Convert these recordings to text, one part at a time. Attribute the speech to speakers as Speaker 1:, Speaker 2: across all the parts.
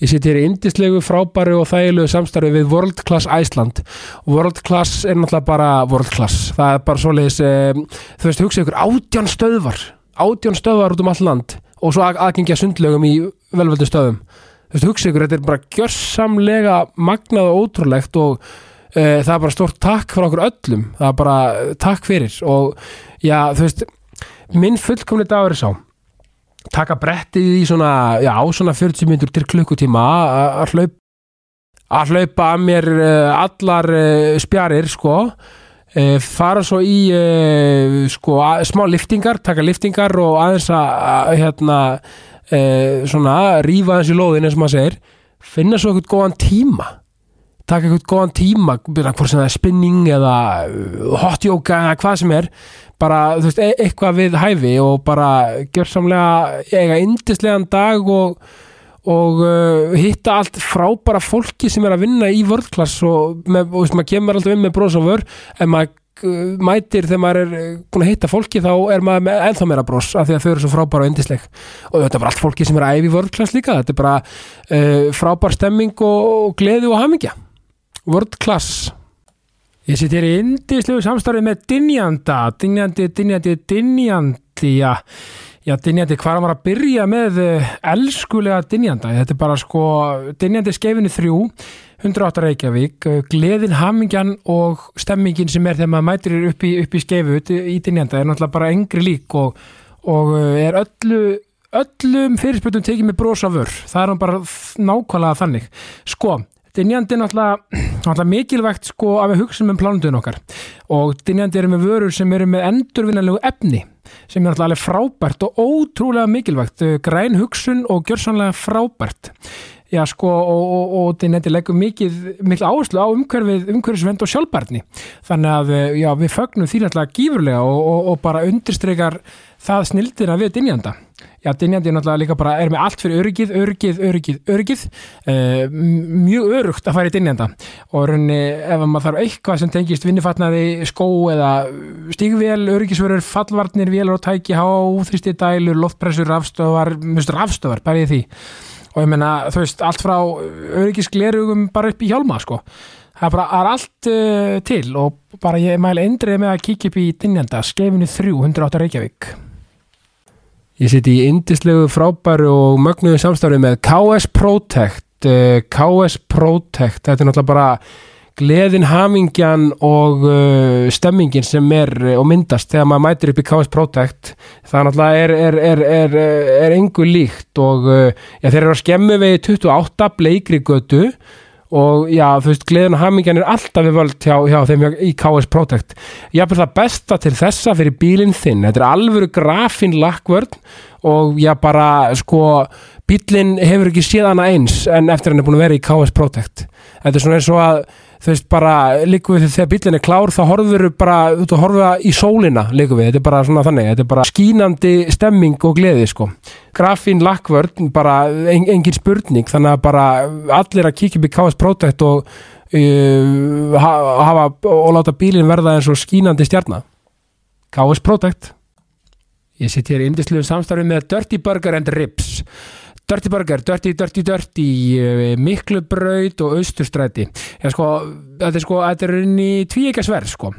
Speaker 1: Ég seti hér í indislegu, frábæru og þægilegu samstarfi við World Class Iceland. World Class er náttúrulega bara World Class. Það er bara svoleiðis, um, þú veist, hugsa ykkur, átján stöðvar, átján stöðvar út um all land og svo að- aðgengja sundlögum í velvöldu stöðum. Þú veist, hugsa ykkur, þetta er bara gjörsamlega magnað og ótrúlegt og uh, það er bara stort takk frá okkur öllum. Það er bara eh, takk fyrir og já, þú veist, minn fullkomni dagur er sá taka brettið í svona, já, svona 40 myndur til klukkutíma að- að hlaupa að hlaupa að mér uh, allar uh, spjarir sko uh, fara svo í uh, sko að, smá liftingar, taka liftingar og aðeins að, að hérna uh, svona rífa aðeins í lóðin eins og maður segir, finna svo eitthvað góðan tíma taka eitthvað góðan tíma byrja hvort sem það er spinning eða eh, hot yoga eða hvað sem er bara, þú veist, e eitthvað við hæfi og bara gjörsamlega eiga yndislegan dag og, og uh, hitta allt frábæra fólki sem er að vinna í World Class og, með, og veist, maður kemur alltaf inn með bros og vör en maður eh, mætir þegar maður er eh, búin að hitta fólki þá er maður með ennþá meira bros af því að þau eru svo frábæra og yndisleg og þetta er bara allt fólki sem er að æfi í World Class líka þetta er bara uh, frábær stemming og, og gleði og hamingja World Class
Speaker 2: Ég sitt hér í indislegu samstarfið með dynjanda, dynjandi, dynjandi, dynjandi, já, já, dynjandi, hvað er maður að byrja með eh, elskulega dynjanda? Þetta er bara sko, dynjandi skeifinu þrjú, 108 Reykjavík, eh, gleðin, hamingjan og stemmingin sem er þegar maður mætir upp í, upp í skeifu ut- í dynjanda er náttúrulega bara engri lík og, og eh, er öllu, öllum fyrirspöldum tekið með brosa vör. Það er hann bara f- nákvæmlega þannig. Sko, Dynjandi er náttúrulega, náttúrulega mikilvægt sko að við hugsa um plánundun okkar og dynjandi eru með vörur sem eru með endurvinnanlegu efni sem er náttúrulega alveg frábært og ótrúlega mikilvægt, Eh, græn hugsun og gjörsanlega frábært. Já sko og, og, og dynjandi leggur mikið, mikil áherslu á umhverfið, umhverfisvend og sjálfbærni. Þannig að eh, já, við fögnum því náttúrulega gífurlega og, og, og bara undirstreikar það snildina við dynjanda. Já, dynjandi er náttúrulega líka bara, er með allt fyrir örgið, örgið, örgið, örgið, uh, mjög örugt að fara í dynjanda og raunni ef maður þarf eitthvað sem tengist vinnifatnaði, skó eða stígvél, örgisvörur, fallvarnir, vélar og tæki, háþristi dælur, loftpressur, rafstöðvar, mjög rafstöðvar, bara í því og ég meina, þú veist, allt frá örgisglerugum bara upp í hjálma, sko. Það er bara það er allt uh, til og bara ég mæli endrið með að kíkja upp í dynjanda, skefinu 308 Reykjavík.
Speaker 1: Ég sitt í indislegu frábæru og mögnuðu samstarfi með KS Protect Eh, KS Protect, þetta er náttúrulega bara gleðin, hamingjan og uh, stemmingin sem er eh, og myndast þegar maður mætir upp í KS Protect það náttúrulega er, er, er, er, eh, er engu líkt og uh, já, þeir eru að skemmu vegi 28 bleikri götu og já, þú veist, gleðin og hamingjan er alltaf við völd hjá, hjá þeim hjá, í KS Protect jafnvel það besta til þessa fyrir bílinn þinn, þetta er alvöru grafin lakkvörn og já bara sko, bílinn hefur ekki séð hana eins en eftir hann er búin að vera í KS Protect þetta er svona eins og að þú veist bara, líku við þegar bílinn er klár þá horfur bara, þú veist, horfa í sólina líku við, þetta er bara svona þannig, þetta er bara skínandi stemming og gleði sko grafín lakkvörn, bara en, engin spurning, þannig að bara allir að kíkja upp í KS Protect og uh, ha- hafa og láta bílinn verða eins og skínandi stjarnar KS Protect Ég sitt hér í indislegu samstarfi með Dirty Burger and Ribs Dirty Burger, Dirty, Dirty, Dirty eh, Miklubraut og Austurstræti Já sko, þetta er sko þetta er inn í tvíekasverð sko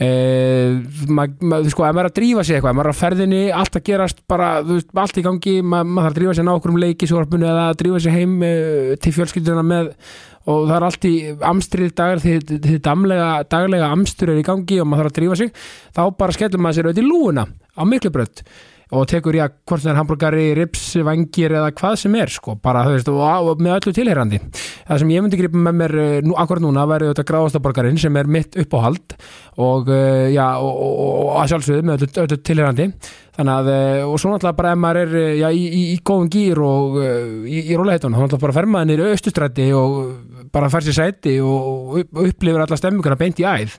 Speaker 1: Uh, mað, mað, sko, ef maður er að drífa sig eitthvað ef maður er að ferðinni, allt að gerast bara, þú veist, allt í gangi, ma maður þarf að drífa sig ná okkur um leikisvarpinu eða að drífa sig heim uh, til fjölskylduna með og það er allt í amstrið dagar því, því damlega, daglega amstur er í gangi og maður þarf að drífa sig þá bara skellum maður sér auðvitað í lúuna á miklu brödd og tekur ég að hvort það er hambúrgari, rips, vangir eða hvað sem er sko, bara þú veist, og, og með öllu tilherrandi það sem ég myndi gripa með mér eh, nú, akkur núna væri auðvitað gráðastaborgarinn sem er mitt uppáhald og, eh, já, og, og, og, og að sjálfsögðu með öllu, öllu tilherrandi þannig að, eh, og svo náttúrulega bara ef maður er eh, já, í, í, í góðum gýr og eh, í, í róleheitun, þá náttúrulega bara fer maður niður austustræti og bara fer sér sæti og upp- upplifir alla stemminguna beint í æð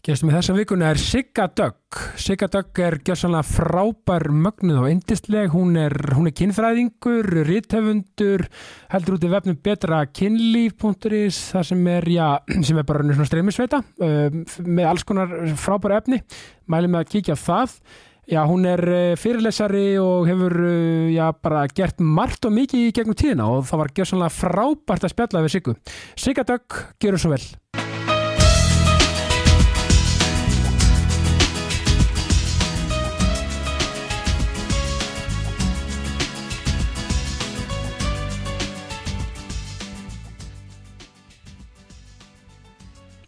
Speaker 1: Gestum í þessa vikuna er Sigga Dögg Sigga Dögg er gjössanlega frábær mögnuð og yndisleg hún er, hún er kynfræðingur, rithöfundur heldur út í vefnum betra kynlíf.is það sem er, já, sem er bara raunir svona streymisveita um, með alls konar frábær efni mælum með að kíkja á það Já, hún er eh, fyrirlesari og hefur eh, já, bara gert margt og mikið í gegnum tíðina og það var gjössanlega frábært að spjalla við Siggu. Sigga Dögg, gjörðu svo vel.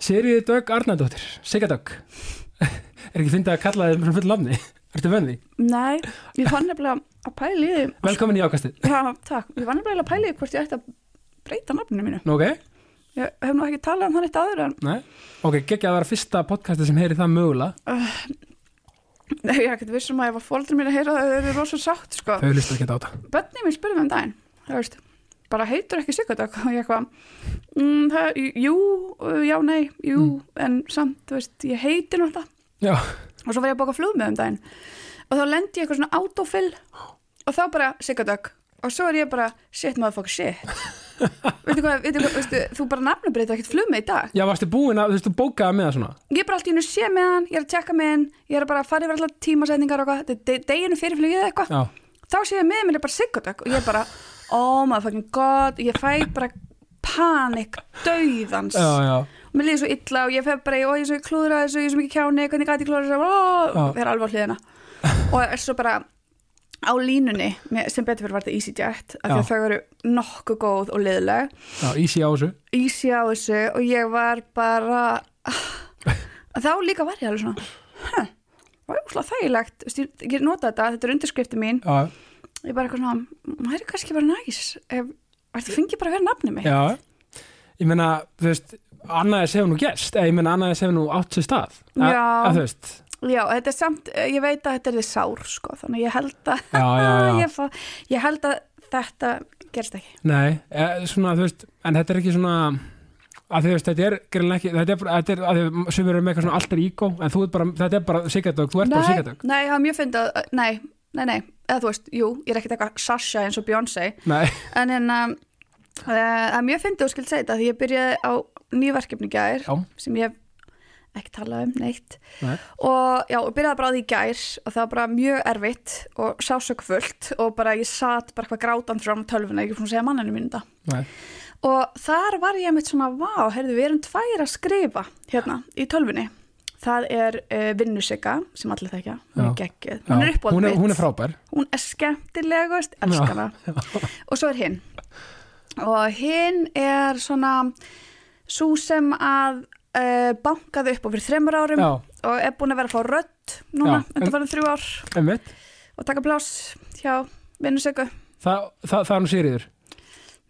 Speaker 1: Sigriði Dögg Arnardóttir, Sigga Dögg. er ekki fyndið að kalla þér með full lafni? Ertu vönni?
Speaker 3: Nei, ég fann nefnilega að pæli í því
Speaker 1: Velkomin í ákastið.
Speaker 3: Já, takk, ég var nefnilega að pæla í því hvort ég ætti að breyta nafninu mínu
Speaker 1: Nú, ok?
Speaker 3: Ég hef nú ekki talað um það eitt aður en
Speaker 1: Nei, ok, geggja að vera fyrsta podcasti sem heyri það mögulega
Speaker 3: Nei, ég er ekkert vissum að ef að fóldur mín að heyra það þau eru rosa sátt, sko
Speaker 1: Þau hlustu ekki á þetta
Speaker 3: Bönni mín spurði mig um daginn, það veist bara heitur ekki Sigurdögg og ég eitthvað mm, það, jú, já, nei, jú en samt, þú veist, ég heiti nú þetta
Speaker 1: Já,
Speaker 3: og svo var ég að bóka flug með um daginn og þá lendi ég eitthvað svona autofill og þá bara Sigurdögg og svo er ég bara, shit, maður fokk shit veitu hvað, veitu hvað, veistu, þú bara nafnabreyta ekkert flug með í dag
Speaker 1: já varstu búin að, þú veist, þú bókaði með það svona
Speaker 3: ég er bara allt í hennu sé með hann, ég er að tjekka með hann ég er bara að fara yfir alltaf tímasetningar og eitthvað þetta er de- deginu fyrir flugið eða eitthvað
Speaker 1: Já,
Speaker 3: þá sé ég með mér er bara sigurdögg og ég er bara, oh my fucking god ég fæ bara panik dauðans,
Speaker 1: já, já,
Speaker 3: mér líður svo illa og ég fer bara, í, ó ég er svo klúðra þessu, ég er svo mikið kjáni hvernig gæti klúðra þessu, ó,
Speaker 1: Já.
Speaker 3: ég er alveg á hliðina og er svo bara á línunni, mér- sem betur fyrir var þetta EasyJet, af því að
Speaker 1: Já.
Speaker 3: þau eru nokkuð góð og liðleg
Speaker 1: já, easy á þessu
Speaker 3: ísi á þessu og ég var bara ah, þá líka var ég alveg svona huh, það var úslega þægilegt Vist, ég, ég nota þetta, þetta er undirskrifti mín
Speaker 1: Já,
Speaker 3: ég bara eitthvað svona, það er kannski bara næs ef þetta fengi bara að vera nafni mig
Speaker 1: já, ég meina, þú veist, annaðis hefur nú gerst eða ég meina annaðis hefur nú átt sér stað A-
Speaker 3: Já.
Speaker 1: að, Þú veist,
Speaker 3: já, þetta er samt, eh, ég veit að þetta er þið sár sko, þannig að ég held að
Speaker 1: já, já, já,
Speaker 3: Ah, ég, fá, ég held að þetta gerst ekki
Speaker 1: nei, e, svona, þú veist, en þetta er ekki svona að þú veist, þetta er greinlega ekki þetta er, bara- þetta er, að þau sem eru með eitthvað svona alltaf ígó en þú er bara, þetta er bara sigardögg, þú ert bara
Speaker 3: nei,
Speaker 1: sigardögg
Speaker 3: nei, það er mjög fyndið að- nei, nei, nei, eða þú veist, jú ég er ekkert eitthvað Sasha eins og Beyoncé
Speaker 1: Nei,
Speaker 3: En hérna, eh, það er mjög fyndið og skild segið þetta því ég byrjaði á nýju verkefni í gær
Speaker 1: Já.
Speaker 3: sem ég hef ekki talað um neitt
Speaker 1: Nei.
Speaker 3: og já, og byrjaði bara á því í gær og það var bara mjög erfitt og sásökfullt og bara ég satt bara eitthvað grátandi fram á tölvuna, ég er búin að segja manninu mínu þetta
Speaker 1: nei,
Speaker 3: og þar var ég mitt svona vá, heyrðu, við erum tvær að skrifa hérna í tölvunni það er uh, vinnusika sem allir þekja, hún er
Speaker 1: Já.
Speaker 3: geggið hún
Speaker 1: já. hún
Speaker 3: er uppáðið
Speaker 1: er, hún er frábær
Speaker 3: hún er skemmtilegust, elskana og svo er hinn og hinn er svona svo sem að uh, bankaði upp ofir þremur árum
Speaker 1: Já,
Speaker 3: og er búin að vera að fá rödd núna,
Speaker 1: Já.
Speaker 3: þetta var þrjú ár
Speaker 1: einmitt
Speaker 3: og taka pláss hjá vinnusöku
Speaker 1: Þa, það, það er nú Sigriður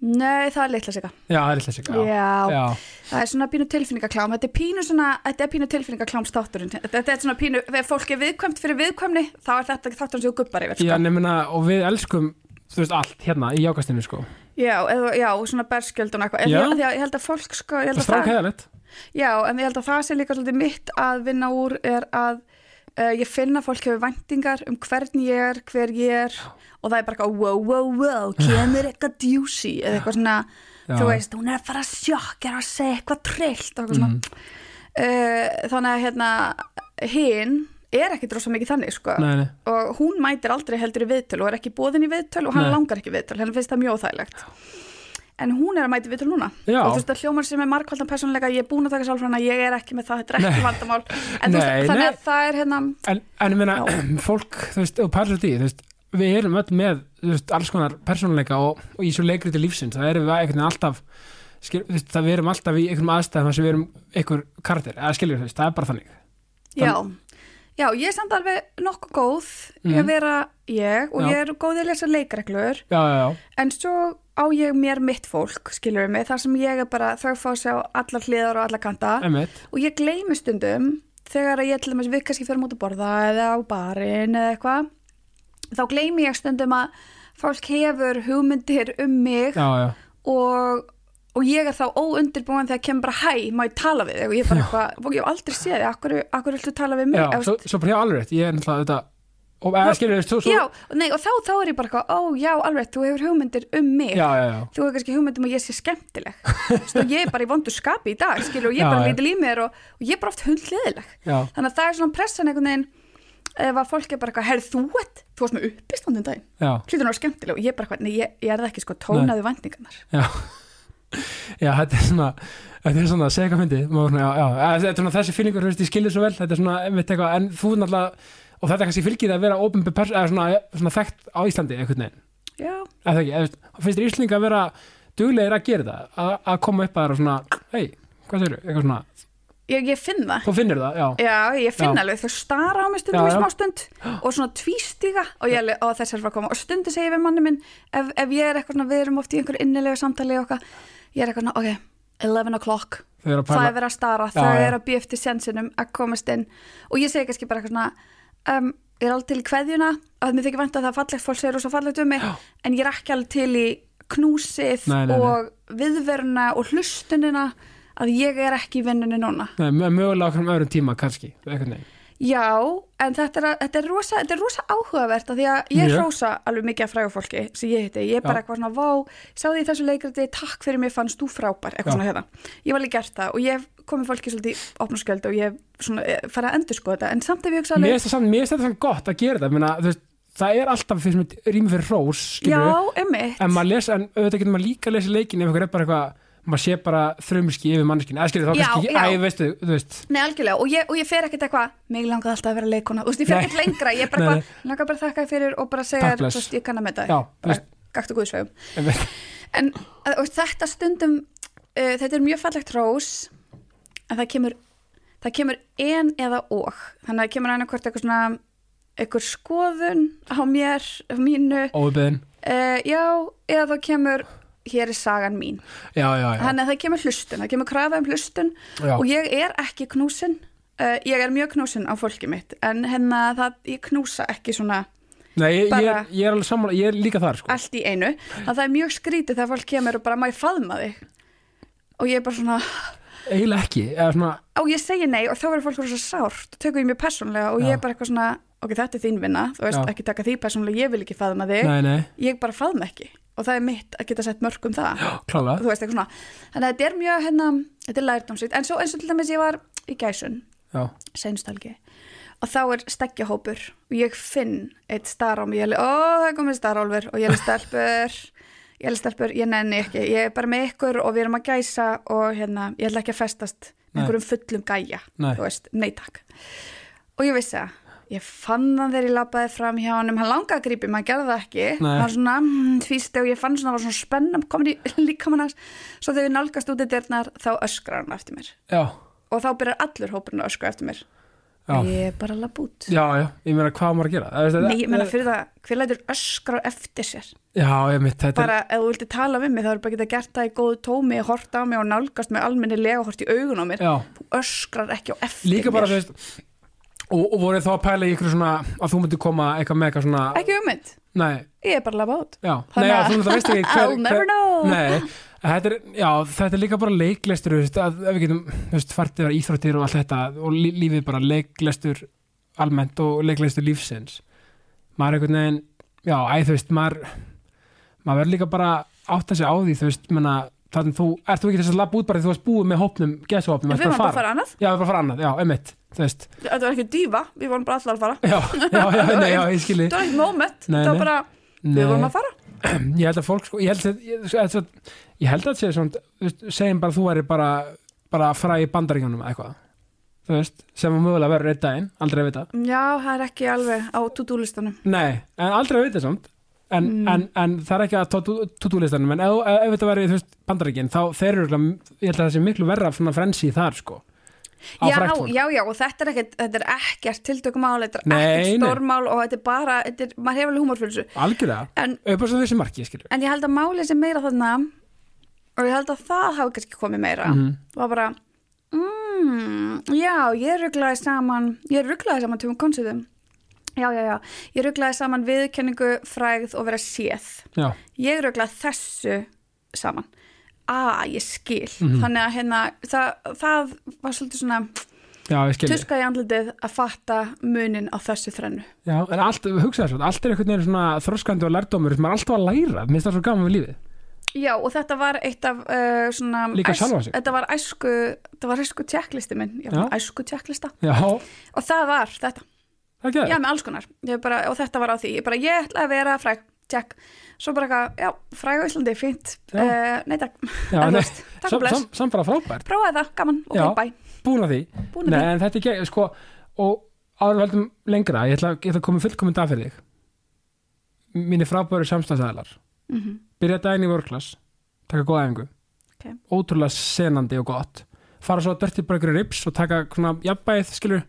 Speaker 3: Nei, það er litla siga
Speaker 1: Já, það er litla sig
Speaker 3: já.
Speaker 1: já,
Speaker 3: það er svona pínu tilfinningaklám Þetta er pínu, svona, þetta er pínu tilfinningaklámstátturinn Þetta þetta er svona pínu, ef fólk er viðkvæmt fyrir viðkvæmni þá er þetta þátturinn sem þú gubbar yfir sko.
Speaker 1: já nefnina, og við elskum þú veist allt hérna í jákastinu sko
Speaker 3: Já, eða, já, svona berskjöldun og eitthvað, En
Speaker 1: Já.
Speaker 3: ég- af því að ég held að fólk sko, ég held
Speaker 1: Það
Speaker 3: að
Speaker 1: strák
Speaker 3: það,
Speaker 1: heðalett
Speaker 3: já, en ég held að það sem líka svolítið mitt að vinna úr er að uh, ég finn að fólk hefur væntingar um hvern ég er, hver ég er og það er bara eitthvað, wow, wow, wow kemur eitthvað djúsi, eða eitthvað svona þú veist, hún er að fara að sjokkja og segja eitthvað trillt og eitthvað
Speaker 1: Mhm.
Speaker 3: svona
Speaker 1: Mm.
Speaker 3: uh, þannig að hérna hinn er ekkit rosa mikið þannig sko
Speaker 1: Nei, nei,
Speaker 3: og hún mætir aldrei heldur í viðtöl og er ekki bóðin í viðtöl og hann
Speaker 1: Nei.
Speaker 3: langar ekki í viðtöl henni finnst það mjög óþægilegt en hún er að mæti viðtöl núna
Speaker 1: Já.
Speaker 3: og þú veist að hljómar sem er markvaldan persónleika ég er búin að taka sálfræna, ég er ekki með það þetta er ekki vandamál en þú veist,
Speaker 1: Nei,
Speaker 3: þannig
Speaker 1: nei.
Speaker 3: að það er hérna
Speaker 1: en, en ég meina fólk, þú veist, og pælir því þú veist, við erum öll með þú veist, alls konar persónuleika og, og í svo leikriti lífsins það erum við einhvern veginn alltaf skil, þú veist, það við erum alltaf í einhverjum aðstæðum þar sem við erum einhver karakter, eða skiljum þú veist, það er bara þannig
Speaker 3: já, já, ég er samt alveg nokkuð góð í
Speaker 1: Mhm.
Speaker 3: að vera ég og
Speaker 1: Já.
Speaker 3: ég er góð í að lesa leikreglur
Speaker 1: Já, já, já,
Speaker 3: en svo á ég mér mitt fólk skilur við mig, þar sem ég er bara þau fá sér á allar hliðar og allar kanta
Speaker 1: einmitt
Speaker 3: og ég gleymi stundum þegar að ég til dæmis við kannski fyrir út að borða eða á barinn eða eitthvað þá gleymi ég stundum að fólk hefur hugmyndir um mig
Speaker 1: Já, já,
Speaker 3: og og ég er þá óundirbúin þegar kemur bara hæ, má ég tala við þig og ég er bara eitthvað, og ég hef aldrei séð þig, akkur, akkur viltu tala við mig
Speaker 1: Já,
Speaker 3: Eða,
Speaker 1: svo, svo bara hjá alveg rétt, ég er náttúrulega þetta og eða skilur þú, svo,
Speaker 3: já, nei, og þá, þá er ég bara eitthvað, ó já, alveg, þú hefur hugmyndir um mig
Speaker 1: já, já, já.
Speaker 3: þú hefur kannski hugmyndum að ég sé skemmtileg Sto, ég er bara í vondu skapi í dag skilur, og ég
Speaker 1: Já,
Speaker 3: er bara
Speaker 1: já.
Speaker 3: lítil í mér og, og ég er bara oft hundleðileg
Speaker 1: já.
Speaker 3: þannig að það er svona pressan einhvern veginn ef að fólk er bara eitthvað, herð þú ert þú varst með uppistandum daginn,
Speaker 1: já.
Speaker 3: hlýtur náður skemmtileg og ég er bara eitthvað, nei, ég, ég er það ekki sko tónaðu vendingarnar
Speaker 1: Já, já þetta er svona þetta er svona að segja hvað myndi maður, svona, já, já, eða þetta er svona þessi fílingur, þú veist, ég skilði svo vel þetta er svona, einmitt eitthvað, en þú náttúrulega og þetta kannski fylgir að vera openbjör person eða svona, svona þekkt á Íslandi einhvern veginn
Speaker 3: já,
Speaker 1: eða það ekki, eða þú veist, þá finnst þér Íslinga að vera duglegir að gera það, að, að koma upp að það og svona, hei, hvað segir eitthvað svona,
Speaker 3: ég, ég finn það
Speaker 1: þú finnir það, já
Speaker 3: Já, ég finn
Speaker 1: Já.
Speaker 3: alveg, þau stara á mig
Speaker 1: Já,
Speaker 3: stundum í
Speaker 1: já.
Speaker 3: smá stund og svona tvístiga og ég alveg, og þess er að koma og stundum segi ég við manni minn ef, ef ég er eitthvað svona, við erum oft í einhverju innilega samtali og okkar, ég er eitthvað svona, ok 11 o'clock,
Speaker 1: þau eru að
Speaker 3: það
Speaker 1: pæla,
Speaker 3: er verið að stara
Speaker 1: Já,
Speaker 3: það
Speaker 1: já.
Speaker 3: er að býja eftir sensinum að komast inn og ég segi kannski bara eitthvað svona um, ég er alveg til í kveðjuna að mér þykir vænt að það er fallegt, fólk segir rosa fallegt um mig en ég er ekki alveg til í knúsið
Speaker 1: Nei, nei, nei.
Speaker 3: og viðveruna og hlustunina að ég er ekki í vinnunni núna
Speaker 1: Nei, mö- mögulega okkur um öðrum tíma kannski, einhvern veginn
Speaker 3: Já, en þetta er, að- þetta er, rosa, þetta er rosa áhugavert af því að ég
Speaker 1: Mjög.
Speaker 3: hrósa alveg mikið af frægu fólki sem ég heiti, ég er bara
Speaker 1: Já.
Speaker 3: eitthvað svona vá, sá því í þessu leikriti, takk fyrir mig fannst þú frábær, eitthvað
Speaker 1: Já.
Speaker 3: svona hérna ég var alveg gert það og ég hef komið fólki svolítið í opnarskjöld og ég hef svona farið að endur sko þetta, en samt ef ég hugsa
Speaker 1: Mér
Speaker 3: alveg
Speaker 1: finnst það samt- mér finnst þetta samt gott að gera þetta, ég meina, þú veist, það er alltaf fyrst mér rými fyrir rós, skilur
Speaker 3: já, emmitt,
Speaker 1: en maður les, en auðvitað getur maður líka að lesa leikin ef einhver er bara eitthvað maður sé bara þrömski yfir manneskin eða skilur þá
Speaker 3: Já,
Speaker 1: kannski,
Speaker 3: já.
Speaker 1: æ, veistu, þú veist
Speaker 3: nei algjörlega og ég, og ég fer ekkert eitthvað, mig langaði alltaf að vera leikona þú veist, ég fer
Speaker 1: Nei.
Speaker 3: ekkert lengra, ég er bara
Speaker 1: Nei,
Speaker 3: eitthvað "Mig langaði bara að þakka þér fyrir og bara segja
Speaker 1: Takk,
Speaker 3: þér, þú
Speaker 1: bless.
Speaker 3: veist, ég kann að meta
Speaker 1: já,
Speaker 3: þér
Speaker 1: þú veist,
Speaker 3: gakt og guðsvegum
Speaker 1: einmitt.
Speaker 3: En að- og þetta stundum, uh, þetta er mjög fallegt rós, en það kemur, það kemur en eða og. Þannig að það kemur annarkvort eitthvað svona, eitthvað skoðun á mér, á mínu,
Speaker 1: óbeðin
Speaker 3: uh, já, eða þá kemur, hér er sagan mín.
Speaker 1: já, já, já,
Speaker 3: Þannig að það kemur hlustun, það kemur krafa um hlustun
Speaker 1: já,
Speaker 3: og ég er ekki knúsin, uh, ég er mjög knúsin á fólki mitt, en hérna það, ég knúsa ekki svona
Speaker 1: Nei, ég, ég,
Speaker 3: bara-
Speaker 1: er, ég er alveg sammála, ég er líka þar sko.
Speaker 3: allt í einu að það er mjög skrítið þegar fólk kemur og bara má ég faðma þig og ég er bara svona
Speaker 1: eiginlega ekki, eða svona
Speaker 3: og ég segi nei og þá verður fólk rosa sárt og tökur ég mjög persónlega og ég
Speaker 1: Já.
Speaker 3: er bara eitthvað svona ok, þetta er þín vinna, þú veist,
Speaker 1: Já.
Speaker 3: ekki taka því persónlega ég vil ekki faðma þig,
Speaker 1: nei, nei,
Speaker 3: ég bara faðma ekki og það er mitt að geta sett mörg um það
Speaker 1: klála
Speaker 3: þú veist, eitthvað svona, þannig að þetta er mjög hérna, þetta er lærdómsvitt, en svo eins og til dæmis ég var í gæsun,
Speaker 1: já,
Speaker 3: seinustalgi og þá er steggjahópur og ég finn eitt star á mig ég er alveg, ó það er komið starálfur og ég er alveg, stelpur ég er alveg, stelpur, ég nenni ekki ég er bara með ykkur og við erum að gæsa og hérna, ég ætla ekki að festast
Speaker 1: Nei.
Speaker 3: með einhverjum fullum gæja,
Speaker 1: Nei.
Speaker 3: þú veist, nei takk og ég vissi það ég fann það þegar ég labbaði fram hjá honum hann langaði að grípi, maður gerði það ekki
Speaker 1: Nei.
Speaker 3: hann var svona mm, tvísti og ég fann svona, það var svona spennum komin í líkamann hans svo þegar við nálgast út í dyrnar þá öskrar hann eftir mér
Speaker 1: já,
Speaker 3: og þá byrjar allur hópurinn að öskra eftir mér
Speaker 1: Já.
Speaker 3: ég er bara að labba út
Speaker 1: já, já, ég meina hvað á maður að gera Eða, veist,
Speaker 3: Nei, ég meina
Speaker 1: eða-
Speaker 3: fyrir það, hver lætur öskra á eftir sér
Speaker 1: já, ég mitt, þetta
Speaker 3: bara ef þú vildi tala við mig þá er bara að geta gert það í góðu tómi og horta á mig og nálgast með almenni lega og hort í augun á mér
Speaker 1: er já,
Speaker 3: þú öskrar ekki á eftir
Speaker 1: líka bara, þú
Speaker 3: mér
Speaker 1: veist og, og voru þá að pæla í ykkur svona að þú myndi koma eitthvað með eitthvað svona
Speaker 3: ekki ummynd,
Speaker 1: nei,
Speaker 3: ég er bara að labba út
Speaker 1: já, nei,
Speaker 3: Þannig
Speaker 1: já,
Speaker 3: að-
Speaker 1: þú náttúrulega veist ekki hver,
Speaker 3: I'll never
Speaker 1: hver-
Speaker 3: know
Speaker 1: Nei, þetta er, já, þetta er líka bara leiklestur, þú veist, að ef við getum, þú veist, fartir að íþróttir og allt þetta og lí- lífið bara leiklestur almennt og leiklestur lífsins. Maður einhvern veginn, já, æ, þú veist, maður, maður verður líka bara að átta sig á því, þú veist, menna, þannig þú, ert þú ekki þess að labba út bara því þú varst búið með hópnum, gesuhópnum,
Speaker 3: En við
Speaker 1: ert
Speaker 3: varum bara að fara annað,
Speaker 1: Já, við erum bara að fara annað, já, einmitt, þú veist,
Speaker 3: þetta var ekki dýfa við vorum bara allar að fara,
Speaker 1: já, já, já, nei, já, ég skilji.
Speaker 3: þetta var ekki moment
Speaker 1: Nei,
Speaker 3: þetta
Speaker 1: nei.
Speaker 3: var bara,
Speaker 1: Nei.
Speaker 3: við vorum að fara
Speaker 1: ég held að fólk sko, ég held að, ég, ég, ég, ég held að segja svona, þú veist, segjum bara að þú væri bara, bara fræ í bandaríkjónum eitthvað, þú veist, sem að mögulega verður einn daginn, aldrei að vita,
Speaker 3: já, það er ekki alveg á to-do-listanum
Speaker 1: nei, en aldrei að vita samt, en,
Speaker 3: Mm.
Speaker 1: en, en það er ekki að tutúlistanum, en ef, ef ef þetta væri þú veist, bandaríkinn, þá þeir eru örugglega- ég held að það sé miklu verra svona frensi þar sko, á
Speaker 3: já,
Speaker 1: frækt fólk
Speaker 3: já, já, og þetta er ekkert, þetta er ekkert tiltökumál, þetta er
Speaker 1: Nei,
Speaker 3: ekkert
Speaker 1: nei.
Speaker 3: stórmál og þetta er bara, þetta er, maður hefur alveg húmor fyrir þessu.
Speaker 1: algjörlega,
Speaker 3: En,
Speaker 1: upp á svo þessi marki skilur,
Speaker 3: en ég held að málið sem meira þarna, og ég held að það hafi kannski komið meira,
Speaker 1: Mhm.
Speaker 3: var bara, mm, já, ég rugglaði saman, ég rugglaði saman tjóðum konsertum. Já, já, já, ég rugglaði saman viðkenningu, frægð og vera séð.
Speaker 1: já,
Speaker 3: Ég rugglaði þessu saman. að ég skil þannig að hérna, það, það var svolítið svona
Speaker 1: já, ég skilji
Speaker 3: tuska í andlitið að fatta munin á þessu þrennu
Speaker 1: já, en allt, hugsa þessu, allt er einhvern veginn svona þroskandi og lærdómur, maður er alltaf að læra minnst það svo gaman við lífið
Speaker 3: Já, og þetta var eitt af uh, svona
Speaker 1: Líka sjálfa sig.
Speaker 3: Þetta var æsku, þetta var æsku tjekklisti minn Já,
Speaker 1: Já.
Speaker 3: æsku tjekklista
Speaker 1: já,
Speaker 3: Og það var þetta,
Speaker 1: það er ekki
Speaker 3: já með alls konar Ég bara, Og þetta var á því, ég bara, ég ætla að vera fræg Tjekk, svo bara eitthvað, já, fræg á Íslandi, fínt
Speaker 1: Já.
Speaker 3: uh, Nei, takk,
Speaker 1: Já,
Speaker 3: en þú
Speaker 1: nei,
Speaker 3: veist, takk
Speaker 1: sam-
Speaker 3: og bless
Speaker 1: sam- samt bara frábært,
Speaker 3: Prófaði það, gaman, ok,
Speaker 1: Já.
Speaker 3: bye
Speaker 1: búin að því
Speaker 3: Búin að
Speaker 1: Nei,
Speaker 3: því.
Speaker 1: en þetta er ekki, sko og áður en við höldum lengra, ég ætla, ég ætla að koma fullkominn dag fyrir þig mínir frábæru samstæðsæðlar
Speaker 3: Mhm.
Speaker 1: byrja daginn í vörklass, taka góða æfingu
Speaker 3: Ok.
Speaker 1: ótrúlega senandi og gott fara svo að dörti bara ykkur rips og taka svona jafnbæð, skilur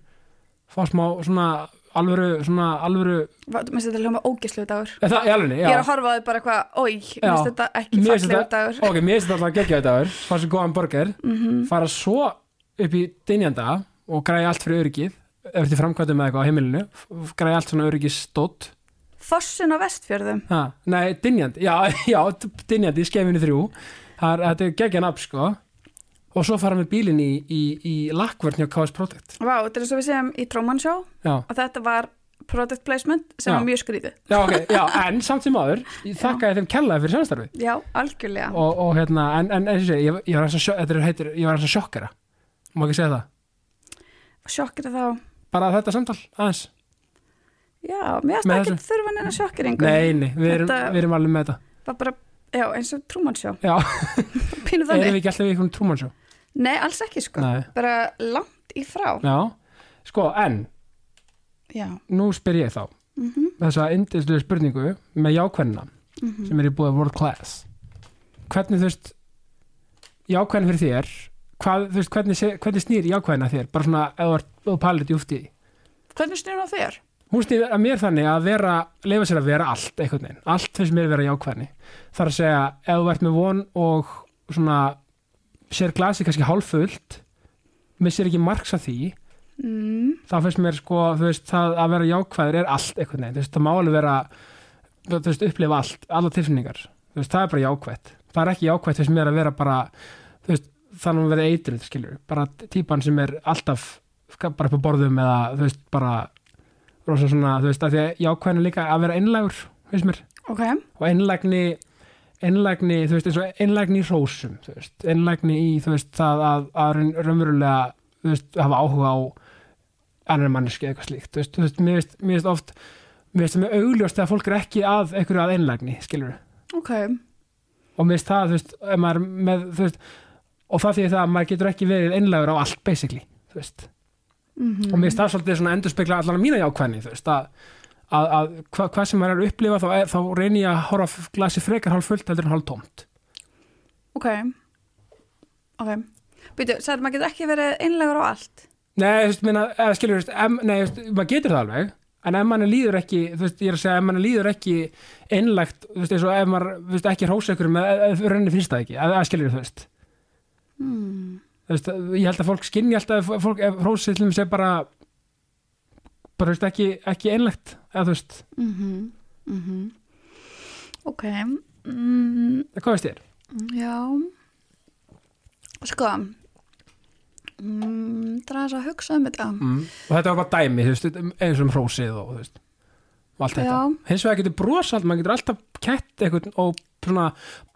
Speaker 1: fá smá svona alvöru svona alvöru,
Speaker 3: Vá, Mér finnst þetta hljóma ógislu dagur
Speaker 1: eða það, í alveg, já
Speaker 3: Ég er að horfa á þau bara eitthvað, oi, mér
Speaker 1: Já.
Speaker 3: finnst þetta ekki
Speaker 1: Mér finnst
Speaker 3: fallegu
Speaker 1: þetta-
Speaker 3: dagur
Speaker 1: ok, mér finnst þetta alltaf að gegja þetta aður fara svo góðan borgar, fara svo upp í dynjanda og græja allt fyrir öryggið ef þetta er framkvæmdum með eitthvað á heimilinu f- græja allt svona öryggisdótt
Speaker 3: Fossin á Vestfjörðum
Speaker 1: ha, nei, dynjandi, já, já d- dynjandi í skefinu þrjú Það er, þetta er gegja nafn sko og svo fara með bílinn í, í, í lakkvörn hjá KS Protect
Speaker 3: Vá, þetta er eins og við segjum í Truman Show
Speaker 1: já,
Speaker 3: og þetta var product placement sem
Speaker 1: Já.
Speaker 3: var mjög skrítið
Speaker 1: já, ok, já, en samt sem áður ég þakka ég þeim kellaði fyrir samstarfi
Speaker 3: já, algjörlega
Speaker 1: og, og hérna, en, en eins og sé, ég, ég var eins og sjok- þetta er heitir, ég var eins og sjokkara má ekki segja það
Speaker 3: sjokkir þá,
Speaker 1: bara þetta samtal aðeins
Speaker 3: já, mér erst
Speaker 1: Með
Speaker 3: ekki þurfa neina sjokkeringu
Speaker 1: nei, nei, við erum,
Speaker 3: Þetta-
Speaker 1: við erum alveg með þetta
Speaker 3: var bara, já, eins og Truman Show
Speaker 1: já, erum við
Speaker 3: pínu þannig,
Speaker 1: ekki alltaf í einhvern trúmannsjó
Speaker 3: nei, alls ekki sko
Speaker 1: nei,
Speaker 3: bara langt í frá
Speaker 1: já, sko, en
Speaker 3: já,
Speaker 1: nú spyr ég þá
Speaker 3: mhm,
Speaker 1: þessa indislu spurningu með jákvenna sem er í búið world class hvernig þú veist jákvenna fyrir þér hvað, þú veist, hvernig, se- hvernig snýr jákvenna þér bara svona, ef þú ert- ef þú pælir þetta júfti
Speaker 3: hvernig snýr það þér?
Speaker 1: hún snýr að mér þannig að vera leifa sér að vera allt einhvern veginn, allt finnst mér að vera jákvæðni þar að segja, ef þú ert með von og svona sér glasi kannski hálffullt missir ekki marks að því
Speaker 3: Mm,
Speaker 1: þá finnst mér sko, þú veist, það að vera jákvæður er allt einhvern veginn, þú veist, það má alveg vera þú veist, upplifa allt, alla tilfinningar þú veist, það er bara jákvætt það er ekki jákvætt þess mér að vera bara þú veist, þannig að vera eitruð, skilur bara típan sem er alltaf bara upp á borðum eða, þú veist, bara rosa svona, þú veist, að því að jákvæðin er líka að vera einlægur, finnst mér
Speaker 3: ok,
Speaker 1: og einlægni einlægni, þú veist, eins og einlægni í rósum, þú veist, einlægni í þú veist, það að, að raun- raunverulega þú veist, hafa áhuga á annar manneski eitthvað slíkt, þú veist, þú veist mér veist, mér veist oft mér veist það með augljóst þegar fólk er ekki að einhverju að einlægni, skilur
Speaker 3: ok
Speaker 1: og mér veist það, þú veist, ef maður er með, þú veist, og það því það að maður getur ekki verið einlægur á allt, basically þú veist,
Speaker 3: mhm,
Speaker 1: og mér veist það svolítið svona endurspegla allan að mína jákvæðni, þú veist, að að, að hva, hvað sem maður er að upplifa þá, er, þá reyni ég að horfa á glasi frekar hálf fullt heldur en hálf tómt
Speaker 3: ok ok, býtu, sagði maður getur ekki verið einlegur á allt
Speaker 1: Nei, þú veist, minna, eða skilur, þú veist, em, nei, þú veist, maður getur það alveg, en ef mann líður ekki, þú veist, ég er að segja, ef mann líður ekki einlægt, þú veist, eins og ef maður, þú veist, ekki hrósa ykkur með, rauninni finnst það ekki, eða eða skilur, þú veist,
Speaker 3: mm.
Speaker 1: þú veist, ég held að fólk skinni alltaf, ef fólk, ef hrósið til þeim sé bara, bara, þú veist, ekki, ekki einlægt, eða, þú veist,
Speaker 3: mhm, mhm ok mhm
Speaker 1: eða hvað veist þér?
Speaker 3: Já Sko mm, Það er aðeins að hugsa um þetta
Speaker 1: Mm. Og þetta var bara dæmi, þú veist, eins og um hrósið og, þú veist, og allt þetta.
Speaker 3: Já.
Speaker 1: Hins vegar getur brosa, allt, maður getur alltaf kett eitthvað og svona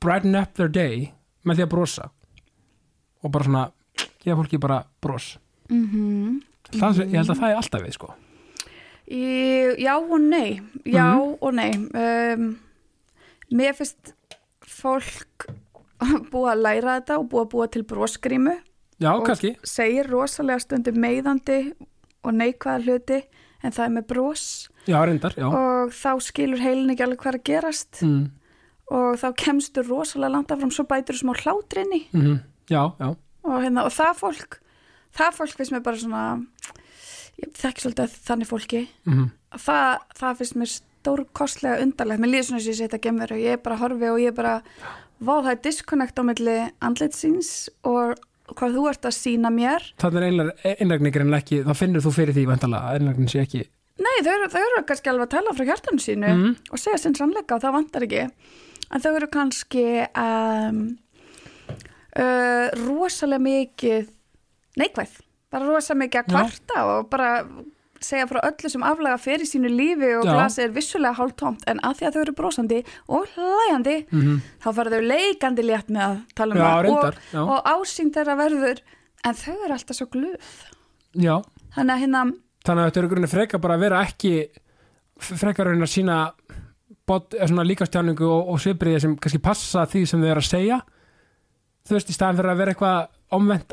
Speaker 1: brighten up their day með því að brosa. Og bara svona, gefa fólki bara bros.
Speaker 3: mm
Speaker 1: Það, Ég held að það er alltaf við, sko.
Speaker 3: Já og nei Já og nei um, Mér finnst fólk búið að læra þetta og búið að búa til broskrímu
Speaker 1: Já,
Speaker 3: Og-
Speaker 1: kannski.
Speaker 3: segir rosalega stundum meiðandi og neikvæða hluti en það er með bros
Speaker 1: Já, reyndar, já.
Speaker 3: og þá skilur heilin ekki alveg hvað er að gerast
Speaker 1: Mm.
Speaker 3: og þá kemstu rosalega landa fram svo bætur smá hlátrinni
Speaker 1: Mm Já, já.
Speaker 3: og, hérna, og það fólk það fólk finnst mér bara svona ég þekki svolítið að þannig fólki
Speaker 1: Mm
Speaker 3: Að það, það finnst mér stórkostlega undarlegt mér líður svona sem ég setja gemur og ég bara horfi og ég bara vá það er disconnect á milli andlitsins og hvað þú ert að sína mér
Speaker 1: Þannig er einlæg- einlægni greinlega ekki, þá finnur þú fyrir því vandalega, einlægni sé ekki.
Speaker 3: nei þau eru, þau eru kannski alveg að tala frá hjartanu sínu
Speaker 1: Mm.
Speaker 3: og segja sinn sannleika og það vantar ekki en þau eru kannski um, uh, rosalega mikið neikvæð, bara rosalega mikið að
Speaker 1: Já.
Speaker 3: kvarta og bara segja frá öllu sem aflaga fer í sínu lífi og
Speaker 1: Já.
Speaker 3: glasið er vissulega hálftómt en að því að þau eru brosandi og hlæjandi þá fara þau leikandi létt með að tala um
Speaker 1: Já,
Speaker 3: það
Speaker 1: reyndar, já.
Speaker 3: og, og ásýnd þeirra verður en þau eru alltaf svo glöð
Speaker 1: Já,
Speaker 3: þannig að hérna,
Speaker 1: þannig að þetta eru grunni frekar bara að vera ekki frekar raunin að sína bot, eða svona líkastjáningu og, og svipriði sem kannski passa því sem þau eru að segja þú veist, í staðan fyrir að vera eitthvað omvend,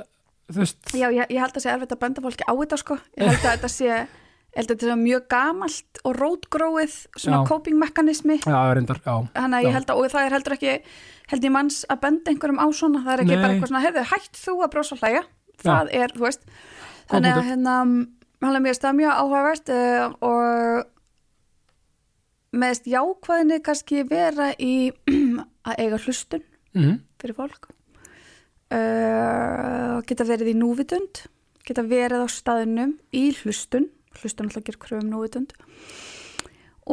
Speaker 1: þú veist
Speaker 3: já ég, ég held að sé erfitt að benda fólki á þetta sko, ég held að þetta sé ég held að þetta sé mjög gamalt og rótgróið svona
Speaker 1: Já.
Speaker 3: coping mekanismi
Speaker 1: Já, reyndar, já,
Speaker 3: þannig að ég
Speaker 1: Já.
Speaker 3: held að, og það er heldur ekki held ég manns að benda einhverjum á svona það er ekki
Speaker 1: Nei.
Speaker 3: bara eitthvað svona, heyrðu, hætt þú að brosa og hlæja það er, þú veist þannig að
Speaker 1: punktur.
Speaker 3: hérna, hann er mjög stað mjög áhugavert uh, og meðist jákvæðinni kannski vera í að eiga hlustun
Speaker 1: mm
Speaker 3: fyrir fólk uh, geta verið í núvitund geta verið á staðinum í hlustun hlustun alltaf gerir kröfum núvitund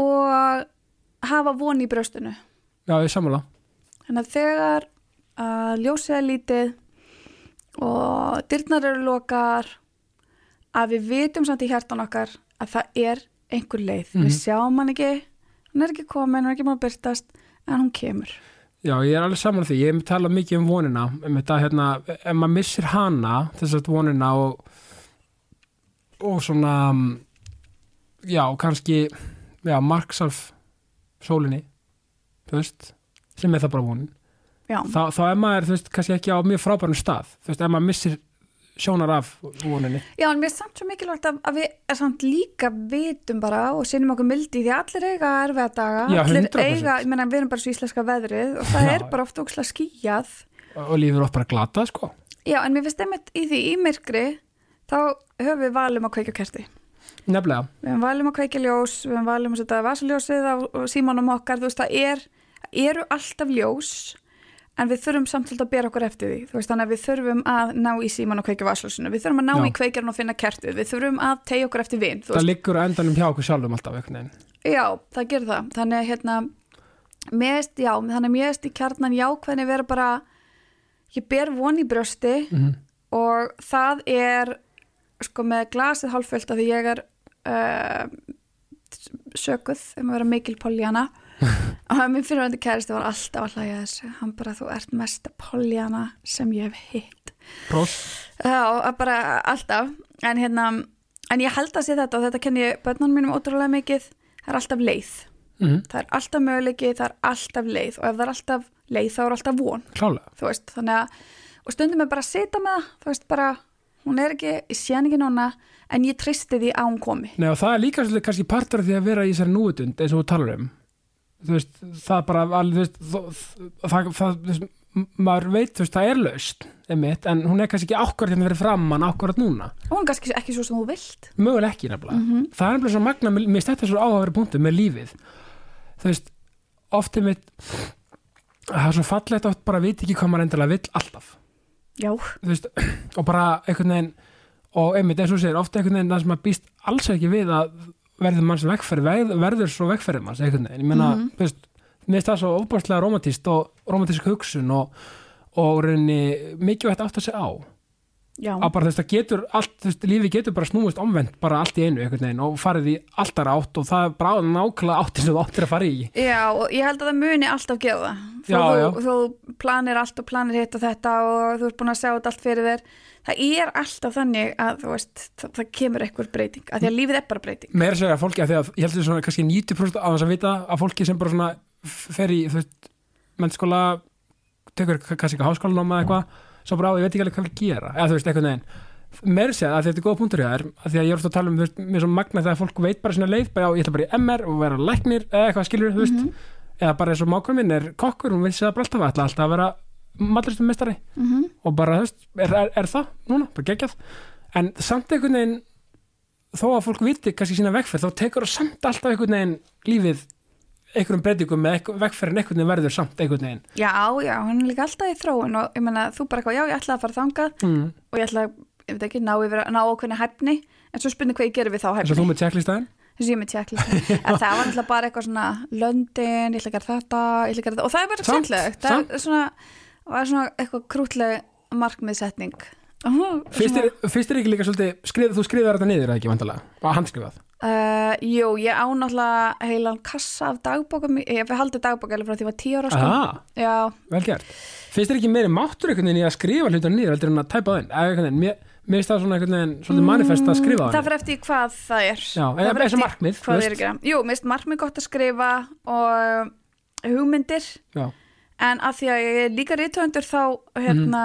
Speaker 3: og hafa von í brjóstinu
Speaker 1: já, ég sammála
Speaker 3: þannig að þegar að ljósið er lítið og dyrnar eru lokar að við vitum samt í hjartan okkar að það er einhver leið við sjáum hann ekki, hann er ekki komin hann er ekki maður byrtast, en hún kemur
Speaker 1: Já, ég er alveg saman því, ég hef talað mikið um vonina um þetta, hérna, ef maður missir hana þess að vonina og og svona mm, já, kannski já, marks af sólinni þú veist, sem er það bara vonin
Speaker 3: já,
Speaker 1: þá, þá er maður, þú veist, kannski ekki á mjög frábærum stað þú veist, ef maður missir sjónar af voninni
Speaker 3: Já, en mér er samt svo mikilvægt að, að við er samt líka vitum bara og sinnum okkur mildi því að allir eiga erfiða daga,
Speaker 1: Já,
Speaker 3: allir
Speaker 1: 100%.
Speaker 3: eiga ég meina, við erum bara svo íslenska veðrið og það
Speaker 1: Já,
Speaker 3: er
Speaker 1: já.
Speaker 3: bara oft ókslega skýjað
Speaker 1: og lífið er oft bara glata, sko
Speaker 3: Já, en mér finnst einmitt í því í myrkri þá höfum við valum að kveikja á kerti
Speaker 1: nefnilega,
Speaker 3: við höfum valum að kveikja ljós, við höfum valum að setja vasaljósið á á símanum okkar, þú veist, það er það eru alltaf ljós en við þurfum samt svolítið að bera okkur eftir því þú veist, þannig að við þurfum að ná í síman og kveikja vasaljósinu, við þurfum að ná
Speaker 1: Já.
Speaker 3: í kveikjarn og finna kertið, við þurfum að tegja okkur eftir vin þú
Speaker 1: það liggur á endanum hjá okkur sjálfum alltaf, einhvern veginn
Speaker 3: Já, það gerir það. Þannig að hérna, mest, já, þannig að mest í kjarnan jákvæðni vera bara, ég ber von í brjósti
Speaker 1: Mhm.
Speaker 3: og það er, sko, með glasið hálffullt af því ég er uh, sökuð um að vera mikil Pollyanna og minn fyrirvændi kæristi var alltaf að hlæja að þessu. Hann bara, þú ert mesta Pollyanna sem ég hef hitt.
Speaker 1: Prós,
Speaker 3: Já, að bara alltaf en, hérna, en ég held að sé þetta og þetta kenni ég börnunum mínum ótrúlega mikið það er alltaf leið,
Speaker 1: mm -hmm.
Speaker 3: það er alltaf möguleiki það er alltaf leið og ef það er alltaf leið þá er alltaf von,
Speaker 1: klálega
Speaker 3: þú veist þannig að, og stundum er bara að sita með það þú veist bara, hún er ekki, ég sé hann ekki núna en ég tristi því að hún komi
Speaker 1: Nei og það er líka svolítið kannski partur af því að vera í þessari núutund eins og þú talar um þú veist, það er bara alveg, þú veist, þó- þ- það, það, þú veist, m- maður veit, þú veist, það er laust einmitt, en hún er kannski ekki ákvörð hérna verið framann ákvörð núna,
Speaker 3: og hún er kannski ekki svo sem þú vilt
Speaker 1: mögulega ekki nefnilega það er nefnilega svo magna, mér mér finnst þetta svo áhafari punktu með lífið, þú veist oft einmitt það er svo fallegt oft bara veit ekki hvað maður endilega vill alltaf
Speaker 3: já,
Speaker 1: þú veist, og bara einhvern veginn og einmitt eins og þú segir, ofta einhvern veginn það sem maður býst alls ekki við að verður manns vegferð, verð- verður svo vegferð manns einhvern veginn, ég meina, þú veist mér finnst það svo ofbárslega romantist og romantísk hugsun og, og reyni mikilvægt átt að segja á
Speaker 3: já,
Speaker 1: að bara þú veist, það getur allt, þú veist, lífi getur bara snúist omvend, bara allt í einu einhvern veginn og farið í alltaf átt og það er bara nákvæmlega áttin sem þú áttir að fara í
Speaker 3: já og ég held að það muni alltaf gera það þó,
Speaker 1: Já,
Speaker 3: þú,
Speaker 1: já.
Speaker 3: þú planir allt og planir hitt og þetta og þú ert búin að sjá þetta allt fyrir þér það er alltaf þannig að þú veist, það, það kemur einhver breyting af því að lífið er bara breyting
Speaker 1: meira segja að fólki að því að ég held heldur svona kannski 90% á þess að vita að fólki sem bara svona f- fer í þú veist, mennskóla tekur k- kannski eitthvað háskólanum eða eitthvað svo bara á, ég veit ekki alveg hvað við gera eða þú veist, eitthvað neginn meira segja að þetta er góða punktur hjá þér að því að ég er ofta að tala um, þú veist, mér er svo magna þegar fólk veit bara svona leið, bara já, ég ætla bara í MR og vera læknir eða eitthvað skilur, þú veist
Speaker 3: Mhm.
Speaker 1: eða bara eins og mákur minn er kokkur, hún vissi það bara alltaf ætla alltaf að vera mallaristum mestari
Speaker 3: Mhm.
Speaker 1: og bara, þú veist, er, er, er það núna, bara geggjað en samt einhvern veginn þó að fólk viti kannski sína vegferð þá tekur það samt alltaf einhvern veginn lífið einhverjum breytingum með einhver- vegferðin einhvern veginn verður samt einhvern veginn
Speaker 3: já, já, hún er líka alltaf í þróun og ég meina, þú bara eitthvað, já, ég ætla að fara þangað
Speaker 1: mm.
Speaker 3: og ég ætla, að, ég veit ekki, ná, yfir, ná ákveðni hæfni en svo spurning hvað ég gerir við þá
Speaker 1: eins og þú
Speaker 3: hæfni
Speaker 1: með checklistæðin
Speaker 3: þess að ég er með tjekkli en það var alltaf bara eitthvað svona London, ég ætla að gera þetta, ég ætla að gera þetta og það er bara
Speaker 1: Samt,
Speaker 3: skemmtilegt það er svona og það er svona eitthvað krútleg markmiðsetning Fyrst
Speaker 1: Fyrst er, fyrst er ekki líka svolítið, skrið, þú skrifar þetta niður eða ekki vandalega, bara handskrifað eh,
Speaker 3: Uh, jú, ég á náttúrulega heilan kassa af dagbóka ég hef haldið dagbóka alveg frá því ég var 10 ára sko.
Speaker 1: Aha,
Speaker 3: já,
Speaker 1: vel gert Fyrst er ekki meiri máttur einhvern veginn í að skrifa hlutur niður heldur en að tæpa það inn, eða einhvern veginn, mér, mér finnst það svona einhvern veginn svolítið manifest að skrifa
Speaker 3: Mm, það
Speaker 1: það
Speaker 3: fyrir eftir í hvað það er
Speaker 1: Já,
Speaker 3: Það
Speaker 1: eða eins
Speaker 3: fer
Speaker 1: og
Speaker 3: eftir
Speaker 1: markmið, þú
Speaker 3: hvað
Speaker 1: veist.
Speaker 3: er ekki jú, mér finnst markmið gott að skrifa og um, hugmyndir
Speaker 1: Já,
Speaker 3: en að því að ég er líka rítöndur þá hérna,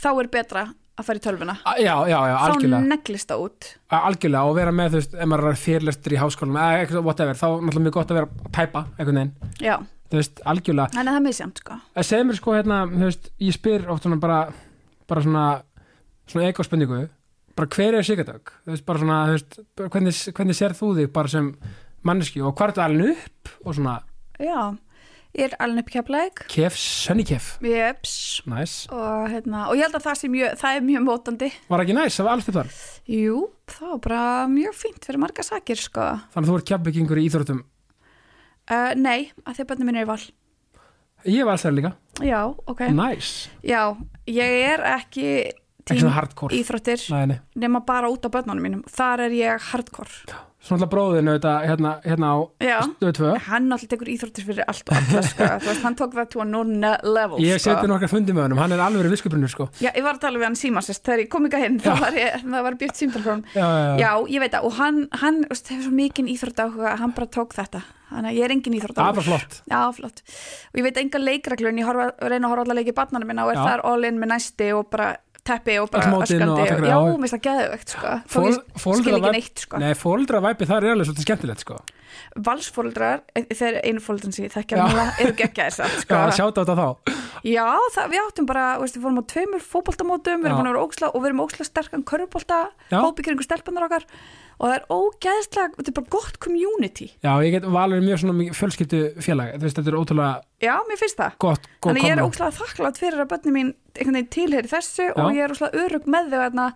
Speaker 3: þá er betra að fara í tölvuna
Speaker 1: A- já, já, já, algjörlega
Speaker 3: þá neglist það út
Speaker 1: A- algjörlega og vera með þú veist ef maður er fyrirlestur í háskólanum eða eitthvað whatever þá er náttúrulega mjög gott að vera að tæpa einhvern veginn
Speaker 3: já,
Speaker 1: þú veist algjörlega
Speaker 3: þannig að það er misjant sko.
Speaker 1: að segja mér sko hérna þú veist ég spyr oft svona bara bara svona svona ekospendingu bara hver er Sigardögg þú veist bara svona þú veist bara hvernig, hvernig sér þú þig bara sem manneski og hvað er þetta alveg upp og svona
Speaker 3: já, ég er alveg uppkjafleik
Speaker 1: kef sönni kef
Speaker 3: jöps
Speaker 1: næs nice.
Speaker 3: og, hérna, og ég held að það, sé mjög, það er mjög mótandi
Speaker 1: var ekki næs nice, það var alls þar
Speaker 3: Jú, það var bara mjög fínt fyrir marga sakir sko.
Speaker 1: þannig að þú ert kjapbyggingur í íþróttum
Speaker 3: Uh, nei, að því að bönnum minn er í val.
Speaker 1: ég var alls þar líka
Speaker 3: Já, ok.
Speaker 1: næs nice.
Speaker 3: Já, ég er ekki
Speaker 1: ekki
Speaker 3: tím
Speaker 1: svona hardcore
Speaker 3: íþróttir
Speaker 1: nei nei
Speaker 3: nema bara út á bönnunum mínum. Þar er ég hardcore.
Speaker 1: svona alltaf bróðinu auðvitað hérna hérna á
Speaker 3: Já,
Speaker 1: stöðu tvö
Speaker 3: hann alltaf tekur íþróttir fyrir allt og alla sko. Þú veist, hann tók það to a new ne- level
Speaker 1: Ég hef
Speaker 3: sko.
Speaker 1: setið nokkar fundi með honum, hann er alveg viskuprinur sko
Speaker 3: Já, ég var að tala við hann símasist þegar ég kom ykkar hinn, þá var ég, það var björt símtalfrón.
Speaker 1: Já, já, já.
Speaker 3: Já, ég veit að, og hann, hann, þú veist, hefur svo mikinn íþrótt áhuga að hann bara tók þetta. Þannig að ég er engin íþrótt
Speaker 1: Það var flott
Speaker 3: Já, flott. Og ég veit enga leikreglu en ég horfa, reyna að horfa allar leiki barnana minna og er
Speaker 1: Já.
Speaker 3: þar all in með næsti og bara teppi og
Speaker 1: Öll
Speaker 3: bara
Speaker 1: mótin og allt ykkur,
Speaker 3: Já,
Speaker 1: já.
Speaker 3: mér finnst það geðvegt, sko. Þó
Speaker 1: Fól-
Speaker 3: ég skil
Speaker 1: fóreldra
Speaker 3: ekki
Speaker 1: væp-
Speaker 3: neitt, sko.
Speaker 1: Nei, fóldra væpi þar er alveg svolítið skemmtilegt sko
Speaker 3: Valsfóldrar, eh, þeir einu fóldran sem ég þekkja
Speaker 1: Já.
Speaker 3: alveg, eru geggjaðir samt,
Speaker 1: Já,
Speaker 3: sko.
Speaker 1: sjáta þetta þá
Speaker 3: Já, það, við áttum bara, veist, við fórum á tveimur fótboltamótum,
Speaker 1: Já.
Speaker 3: við erum búin að vera óksla og við erum óksla sterkan körfubolta,
Speaker 1: Já.
Speaker 3: hópikringu stelpunar okkar og það er ógeðslega, þetta er bara gott community.
Speaker 1: Já, ég get valur mjög svona mikið fjölskyldu félag Þú veist, þetta er ótrúlega
Speaker 3: Já, mér finnst það.
Speaker 1: gott, gott
Speaker 3: Þannig ég er óslega þakklátt fyrir að börnum mín einhvern veginn tilheyri þessu og ég er óslega örug með þau þarna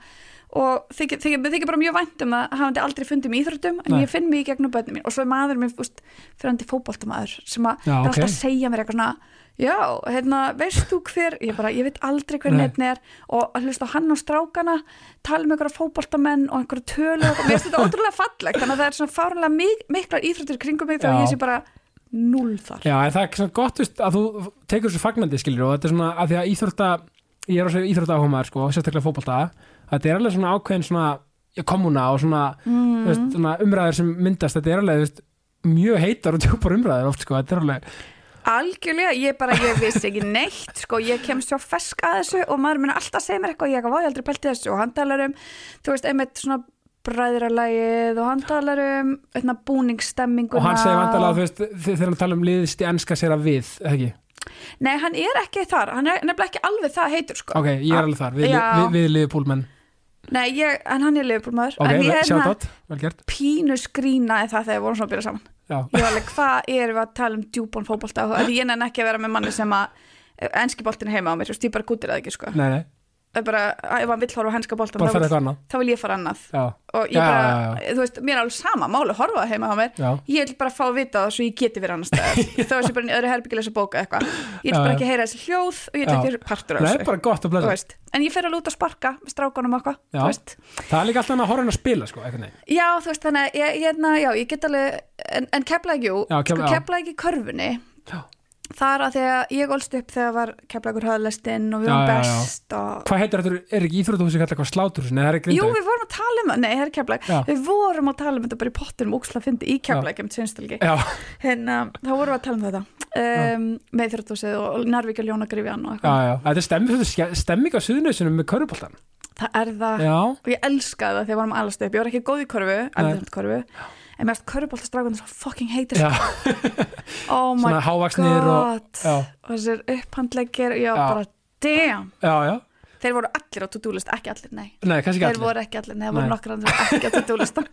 Speaker 3: og þykir, þykir, mér þykir bara mjög vænt um að hafandi aldrei fundið mig í íþróttum en
Speaker 1: Nei.
Speaker 3: ég finn mig í gegnum börnum mín og svo er maður minn úst, fyrrandi fótboltamaður sem að
Speaker 1: Já,
Speaker 3: er
Speaker 1: ok.
Speaker 3: alltaf að segja mér eitthvað svona já, hérna, veist þú hver ég bara, ég veit aldrei hver
Speaker 1: Nei.
Speaker 3: nefn er og að hlusta á hann og strákana tala um einhverja fótboltamenn og einhverja tölu og mér finnst þetta ótrúlega fallegt þannig að það er svona fárlega mik miklar íþróttir í kringum mig
Speaker 1: Já.
Speaker 3: þegar ég sé bara null þar
Speaker 1: Já, en það er svona gott þú veist, að þú tekur þessu fagnandi skilur og þetta er svona að því að íþrótta ég er á þessu íþrótta áhumaður sko, sérstaklega fótbolta þetta er alveg svona ákveðin svona ja, kommuna og svona, mm. veist,
Speaker 3: Mhm.
Speaker 1: svona umræður sem myndast, þetta er alveg þú veist, mjög heitar og djúpar umræður oft sko, þetta er alveg
Speaker 3: Algjörlega, ég bara, ég vissi ekki neitt sko, ég kem svo fersk að þessu og maður minna alltaf segja mér eitthvað, ég var aldrei pælt í þessu og hann talar um, þú veist, einmitt svona bræðralægið og hann talar um einna búningsstemminguna
Speaker 1: og hann segir vandalega þú veist þe- þegar hann tala um liðst í ennska sér að við eða ekki,
Speaker 3: Nei, hann er ekki þar, hann er nefnilega ekki alveg það heitur sko
Speaker 1: ok, ég er alveg þar við,
Speaker 3: Já.
Speaker 1: við, við liðpúlmenn,
Speaker 3: Nei, ég, en hann er liðbúlmaður
Speaker 1: ok,
Speaker 3: En ég er
Speaker 1: sjátt
Speaker 3: hérna
Speaker 1: átt vel gert,
Speaker 3: pínu skrínaði það þegar við vorum svona að byrja saman
Speaker 1: já,
Speaker 3: Ég var alveg, hvað erum við að tala um djúbón fótbolta og því ég nenni ekki að vera með manni sem að eh, enski boltin er heima á mér, þú veist, ég bara gútir það ekki sko
Speaker 1: nei, nei,
Speaker 3: Það er bara, ef hann vill horfa á henska boltan
Speaker 1: bara
Speaker 3: þá
Speaker 1: ferða
Speaker 3: vill
Speaker 1: eitthvað annað
Speaker 3: þá vil ég fara annað
Speaker 1: já,
Speaker 3: og ég
Speaker 1: Já,
Speaker 3: bara,
Speaker 1: já,
Speaker 3: þú veist, mér er alveg sama máli að horfa heima á mér,
Speaker 1: já,
Speaker 3: ég vil bara fá að vita það svo ég geti verið annar staðar, þá er ég bara í öðru herbyggilis að bóka eitthvað, ég vil
Speaker 1: Já,
Speaker 3: bara
Speaker 1: já.
Speaker 3: ekki heyra þessi hljóð og ég vil
Speaker 1: Já.
Speaker 3: ekki vera partur af
Speaker 1: nei,
Speaker 3: þessu,
Speaker 1: bara gott að
Speaker 3: þú
Speaker 1: blæsa
Speaker 3: veist en ég fer alveg út að sparka með strákunum og eitthvað,
Speaker 1: Já.
Speaker 3: þú veist
Speaker 1: það er líka alltaf hann að horfa hann að spila sko, eitthvað nei,
Speaker 3: já, þú veist, þannig að ég, hérna, já, ég get alveg, en, en kepla ekki, jú,
Speaker 1: Já, Kefla-
Speaker 3: sko
Speaker 1: já.
Speaker 3: kepla ekki í körfunni
Speaker 1: Já.
Speaker 3: þar að þegar ég olst upp þegar var kepla ykkur höðlestinn og við
Speaker 1: Já,
Speaker 3: varum
Speaker 1: já, já.
Speaker 3: best og
Speaker 1: hvað heitir þetta, er ekki íþrótahúsi kallað eitthvað sláturhúsi, nei, það er ekki
Speaker 3: Jú,
Speaker 1: grindavík.
Speaker 3: við vorum að tala um, nei, það er keflæk
Speaker 1: Já.
Speaker 3: Við vorum að tala um þetta bara í pottinum óksla fyndi í keflæk, um tjónstalgi
Speaker 1: já,
Speaker 3: hérna, þá vorum við að tala um þetta um, með þrjóttósið og Narvík og Ljónagrifjan og
Speaker 1: já,
Speaker 3: eitthvað,
Speaker 1: já, þetta er stemming, þetta er stemming á suðnöðsunum með körubóltan,
Speaker 3: það er það
Speaker 1: já,
Speaker 3: og ég elskaði það þegar við vorum allast upp, ég var ekki góð í körfu alveg körfu, en mér eftir körfuboltastrákan svo fucking heitir
Speaker 1: já,
Speaker 3: yeah. oh my
Speaker 1: svona hávaksnir og,
Speaker 3: god
Speaker 1: já,
Speaker 3: og þessir upphandleggir, já,
Speaker 1: Já.
Speaker 3: bara damn,
Speaker 1: já, já,
Speaker 3: þeir voru allir á to-do-list ekki allir, nei
Speaker 1: nei, kannski
Speaker 3: Þeir
Speaker 1: ekki allir,
Speaker 3: voru ekki allir, nei, það voru
Speaker 1: Nei.
Speaker 3: nokkra andur ekki að tutúlista.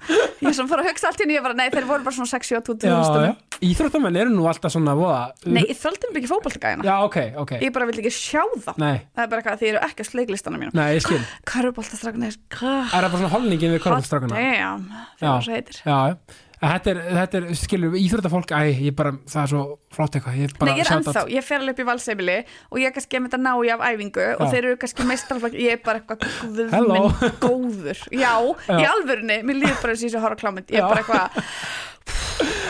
Speaker 3: Ég sem fór að hugsa allt í henni, ég bara, nei, þeir voru bara svona 60 á
Speaker 1: já, já,
Speaker 3: tutúlista.
Speaker 1: íþróttamenn eru nú alltaf svona voða,
Speaker 3: Nei, ég þöldi mér ekki fótballtagæðina.
Speaker 1: já, ok, ok,
Speaker 3: Ég bara vil ekki sjá það.
Speaker 1: nei,
Speaker 3: Það er bara eitthvað að þið eru ekki að sleiklistanum mínum.
Speaker 1: nei, ég skil,
Speaker 3: Köruboltastrákunir, god
Speaker 1: Er það bara svona holningin við korfbólstrákuna?
Speaker 3: damn, þeir
Speaker 1: Já.
Speaker 3: voru svo heitir.
Speaker 1: Já, já. En Þetta er, þetta er skilur, íþróttafólk, æ, ég bara, það er svo flott eitthvað, ég bara
Speaker 3: Nei, ég er
Speaker 1: shout out.
Speaker 3: ennþá, ég fer alveg upp í valseimili og ég er kannski að mynda að ná í af æfingu og
Speaker 1: Já.
Speaker 3: þeir eru kannski meistarflag, ég er bara eitthvað guð
Speaker 1: Hello.
Speaker 3: minn góður Já, í
Speaker 1: Já.
Speaker 3: alvörunni, mér líður bara eins og ég sé að horfa á klámynd Ég er
Speaker 1: Já.
Speaker 3: bara eitthvað,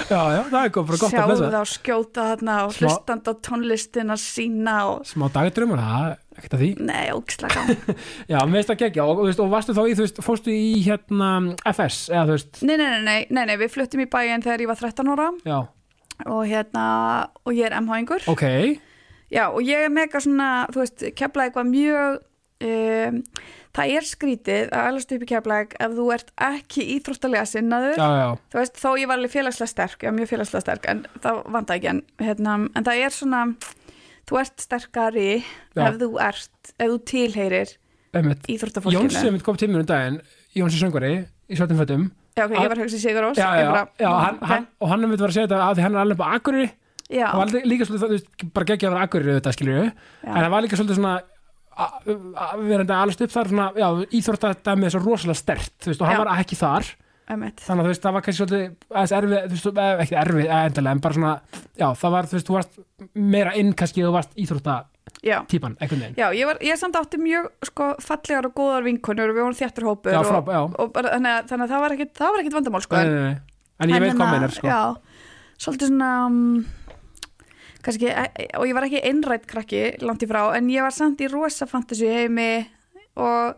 Speaker 1: Já, já, það er góð, bara gott að
Speaker 3: sjáðu
Speaker 1: blessa.
Speaker 3: þá skjóta þarna og
Speaker 1: Smá-
Speaker 3: hlustandi á tónlistina sína og
Speaker 1: Smá dagdrömmur, það er ekkert að því.
Speaker 3: Nei, ógislega gaman
Speaker 1: Já, mér finnst það geggja og, og, þú veist, og varstu þá í, þú veist, fórstu í hérna FS, eða þú veist,
Speaker 3: nei, nei, nei, nei, nei, nei, við fluttum í bæinn þegar ég var 13 ára
Speaker 1: já,
Speaker 3: og hérna, og ég er MH-ingur
Speaker 1: ok,
Speaker 3: Já, og ég er mega svona, þú veist, keflæk var mjög, um, það er skrítið að alast upp í keflæk ef þú ert ekki íþróttalega sinnaður.
Speaker 1: já, já,
Speaker 3: Þú veist, þó ég var alveg félagslega sterk, já, mjög félagslega sterk, en það vanda ekki, en, hérna, en það er svona, þú ert sterkari
Speaker 1: Já.
Speaker 3: ef þú ert, ef þú tilheyrir
Speaker 1: einmitt.
Speaker 3: íþróttafólkinu.
Speaker 1: Jónsi mitt kom til mér um daginn, Jónsi söngvari í Svartum Fötum,
Speaker 3: Já, ok, ég var hugsið Sigur Ós.
Speaker 1: já, já, já, hann, hann, og hann mitt var að segja þetta að því hann er alveg bara akkurir,
Speaker 3: já,
Speaker 1: það var aldrei- líka svolítið, það, þú veist, bara geggja að vera akkurir auðvitað, skilur
Speaker 3: já,
Speaker 1: en það var líka svolítið svona a- a- verandi allast upp þar svona, já, íþróttadæmi er svo rosalega stert, þú veist, og hann
Speaker 3: Já.
Speaker 1: var ekki þar
Speaker 3: einmitt.
Speaker 1: þannig að þú veist, það var kannski svolítið aðeins erfið, þú veist, eh, ekki erfið eh, endalega, en bara svona, já, það var, þú veist, þú varst meira inn kannski ef þú varst íþróttatípan
Speaker 3: já.
Speaker 1: einhvern veginn,
Speaker 3: Já, ég, var, ég samt átti mjög sko, fallegar og góðar vinkonur og við vorum þjættur hópur
Speaker 1: já,
Speaker 3: og,
Speaker 1: frábæ, já
Speaker 3: og bara, þannig, að, þannig að það var ekkit, það var ekkit vandamál sko,
Speaker 1: Nei, nei, nei. en ég veit hvað
Speaker 3: hérna,
Speaker 1: meinar, sko
Speaker 3: Já, svolítið svona um, kannski, e- og ég var ekki einrætt krakki langt í frá, en ég var samt í rosa fantasy heimi og,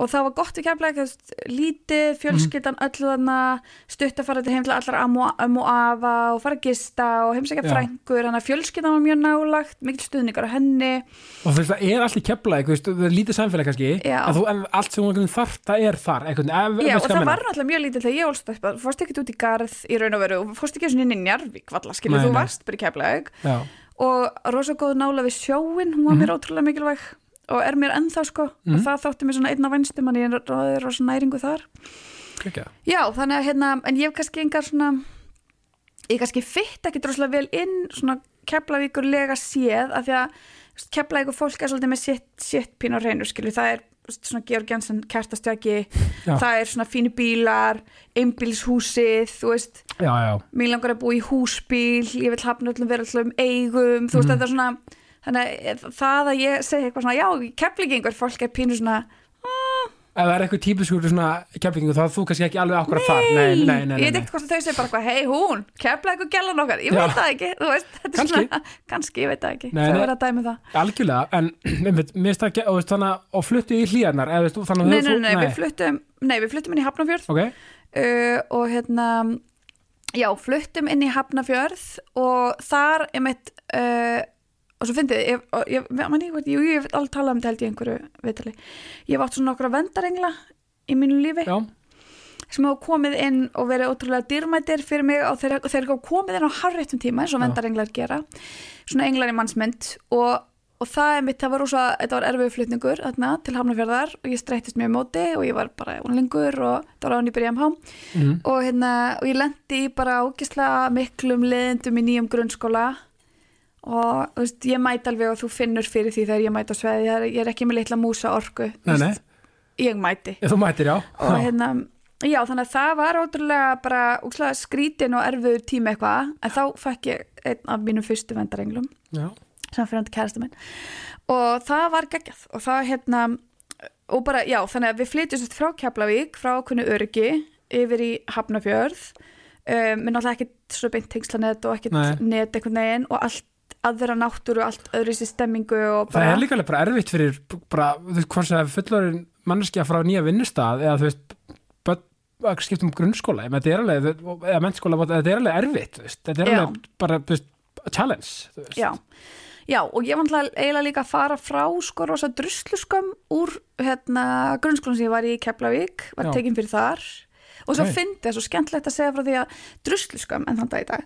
Speaker 3: og það var gott við kemla
Speaker 1: Mhm.
Speaker 3: lítið, fjölskyldan öllu þarna stutt að fara þetta heim til allar ammu um og afa og fara að gista og heimsækja
Speaker 1: Já.
Speaker 3: frængur, þannig að fjölskyldan var mjög nálagt mikil stuðningar á henni
Speaker 1: og þú veist, það er allt í kepla, þú veist, það er lítið samfélag kannski,
Speaker 3: Já.
Speaker 1: en þú, en allt sem hún þarf, það er þar, einhvern veginn, ef-
Speaker 3: Já, og
Speaker 1: veist hvað
Speaker 3: það
Speaker 1: meinar.
Speaker 3: var náttúrulega mjög lítið þegar ég ólst upp að þú fórst ekkert út í garð í raun og veru og fórst ekki svona inn í njarvík valla, skilur,
Speaker 1: Nei,
Speaker 3: þú
Speaker 1: nei.
Speaker 3: varst bara í keflaug
Speaker 1: já,
Speaker 3: og rosa góð nála við sjóin hún var mér ótrúlega mikilvæg og er mér ennþá sko og
Speaker 1: Mhm.
Speaker 3: það þótti mér svona einn af vænstum en ég ráði rosa næringu þar
Speaker 1: geggja.
Speaker 3: Já, þannig að hérna, en ég hef kannski engar svona ég kannski fytt ekki droslega vel inn svona keflavíkur lega séð af því að keflavíkur fólk er svolítið með sitt, sitt pín og reynur skilur, það er þú veist, svona Georg Jensen kertastjaki,
Speaker 1: Já.
Speaker 3: það er svona fínu bílar, einbílshúsið þú veist,
Speaker 1: já, já,
Speaker 3: mér langar að búa í húsbíl ég vil hafna öllum vera allum eigum þú veist, þetta er svona þannig að eh, það að ég segi eitthvað svona já, keflingengur fólk er pínu svona
Speaker 1: ef það er eitthvað típiskur svona keflingu, þá er þú kannski ekki alveg akkurat þar, nei, nei, nei, nei,
Speaker 3: ég veit
Speaker 1: nei.
Speaker 3: ekkert hvort þau segir bara eitthvað, hei hún, kefla eitthvað gælan okkar, ég
Speaker 1: Já.
Speaker 3: veit það ekki, þú veist, þetta er
Speaker 1: Kannski.
Speaker 3: svona, kannski, ég veit það ekki,
Speaker 1: Nei,
Speaker 3: þau
Speaker 1: nei.
Speaker 3: verða að dæmi það.
Speaker 1: algjörlega, en einmitt, mér finnst það ekki, og, veist, þannig, að- og fluttu í hlíðarnar eða, veist, þú- þannig, að
Speaker 3: Nei, nei,
Speaker 1: þú-
Speaker 3: nei, við fluttum, nei, við fluttum inn í Hafnarfjörð
Speaker 1: ok,
Speaker 3: uh, og hérna, já, fluttum inn í Hafnarfjörð og þar, ég meitt, uh, og svo fyndið, ég, og ég, manni, ég, jú, ég hef alveg talað um þetta held ég í einhverju viðtali, ég hef átt svona nokkra vendarengla í mínu lífi
Speaker 1: já,
Speaker 3: sem hafa komið inn og verið ótrúlega dýrmætir fyrir mig og þeir, og þeir hafa komið inn á harréttum tíma eins og
Speaker 1: Já.
Speaker 3: vendarenglar gera svona englar í mannsmynd og, og það er mitt, það var rosa, þetta var erfiðu flutningur þarna til Hamnafjörðar og ég streyttist mjög á móti og ég var bara unlingur og það var án í byrja MH
Speaker 1: mm,
Speaker 3: og hérna, og ég lendi í bara ógislega miklum leðendum í nýjum grunnskóla og þú veist, ég mæt alveg og þú finnur fyrir því þegar ég mæt á sveði, ég er, ég er ekki með litla músa orku,
Speaker 1: nei, nei,
Speaker 3: ég mæti
Speaker 1: ég, þú mætir, já,
Speaker 3: og
Speaker 1: já.
Speaker 3: hérna já þannig að það var ótrúlega bara úkslega skrítin og erfiður tími eitthvað en þá fekk ég einn af mínum fyrstu vendarenglum
Speaker 1: já.
Speaker 3: sem fyrir hann kærastu minn og það var geggjað og það hérna og bara já þannig að við flytjum sérst frá Keflavík frá okkunni öryggi yfir í Hafnafjörð um, minn alltaf ekkit svona beint tengslanet og ekkit
Speaker 1: Nei.
Speaker 3: net einhvern veginn og allt aðra náttúru og allt öðru sér stemmingu
Speaker 1: það
Speaker 3: og bara
Speaker 1: er líka alveg bara erfitt fyrir bara, þú veist, hvort sem það er fullorinn manneskja frá nýja vinnustað eða þú veist, börn að skipta um grunnskóla, Ég meina, þetta er alveg, þú- eða mennskóla þetta er alveg erfitt, þú veist, þetta er
Speaker 3: Já.
Speaker 1: alveg bara, þú veist, challenge, þú veist
Speaker 3: já. já, og ég var náttúrulega eiginlega líka að fara frá sko rosa drusluskömm úr hérna, grunnskólan sem ég var í í Keflavík, var
Speaker 1: Já.
Speaker 3: tekin fyrir þar og svo
Speaker 1: Ok.
Speaker 3: okay. fyndi það svo skemmtilegt að segja frá því að drusluskömm en þann dag í dag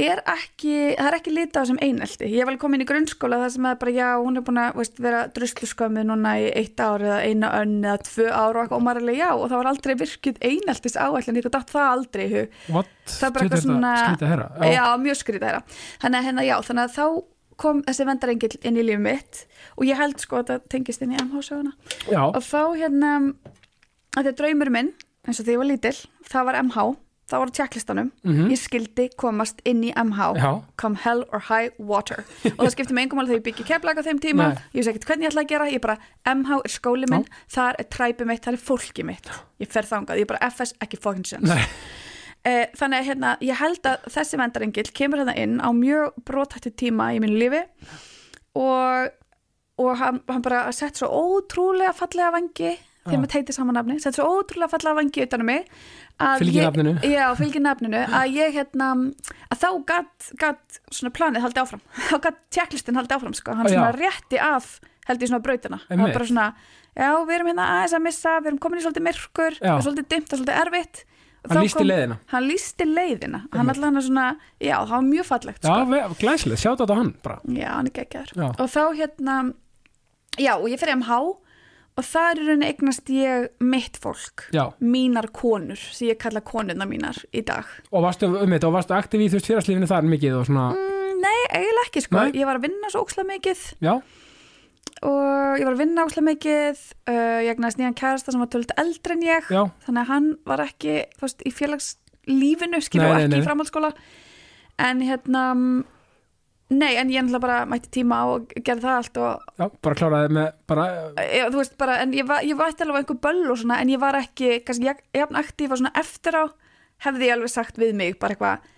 Speaker 3: er ekki, það er ekki litað sem einelti ég var komin í grunnskóla þar sem að bara já, hún er búin að veist, vera drusluskömmu núna í eitt ár eða eina önn eða tvö ár og eitthvað og maður er alveg já og það var aldrei virkið eineltis áætlun, ég datt það aldrei í hug
Speaker 1: what,
Speaker 3: Það er bara eitthvað svona-
Speaker 1: skýta að heyra,
Speaker 3: já, mjög skrítið þeirra þannig að, hérna, já, þannig að þá kom þessi vendarengill inn í líf mitt og ég held sko að það tengist inn í MH-söguna
Speaker 1: já,
Speaker 3: og þá hérna að því að draumur minn, eins og því ég var lítil það var MH það var á tjekklistanum
Speaker 1: Mhm.
Speaker 3: ég skildi komast inn í MH
Speaker 1: Já,
Speaker 3: come hell or high water og það skipti mig engum alveg þegar ég byggja keflag á þeim tíma
Speaker 1: Nei.
Speaker 3: ég veist ekkert hvernig ég ætla að gera ég bara, MH er skóli minn, þar er træpi mitt þar er fólki mitt, ég fer þangað ég bara FS ekki fucking sense
Speaker 1: Nei.
Speaker 3: Eh, þannig að hérna, ég held að þessi vendarengill kemur hérna inn á mjög brotættu tíma í mínu lífi og, og hann, hann bara sett svo ótrúlega fallega vangi þegar maður teitir saman nafni, sett svo ótrúlega fallega vangi utan um mig að
Speaker 1: Fylgir
Speaker 3: ég-
Speaker 1: nafninu.
Speaker 3: já, fylgir nafninu, að ég hérna að þá gatt gat svona planið haldið áfram, þá gatt tjekklistin haldið áfram sko, hann
Speaker 1: Já.
Speaker 3: svona rétti af held ég svona brautina, hann
Speaker 1: Einmitt.
Speaker 3: bara svona já, við erum hérna aðeins að missa, við erum komin í svolítið myrkur,
Speaker 1: Já.
Speaker 3: svolítið dimmt og svolítið erfitt
Speaker 1: hann
Speaker 3: Þá
Speaker 1: lísti
Speaker 3: kom-
Speaker 1: leiðina
Speaker 3: hann lísti leiðina hann alltaf hann svona, já það var mjög fallegt
Speaker 1: Já,
Speaker 3: sko.
Speaker 1: ve- glæsileg, sjátt á hann bara.
Speaker 3: já hann er geggjaður
Speaker 1: Já.
Speaker 3: og þá hérna, já og ég fyrir MH og þar er henni eignast ég mitt fólk,
Speaker 1: Já,
Speaker 3: mínar konur sem ég kalla konuna mínar í dag
Speaker 1: og varstu um þetta og varstu aktiv í þú veist félagslífinu þar mikið og svona,
Speaker 3: mm, nei, eiginlega ekki sko,
Speaker 1: Nei.
Speaker 3: ég var að vinna svo óksla mikið
Speaker 1: já,
Speaker 3: og ég var að vinna óksla mikið uh, ég eignast nýjan kærasta sem var tölvöld eldri en ég
Speaker 1: já,
Speaker 3: þannig að hann var ekki þú veist, í félagslífinu skilur
Speaker 1: Nei,
Speaker 3: og
Speaker 1: nei,
Speaker 3: ekki
Speaker 1: nei.
Speaker 3: í framhaldsskóla en hérna mm, nei, en ég ennlega bara mætti tíma á og gerði það allt og
Speaker 1: já, bara kláraði með bara,
Speaker 3: ég, þú veist bara, en ég, var, ég vætti alveg á einhver böll og svona, en ég var ekki kannski jak- jafn aktíf og svona eftir á hefði ég alveg sagt við mig, bara eitthvað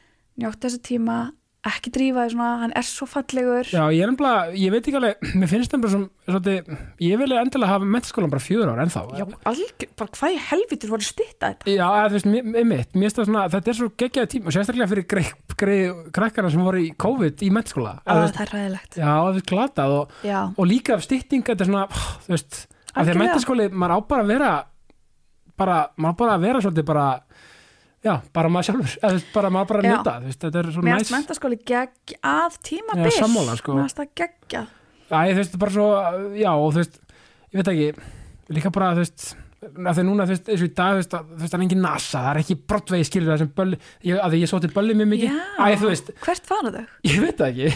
Speaker 3: njóttu þessu tíma, ekki drífa þig svona, hann er svo fallegur
Speaker 1: já, ég er ennbla ég veit ekki alveg, mér finnst það bara sem svolítið, ég vilja endilega hafa mentaskólan bara fjör ára ennþá
Speaker 3: Já, algjör, bara hvað í helvitur voru stýtta þetta
Speaker 1: Já, eða þú veist, mér- einmitt, mér finnst það svona þetta er svo geggjaði tíma, og sérstaklega fyrir grei, grei, krakkana sem voru í COVID í mentaskóla
Speaker 3: Ó,
Speaker 1: Eða, þú veist,
Speaker 3: það er ræðilegt
Speaker 1: Já, það er glatað og,
Speaker 3: Já,
Speaker 1: og líka af stytting, þetta er svona pff, þú veist, af því að
Speaker 3: Algjörlega.
Speaker 1: mentaskóli maður á bara að vera bara, maður á bara að vera svolítið bara já, bara maður sjálfur, eða þú veist, bara maður bara að
Speaker 3: Já.
Speaker 1: njóta, þú veist, þetta er svona
Speaker 3: mér erst
Speaker 1: næs
Speaker 3: mentaskóli gegg að tímabil
Speaker 1: Já, sammála, sko.
Speaker 3: Mér erst það geggjað
Speaker 1: Æ, þú veist, bara svo, já, og þú veist ég veit ekki, líka bara, þú veist af því núna, þú veist, eins og í dag, þú veist, að- þú veist það er engin NASA, það er ekki brottvegi skilur það sem bölli, ég, að því ég sóti bölli mjög mikið
Speaker 3: Já.
Speaker 1: Æ, þú veist,
Speaker 3: Hvert fara þau?
Speaker 1: ég veit það ekki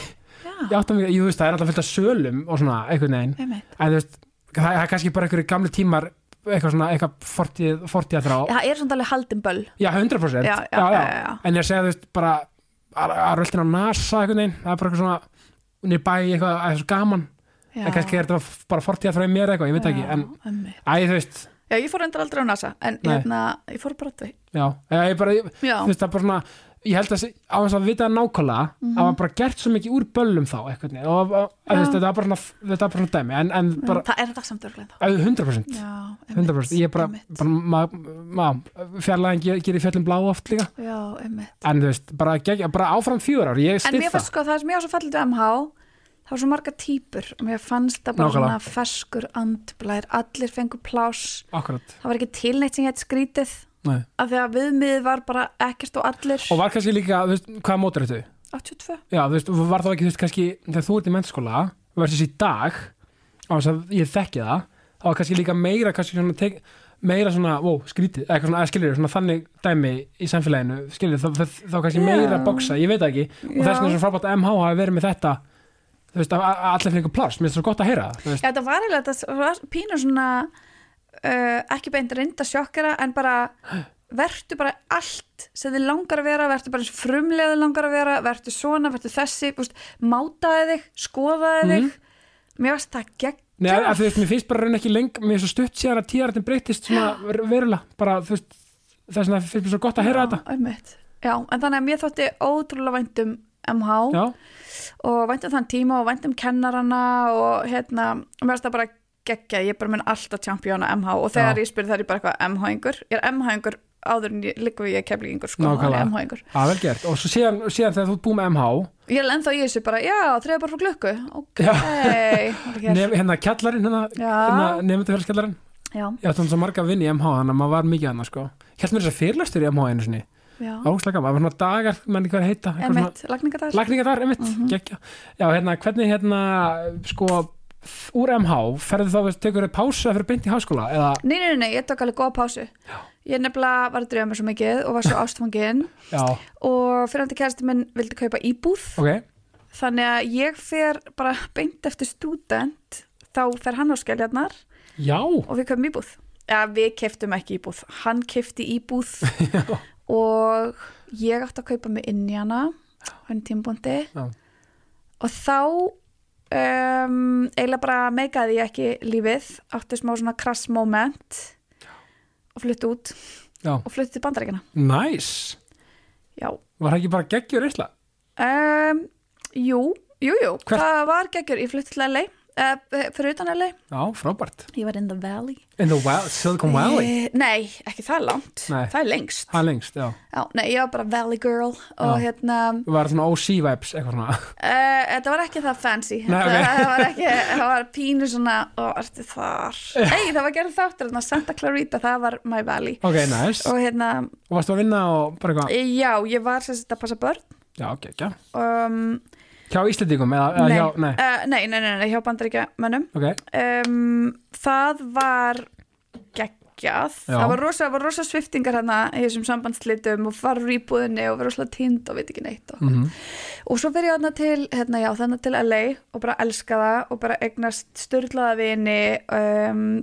Speaker 3: Já,
Speaker 1: ég átta mig, jú, þú veist, það er alltaf fullt af sölum og svona, einhvern veginn
Speaker 3: einmitt.
Speaker 1: Æ, þú veist, það, það er kannski bara einhverju gamli tímar eitthvað svona, eitthvað fortíð, fortíð þrá
Speaker 3: Já, Það er svona alveg haldin böll.
Speaker 1: Já, 100%
Speaker 3: Já, já, já, já.
Speaker 1: En ég segi, þú veist, bara að að röltin á NASA einhvern veginn, það er bara eitthvað svona niður bæ, eitthvað, að það er svo gaman
Speaker 3: Já,
Speaker 1: en kannski er þetta bara fortíð þrá í mér eitthvað, ég veit ekki en,
Speaker 3: einmitt.
Speaker 1: æ, þú veist,
Speaker 3: Já, ég fór endur aldrei á NASA, en
Speaker 1: Nei.
Speaker 3: hérna, ég fór bara því.
Speaker 1: já ég, ég bara, ég,
Speaker 3: Já,
Speaker 1: þú veist, það er bara svona ég held að, sé- á þess að vita það nákvæmlega það var bara gert svo mikið úr böllum þá eitthvað, og, og, og,
Speaker 3: Mhm. Já.
Speaker 1: þú veist, þetta var bara svona þetta var bara svona dæmi, en, en
Speaker 3: bara,
Speaker 1: bara
Speaker 3: Mm, það er þetta samt örglega þá.
Speaker 1: æ, 100%
Speaker 3: Já,
Speaker 1: 100% ég er bara,
Speaker 3: einmitt.
Speaker 1: bara ma, ma, fjarlæðin ger- gerir fjöllum blá oft líka
Speaker 3: Já, einmitt.
Speaker 1: en þú veist, bara, gegg, bara áfram fjör ár ég
Speaker 3: En
Speaker 1: stið
Speaker 3: mér
Speaker 1: það
Speaker 3: fannst sko, það sem ég á svo fallið við MH, það var svo marga týpur. og Mér fannst það bara
Speaker 1: Nákvæmlega.
Speaker 3: svona ferskur andblær, allir fengur pláss.
Speaker 1: akkurat,
Speaker 3: Það var ekki tilneitt sem ég hætti skrítið,
Speaker 1: nei
Speaker 3: af því að viðmiðið var bara ekkert og allir.
Speaker 1: og var kannski líka, þú veist, hvaða mótur þetta
Speaker 3: 82.
Speaker 1: já, þú veist, var þá ekki, þú veist, kannski þegar þú ert í mennskóla, versus í dag á þess að ég þekki það þá var kannski líka meira, kannski svona tek, meira svona, ó, skrítið, eða eitthvað svona skilur, svona þannig dæmi í samfélaginu skilur, þá, þá, þá kannski
Speaker 3: Já.
Speaker 1: meira boksa, ég veit það ekki og
Speaker 3: Já.
Speaker 1: þess vegna er svo frábært að MH hafi verið með þetta þú veist, að að allir fengur pláss, mér er svo gott að heyra það, þú veist.
Speaker 3: Já, þetta var eiginlega, þetta var pínur svona uh, ekki beint reynda sjokkara en bara vertu bara allt sem þið langar að vera, vertu bara eins frumlega þið langar að vera, vertu svona, vertu þessi búst, mátaði þig, skoðaði
Speaker 1: Mhm.
Speaker 3: þig mér varst það gegn
Speaker 1: Nei,
Speaker 3: Já.
Speaker 1: að, þú veist, mér finnst bara raun ekki leng mér er svo stutt síðan að tíðarartin breytist svona ver- verulega, bara þú veist það er svona, finnst mér svo gott að heyra þetta
Speaker 3: einmitt. Já, en þannig að mér þótti ótrúlega vænt um MH
Speaker 1: Já,
Speaker 3: og vænt um þann tíma og vænt um kennarana og hérna, mér varst það bara geggja, ég bara mun alltaf champjóna MH og þegar
Speaker 1: Já.
Speaker 3: ég spyrir það er ég bara eitthvað MH-ingur ég er MH-ingur áður en ég líka við ég keflingur sko,
Speaker 1: Nákvæmlega.
Speaker 3: hann er MH-ingur
Speaker 1: það er vel gert og svo síðan, síðan þegar þú ert búið með MH
Speaker 3: ég er ennþá í þessu bara, já, þreða bara frá glöggu ok,
Speaker 1: Já.
Speaker 3: bara hér.
Speaker 1: nef, hérna kjallarinn, hérna,
Speaker 3: já,
Speaker 1: hérna nefndafélskjallarinn
Speaker 3: já,
Speaker 1: ég átti hann svo marga vinn í MH, þannig að maður var mikið hann sko. hérna er þess að fyrirlöstur í MH einu sinni
Speaker 3: já
Speaker 1: áslaga gaman, það var svona dagar, menn ekki hvað þeir heita eitthvað svona-
Speaker 3: emitt, lagningadar
Speaker 1: lagningar þar, einmitt, mm já, hérna, hvernig hérna, sko úr MH, ferðu þá, veist, tekur þau pása fyrir beint í háskóla, eða,
Speaker 3: nei, nei, nei, ég tók alveg góða pásu ég nefnilega var að dreyja mér svo mikið og var svo ástfangin
Speaker 1: já,
Speaker 3: og fyrirhandi kærasti minn vildi kaupa íbúð
Speaker 1: ok
Speaker 3: þannig að ég fer bara beint eftir student þá fer hann á skelljarnar
Speaker 1: Já,
Speaker 3: og við köpum íbúð ja, við keftum ekki íbúð, hann kefti íbúð og ég átti að kaupa mig inn í hana á henni tímabúndi
Speaker 1: Já.
Speaker 3: og þá um, eiginlega bara meikaði ég ekki lífið átti smá svona krass moment og flutti út
Speaker 1: Já.
Speaker 3: og flutti til bandarækina
Speaker 1: Nice.
Speaker 3: já
Speaker 1: Var það ekki bara geggjur eisla?
Speaker 3: um, jú, jú, jú
Speaker 1: Hvert-
Speaker 3: það var geggjur, ég flutti til LA uh, fyrir utan LA,
Speaker 1: Já, frábært.
Speaker 3: ég var in the valley
Speaker 1: In the wild, Silicon Valley.
Speaker 3: Eh, nei, ekki það langt,
Speaker 1: Nei.
Speaker 3: það er lengst
Speaker 1: Það er lengst, já.
Speaker 3: Já, nei, ég var bara Valley Girl og
Speaker 1: Já.
Speaker 3: hérna,
Speaker 1: Það var svona OC vibes, eitthvað svona.
Speaker 3: uh, þetta var ekki það fancy,
Speaker 1: Nei,
Speaker 3: þetta
Speaker 1: ok.
Speaker 3: það var ekki, það var pínu svona, og ertu þar, nei, það var gerð þáttur, hérna, Santa Clarita, það var My Valley
Speaker 1: Ok, nice.
Speaker 3: og hérna,
Speaker 1: Og varstu að vinna og bara eitthvað,
Speaker 3: já, ég var sem sagt að passa börn,
Speaker 1: já, geggja.
Speaker 3: um,
Speaker 1: Hjá Íslandingum, eða, eða
Speaker 3: nei,
Speaker 1: hjá, nei.
Speaker 3: eh, nei, nei, nei, nei, hjá bandaríkja mönnum,
Speaker 1: Ok,
Speaker 3: um, það var geggjað
Speaker 1: Já.
Speaker 3: það var rosa, það var rosa sviftingar hérna í þessum sambandslitum og var rýbúðinni og var rosa tind og veit ekki neitt og,
Speaker 1: Mhm.
Speaker 3: og svo fyrir ég hérna til hérna, já, þannig til LA og bara elska það og bara eignast styrlaða vini um,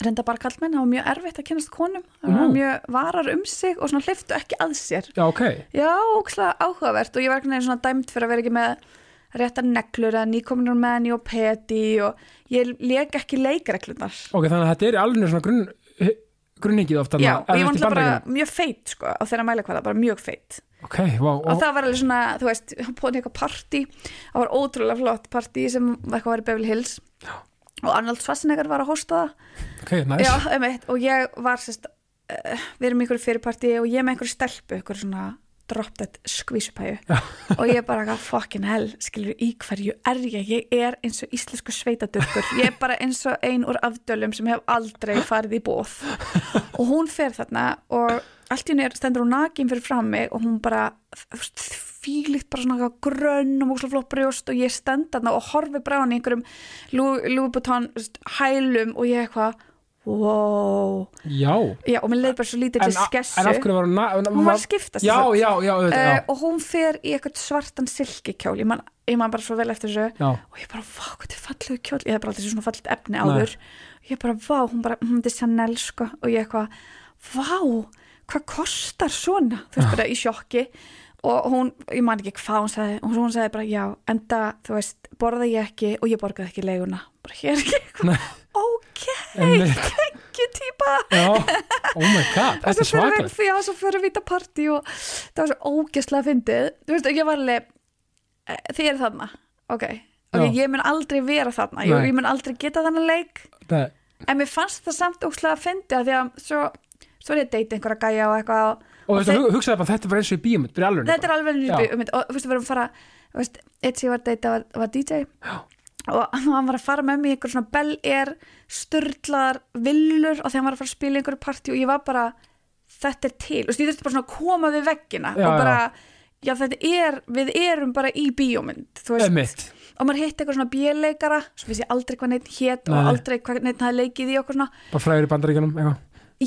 Speaker 3: reynda bara kallmenn, það var mjög erfitt að kynast konum það var
Speaker 1: Nú.
Speaker 3: mjög varar um sig og svona hliftu ekki að sér
Speaker 1: já, ok.
Speaker 3: Já, ókslega áhugavert og ég var einhvern veginn svona dæmt fyrir að vera ekki með réttar neglur eða nýkominur menni og peti og ég leik ekki leikreglunar.
Speaker 1: Ok, þannig að þetta er alveg svona grunn, grunningið ofta.
Speaker 3: Já, og ég var náttúrulega bara mjög feit sko á þeirra mælikvæða, bara mjög feit.
Speaker 1: Ok, vá,
Speaker 3: Og
Speaker 1: og,
Speaker 3: það var alveg svona, þú veist, hann búið eitthvað partí, það var ótrúlega flott partí sem eitthvað var í Beverly Hills og Arnold Schwarzenegger var að hosta það.
Speaker 1: ok, nice.
Speaker 3: Já, einmitt, og ég var sérst, uh, við erum í einhverju fyrirparti og ég er með einhverju stelpu, einhverju svona drop dead skvísupæju og ég er bara eitthvað fucking hell, skilur í hverju er ég, ég er eins og íslensku sveitadurkur, ég er bara eins og ein úr afdölum sem hef aldrei farið í bóð og hún fer þarna og allt í henni stendur hún nakin fyrir fram mig og hún bara fílikt bara svona eitthvað grönn og múkslega flott brjóst og ég stend þarna og horfi bara á hann í einhverjum lúbutón hælum og ég eitthvað wow
Speaker 1: Já.
Speaker 3: já, og mér leið bara svo lítið
Speaker 1: En,
Speaker 3: til
Speaker 1: a-
Speaker 3: skessu
Speaker 1: en af hverju var hún... na-
Speaker 3: hún var að skipta
Speaker 1: Já,
Speaker 3: sér
Speaker 1: já, já, auðvitað, já.
Speaker 3: Eh, og hún fer í eitthvað svartan silkikjól ég man, ég man bara svo vel eftir þessu
Speaker 1: Já,
Speaker 3: og ég bara, vá, hvað þetta er fallegu kjól ég hef bara aldrei séð svona fallet efni
Speaker 1: Nei.
Speaker 3: áður ég bara, vá, hún bara, hm, þetta er Chanel sko og ég eitthvað, vá hvað kostar svona, þú
Speaker 1: Ah.
Speaker 3: veist bara í sjokki og hún, ég man ekki hvað hún sagði, hún, hún sagði bara, já enda, þú veist, borða ég ekki og ég borgaði ekki leiguna, bara hér er ekki
Speaker 1: Nei.
Speaker 3: eitthvað, ok,
Speaker 1: Einmitt.
Speaker 3: ekki típa
Speaker 1: já. Oh my god,
Speaker 3: og
Speaker 1: þetta
Speaker 3: svo
Speaker 1: er
Speaker 3: fyrir
Speaker 1: svakar.
Speaker 3: við, já, svo fyrir við í þetta partí og það var svo ógæslega fyndið þú veist, ég var alveg e, þið er þarna, ok, okay
Speaker 1: Já.
Speaker 3: ég mun aldrei vera þarna,
Speaker 1: Nei.
Speaker 3: ég, ég mun aldrei geta þannig leik,
Speaker 1: Þetta er-
Speaker 3: en mér fannst það samt ógæslega fyndið að því að svo, svo er ég að deyta einhverja gæja og eitthvað og
Speaker 1: Og þú veist,
Speaker 3: þeir-
Speaker 1: hug- hugsaðu bara þetta er bara eins og í bíómynd, bara í alveg.
Speaker 3: þetta er alveg
Speaker 1: Já.
Speaker 3: nýtt ummynd og þú veist, við erum að fara, þú veist, eitt sem ég var að deyta var, var DJ og hann var að fara með mig í einhver svona Bel Air störtlar villur og þegar hann var að fara að spila í einhverju partí og ég var bara þetta er til, og ég þurfti bara svona að koma við veggina
Speaker 1: Já,
Speaker 3: og bara, já. þetta er við erum bara í bíómynd þú veist,
Speaker 1: Einmitt.
Speaker 3: og maður hitti eitthvað svona bíleikara svo vissi ég aldrei hvað neitt hét
Speaker 1: Nei.
Speaker 3: og aldrei hvað neitt hafði leikið í okkur svona
Speaker 1: Bara frægur í bandaríkjunum, eitthvað.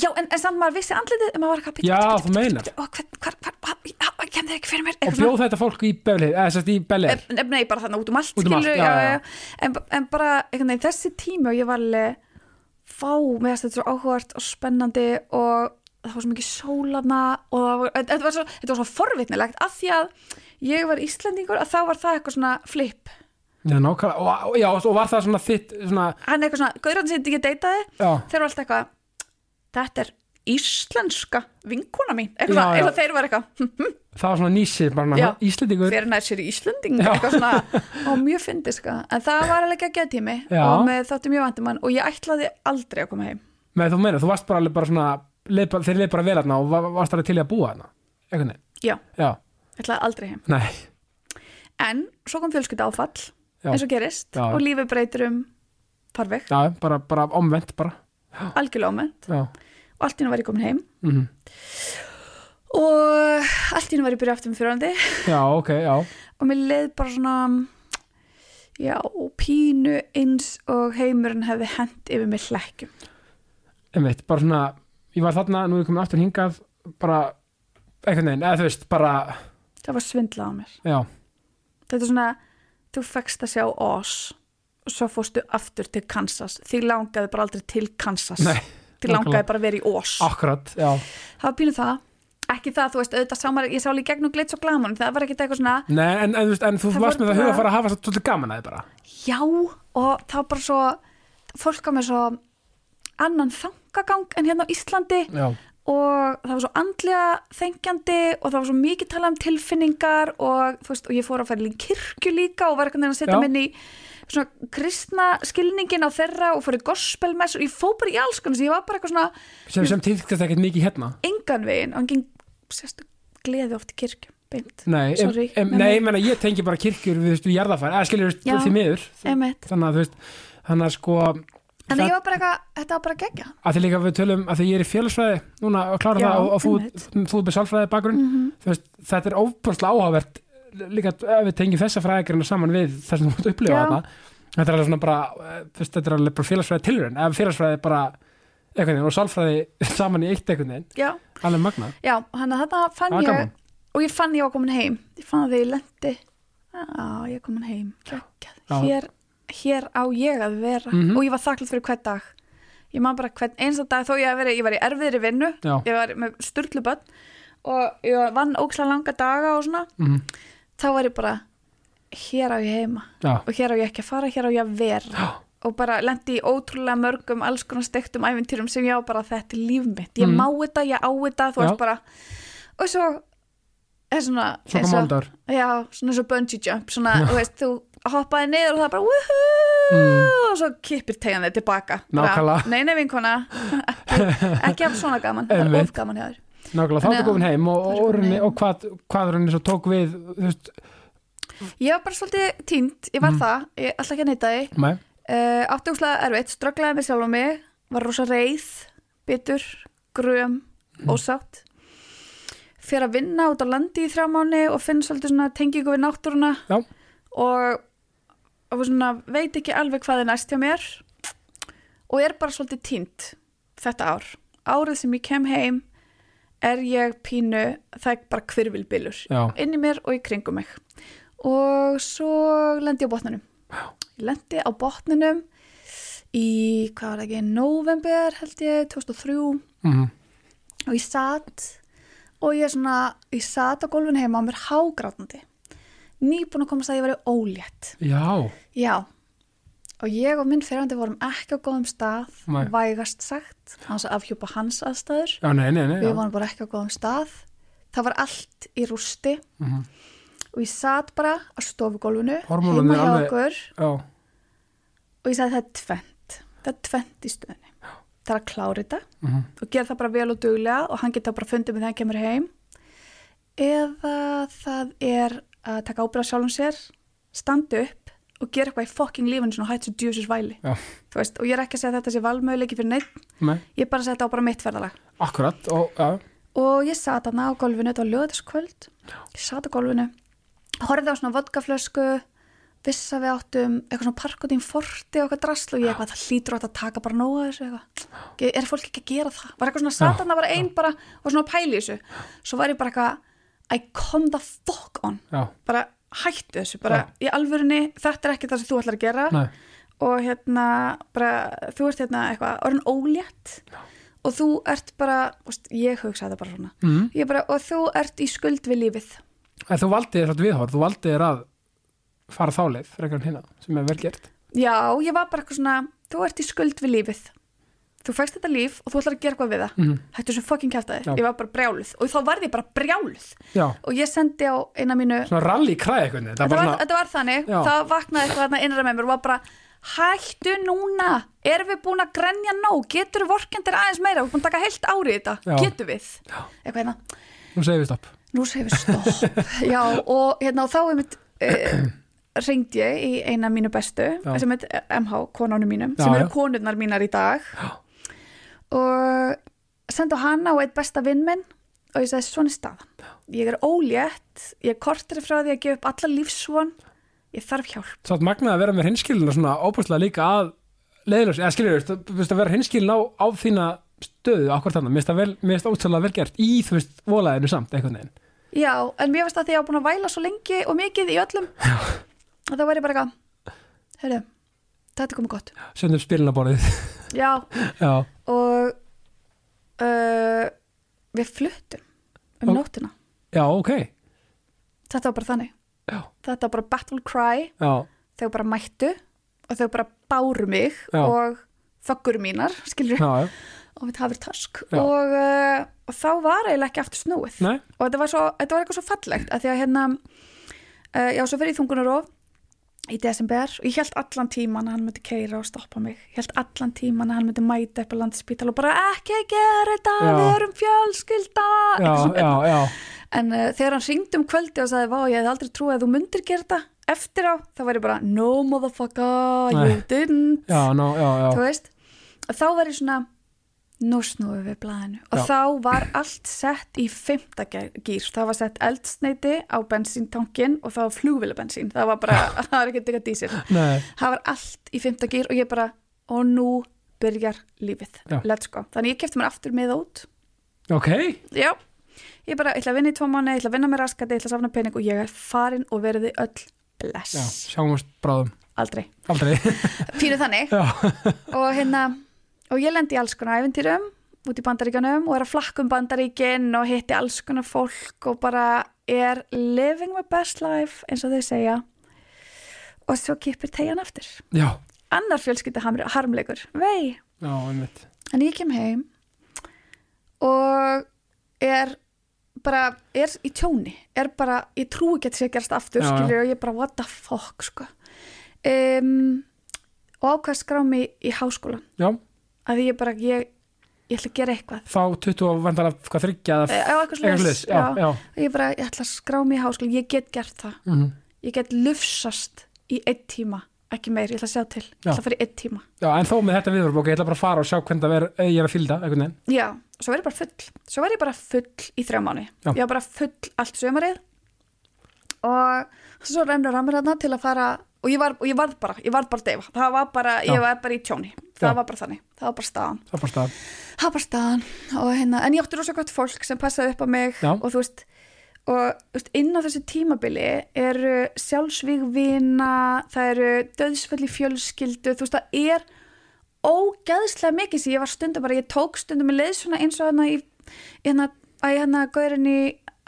Speaker 3: já, en, en samt maður vissi andlitið en maður var
Speaker 1: Já,
Speaker 3: eitthvað "Bíddu, bíddu,
Speaker 1: þú
Speaker 3: bíddu,
Speaker 1: meinar.
Speaker 3: bíddu, og hvern- hvar, hvar, hvar, hvar, kem þér ekki fyrir mér
Speaker 1: Og
Speaker 3: eitthvað
Speaker 1: bjóð þetta fólk í Beverly, eða sérst í Bel Air.
Speaker 3: Nei, nei, bara þannig út um allt,
Speaker 1: Út um allt,
Speaker 3: skilurðu,
Speaker 1: já, já, já.
Speaker 3: En, en bara einhvern veginn þessi tími og ég var alveg fá með þess að þetta er svo áhugart og spennandi og það var svo mikið sólana og það var- þetta var svo, þetta var svo forvitnilegt af því að ég var Íslendingur að þá var það eitthvað svona flip
Speaker 1: Já, nákvæmlega. Og- og- Já, og var það svona þitt, svona,
Speaker 3: hann er eitthvað svona, gauðrann sem ég deytaði
Speaker 1: já.
Speaker 3: þeir eru alltaf eitthvað þetta er íslenska vinkona mín
Speaker 1: Já,
Speaker 3: eitthvað, svona,
Speaker 1: já.
Speaker 3: eitthvað þeir var eitthvað hm,
Speaker 1: Það var svona nísi, bara
Speaker 3: Já.
Speaker 1: svona íslendingur.
Speaker 3: hver nær sér í Íslanding
Speaker 1: Já.
Speaker 3: eitthvað svona, og mjög fyndið sko en það var alveg ekki að tími
Speaker 1: Já.
Speaker 3: og með þáttum ég vandumann og ég ætlaði aldrei að koma heim
Speaker 1: Nei, þú meina, þú varst bara alveg bara svona, leið bara- þeir leið bara vel hérna og var- varst alveg til í að búa hérna. Einhvern veginn.
Speaker 3: já,
Speaker 1: Já.
Speaker 3: ætlaði aldrei heim
Speaker 1: Nei.
Speaker 3: en svo kom fjölskylda áfall
Speaker 1: Já.
Speaker 3: eins og gerist
Speaker 1: Já.
Speaker 3: og lífið breytir um farveg,
Speaker 1: Já, bara, bara omvendt bara.
Speaker 3: algjörlega ámennt
Speaker 1: Já.
Speaker 3: og allt í hennu var ég komin heim
Speaker 1: Mhm.
Speaker 3: og allt í hennu var ég byrja aftur með fyrrandi
Speaker 1: Já, ok, já.
Speaker 3: og mér leið bara svona já, pínu eins og heimurinn hefði hent yfir mig hlekkjum
Speaker 1: einmitt, bara svona ég var þarna, nú er ég komin aftur hingað bara, einhvern veginn, eða þú veist bara,
Speaker 3: það var svindlað á mér
Speaker 1: já,
Speaker 3: þetta er svona þú fegst að sjá Oz og svo fórstu aftur til Kansas því langaði bara aldrei til Kansas
Speaker 1: Nei,
Speaker 3: því langaði
Speaker 1: nákvæmlega. Ah.
Speaker 3: bara að vera í Oz
Speaker 1: akkurat já,
Speaker 3: það var pínu það ekki það, þú veist, auðvitað samar ég sá alveg í gegnum glitz og glamun, það var ekki eitthvað svona
Speaker 1: Nei, en, en, þú veist, en þú
Speaker 3: Það
Speaker 1: varst
Speaker 3: voru
Speaker 1: með það huga
Speaker 3: bara-
Speaker 1: að fara að hafa svolítið gaman að þið bara
Speaker 3: já, og það var bara svo fólk á með svo annan þangagang en hérna á Íslandi
Speaker 1: Já,
Speaker 3: og það var svo andlega þengjandi og það var svo mikið talað um tilfinningar og, þú veist, og ég fór að fara í kirkju líka og var eitthvað að setja
Speaker 1: Já.
Speaker 3: minni í svona kristna skilningin á þeirra og fór í gospelmess og ég fór bara í alls konar svo ég var bara eitthvað svona
Speaker 1: sem, sem týðkast ekkert mikið hérna
Speaker 3: engan veginn og engin sérstu gleði oft í kirkju beint,
Speaker 1: Nei, em,
Speaker 3: Sorry,
Speaker 1: em,
Speaker 3: nei,
Speaker 1: nei,
Speaker 3: nei.
Speaker 1: ég meina, ég tengi bara kirkjur við, þú veist, við jarðafær, eða skiljur
Speaker 3: Já.
Speaker 1: því miður
Speaker 3: emitt
Speaker 1: þannig að þú veist, þannig að sko
Speaker 3: Mm. en ég var bara eitthvað, þetta var bara gegja
Speaker 1: að því líka við tölum, að því ég er í félagsfræði núna að klára
Speaker 3: Já,
Speaker 1: það og, og þú,
Speaker 3: einmitt. Mm. Mhm.
Speaker 1: þú er með sálfræði bakgrunn þú veist, þetta er óbúrslega áhugavert líka ef við tengjum þessa fræðikarina saman við það sem þú mútt upplifa
Speaker 3: Já.
Speaker 1: þetta þetta er alveg svona bara, eh, þú veist, þetta er alveg bara félagsfræði tilrönd, ef félagsfræði bara einhvern veginn og sálfræði saman í eitt einhvern veginn,
Speaker 3: já,
Speaker 1: alveg magnað
Speaker 3: já, hann að þetta fann
Speaker 1: Það er
Speaker 3: ég
Speaker 1: gaman.
Speaker 3: og ég fann ég var komin heim ég fann að þegar ég lendi á, ég er komin heim,
Speaker 1: Já.
Speaker 3: geggjað hér, hér á ég að vera
Speaker 1: Mhm.
Speaker 3: og ég var þakklátt fyrir hvern dag ég man bara hvern einsta dag þó ég að vera ég var í erfiðri vinnu,
Speaker 1: Já.
Speaker 3: ég var með sturlu börn og ég vann óksla langa daga og svona,
Speaker 1: mm
Speaker 3: þá var ég bara hér á ég heima
Speaker 1: Já,
Speaker 3: og hér á ég ekki að fara, hér á ég að vera
Speaker 1: Já.
Speaker 3: og bara lendi í ótrúlega mörgum alls konar stektum æfintýrum sem ég á bara þetta er líf mitt, ég
Speaker 1: Mhm.
Speaker 3: má þetta, ég á þetta þú
Speaker 1: Já.
Speaker 3: veist bara og svo er svona,
Speaker 1: svo
Speaker 3: er
Speaker 1: kom áldar
Speaker 3: já, svona svo bungee jump svona, þú veist, þú hoppaði niður og það bara wuhuu og svo kippir tegjan þig tilbaka
Speaker 1: Mm.
Speaker 3: Bara,
Speaker 1: Nákvæmlega.
Speaker 3: nei, nei, vinkona, ekki, ekki af svona gaman, það er
Speaker 1: Einmitt.
Speaker 3: of gaman hjá þér
Speaker 1: Nákvæmlega, þá ertu
Speaker 3: Þannig að-
Speaker 1: komin heim og,
Speaker 3: Þá er
Speaker 1: og,
Speaker 3: ég
Speaker 1: og,
Speaker 3: komin
Speaker 1: runni,
Speaker 3: heim.
Speaker 1: og hvað, hvað runni svo tók við þú veist,
Speaker 3: ég var bara svolítið tínt, ég var
Speaker 1: Mhm.
Speaker 3: það ég ætla ekki að neyta því
Speaker 1: nei,
Speaker 3: uh, átti úrslega erfitt, strögglaði með sjálf og mig var rosa reið, bitur gröm, ósátt fyrir að vinna út á landi í þrjá mánu og finn svolítið svona tengingu við náttúruna
Speaker 1: Já.
Speaker 3: og, og svona, veit ekki alveg hvað er næst hjá mér og er bara svolítið tínt þetta ár árið sem ég kem heim er ég pínu, það er bara hvirvilbylur
Speaker 1: já,
Speaker 3: inn í mér og í kringum mig og svo lendi ég á botnunum ég lendi á botnunum í, hvað var það ekki, november held ég, 2003
Speaker 1: mm
Speaker 3: og ég satt og ég svona, ég satt á gólfinu heima á mér hágrátandi nýbúin að komast að ég væri ólétt
Speaker 1: já
Speaker 3: já, og ég og minn fyrirandi vorum ekki á góðum stað
Speaker 1: Nei.
Speaker 3: vægast sagt, hans að afhjúpa hans aðstæður
Speaker 1: já, nei, nei, nei, já.
Speaker 3: við vorum bara ekki á góðum stað það var allt í rústi
Speaker 1: Mhm.
Speaker 3: og ég satt bara á stofugólfinu
Speaker 1: Hormónarnir
Speaker 3: heima hjá
Speaker 1: alveg-
Speaker 3: okkur
Speaker 1: já,
Speaker 3: og ég sagði það er tvent það er tvent í stöðinni það er að klára þetta
Speaker 1: Mhm.
Speaker 3: og gera það bara vel og duglega og hann geta bara fundið mig þegar hann kemur heim eða það er að taka ábyrða sjálfum sér standa upp og gera eitthvað í fucking lífinu svona hætt svo djúsis væli
Speaker 1: Já.
Speaker 3: Þú veist, og ég er ekki að segja að þetta sé valmöðuleiki fyrir neitt
Speaker 1: nei,
Speaker 3: ég er bara að segja þetta á bara mitt ferðalag
Speaker 1: akkurat og, já,
Speaker 3: og ég sat hana á gólfinu þetta var lögðaskvöld ég sat á gólfinu horfði á svona vodkaflösku vissa við áttum eitthvað svona parkot í forti og eitthvað drasl og ég eitthvað það hlýtur átt að taka bara nóga þessu eitthvað Ge- er fólk ekki að gera það var eitthvað svona sat hana bara ein bara og svona pæli þessu svo var ég bara eitthvað I come the fuck on
Speaker 1: já,
Speaker 3: bara hættu þessu bara í alvörunni þetta er ekki það sem þú ætlar að gera
Speaker 1: nei
Speaker 3: og hérna bara, þú ert hérna eitthvað orðin ólétt og þú ert bara, veist, ég hugsa þetta bara svona
Speaker 1: mm.
Speaker 3: ég bara, og þú ert í skuld við lífið
Speaker 1: En þú valdið þér svolítið viðhorf, þú valdið þér að fara þálið frekar en hérna, sem er vel gert.
Speaker 3: já, ég var bara eitthvað svona, þú ert í skuld við lífið þú fækst þetta líf og þú ætlar að gera eitthvað við það
Speaker 1: Mm.
Speaker 3: hættu sem fucking kjæfta
Speaker 1: Já.
Speaker 3: þig, ég var bara brjáluð og þá varði ég bara brjáluð
Speaker 1: Já,
Speaker 3: og ég sendi á eina mínu
Speaker 1: svona rally kræði eitthvað, þetta
Speaker 3: þetta
Speaker 1: er bara
Speaker 3: var,
Speaker 1: svona,
Speaker 3: þetta var þannig,
Speaker 1: Já.
Speaker 3: það vaknaði eitthvað þarna innra með mér og var bara hættu núna, erum við búin að grenja nóg, getur við vorkendir aðeins meira við erum búin að taka heilt árið þetta,
Speaker 1: Já.
Speaker 3: getur við eitthvað hérna,
Speaker 1: nú segir við stopp.
Speaker 3: nú segir við stopp já og hérna og þá er mitt uh, ringd ég í eina mínu bestu
Speaker 1: Já.
Speaker 3: sem er MH, konunum mínum
Speaker 1: Já,
Speaker 3: sem
Speaker 1: já.
Speaker 3: eru konurnar mínar í dag já. og sendi á hana og eitt besta vinn minn og ég sagði svona er staðan ég er ólétt, ég er kortir frá því að gefa upp alla lífsvon ég þarf hjálp
Speaker 1: Svo að magnað að vera með hinskilin og svona óbúrslega líka að leiðilegs, eða skiljur, þú veist, þú veist að vera hinskilin á, á þína stöðu, akkur þannig, mér finnst það vel- mér finnst það ótrúlega vel gert í, þú veist, volaðinu samt, einhvern veginn.
Speaker 3: já, en mér varst að því að ég var búin að væla svo lengi og mikið í öllum já. og þá var ég bara eitthvað heyrðu, þetta er komið gott
Speaker 1: Sjöndum spilinaborðið,
Speaker 3: já,
Speaker 1: já,
Speaker 3: og uh, við fluttum um
Speaker 1: Ok.
Speaker 3: nóttina
Speaker 1: Já, ok.
Speaker 3: þetta var bara þannig
Speaker 1: Já.
Speaker 3: þetta var bara battle cry,
Speaker 1: Já,
Speaker 3: þau bara mættu og þau bara báru mig
Speaker 1: Já.
Speaker 3: og þöggur mínar, skilur
Speaker 1: já, já.
Speaker 3: og við hafið task
Speaker 1: Já.
Speaker 3: og, uh, og þá var eiginlega ekki aftur snúið
Speaker 1: Nei.
Speaker 3: og þetta var, svo, þetta var eitthvað svo fallegt að því að hérna uh, já, svo fyrir í þungunarof í desember og ég held allan tíman að hann myndi keira og stoppa mig ég held allan tíman að hann myndi mæta upp á landspítal og bara ekki gera þetta
Speaker 1: Já.
Speaker 3: við erum fjölskylda
Speaker 1: Já,
Speaker 3: Eitthvað svona.
Speaker 1: já, já.
Speaker 3: en uh, þegar hann ringdi um kvöldi og sagði vá, ég hefði aldrei trúið að þú myndir gera þetta eftir á, þá var ég bara no motherfucker, you
Speaker 1: Nei.
Speaker 3: didn't
Speaker 1: Já, ná, já, já.
Speaker 3: þú veist og þá var ég svona nú snúum við blaðinu og
Speaker 1: Já.
Speaker 3: þá var allt sett í fymta gýr það var sett eldsneiti á bensíntankin og það var flugvilabensín það var bara, það var ekki eitthvað dísil
Speaker 1: Nei.
Speaker 3: það var allt í fymta gýr og ég bara og nú byrjar lífið
Speaker 1: Já.
Speaker 3: let's go, þannig ég kefti mér aftur með út
Speaker 1: Ok.
Speaker 3: já, ég bara, ég ætla að vinna í tvo mánu ég ætla að vinna með raskati, ég ætla að safna pening og ég er farin og verði öll bless
Speaker 1: Já, sjáumst bráðum.
Speaker 3: aldrei,
Speaker 1: Aldrei.
Speaker 3: pínu þannig
Speaker 1: já,
Speaker 3: og hérna og ég lendi í alls konar æventýrum út í bandaríkjanum og er að flakka um bandaríkin og hitti alls konar fólk og bara er living my best life eins og þau segja og svo kipir tegjan aftur
Speaker 1: já.
Speaker 3: annar fjölskylda harmleikur vei,
Speaker 1: Já, einmitt.
Speaker 3: en ég kem heim og er bara, er í tjóni er bara, ég trúi ekki að þetta sé að gerast aftur
Speaker 1: Já, já.
Speaker 3: skilur og ég bara, what the fuck sko. um, og ákvæð skrá mig í háskólan
Speaker 1: Já,
Speaker 3: að ég bara, ég, ég ætla að gera eitthvað
Speaker 1: þá 20 og vandala hvað þryggja eða
Speaker 3: Eh, já, eitthvað
Speaker 1: svoleiðis.
Speaker 3: svoleiðis,
Speaker 1: Já,
Speaker 3: já.
Speaker 1: já.
Speaker 3: og ég bara, ég ætla að skrá mig í háskóla ég get gert það,
Speaker 1: Mhm.
Speaker 3: ég get lufsast í einn tíma, ekki meir, ég ætla að sjá til ég
Speaker 1: Já.
Speaker 3: ætla að fara í einn tíma
Speaker 1: Já, en þó með þetta viðvörf, ok, ég ætla bara að fara og sjá hvernig það er, ég er að fylda, einhvern veginn.
Speaker 3: já, svo var ég bara full svo var ég bara full í þrjá mánu
Speaker 1: Já.
Speaker 3: ég var bara full allt sömarið og svo rennur hann mér þarna til að fara og ég, var, og ég varð bara, ég varð bara að deyfa það var bara,
Speaker 1: Já.
Speaker 3: ég var bara í tjóni það
Speaker 1: Já.
Speaker 3: var bara þannig, það var bara staðan
Speaker 1: Það er bara stað.
Speaker 3: það var bara staðan og hérna, en ég átti rosa gott fólk sem passaði upp á mig
Speaker 1: Já.
Speaker 3: og þú veist og þú veist, inn á þessu tímabili eru sjálfsvígvina það eru döðsföll í fjölskyldu þú veist, það er ógeðslega mikið sem ég var stundum bara ég tók stundum með leið svona eins og hérna í hérna, að ég hérna gaurin í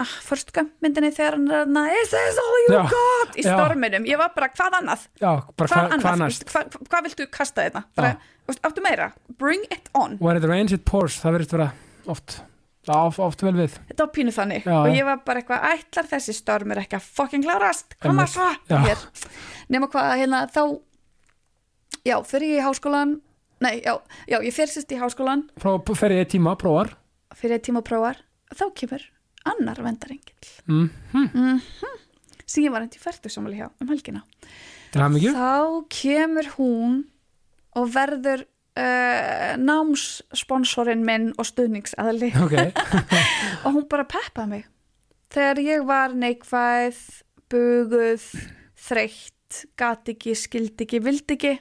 Speaker 3: ah, Forrest Gump myndinni þegar hann er hérna is this all you
Speaker 1: Já.
Speaker 3: got í
Speaker 1: Já.
Speaker 3: storminum, ég var bara hvað annað
Speaker 1: Já, bara
Speaker 3: hvað
Speaker 1: hvað hva
Speaker 3: annað,
Speaker 1: annars?
Speaker 3: Þú veist, hvað, hvað viltu kasta þetta bara,
Speaker 1: Já.
Speaker 3: þú veist, áttu meira, bring it on
Speaker 1: When it rains, it pours, það verður vera oft, já, of- oft vel við.
Speaker 3: þetta var pínu þannig
Speaker 1: Já,
Speaker 3: og
Speaker 1: já.
Speaker 3: ég var bara eitthvað ætlar þessi stormur ekki að fucking klárast koma
Speaker 1: Einmitt.
Speaker 3: svo
Speaker 1: Já.
Speaker 3: hér nema hvað hérna þá já, fyrir ég í háskólan nei, já, já ég fyrir sérst í háskólan
Speaker 1: Pró, fer ég í tíma, prófar.
Speaker 3: fyrir tíma og prófar þá kemur annar vendarengill
Speaker 1: Mm.
Speaker 3: sem ég var hendt í færtusamali hjá um helgina
Speaker 1: Til hann mikið?
Speaker 3: þá kemur hún og verður uh, námssponsorinn minn og stuðningsaðli
Speaker 1: Ok,
Speaker 3: og hún bara peppaði mig þegar ég var neikvæð buguð, þreytt gat ekki, skildi ekki, vildi ekki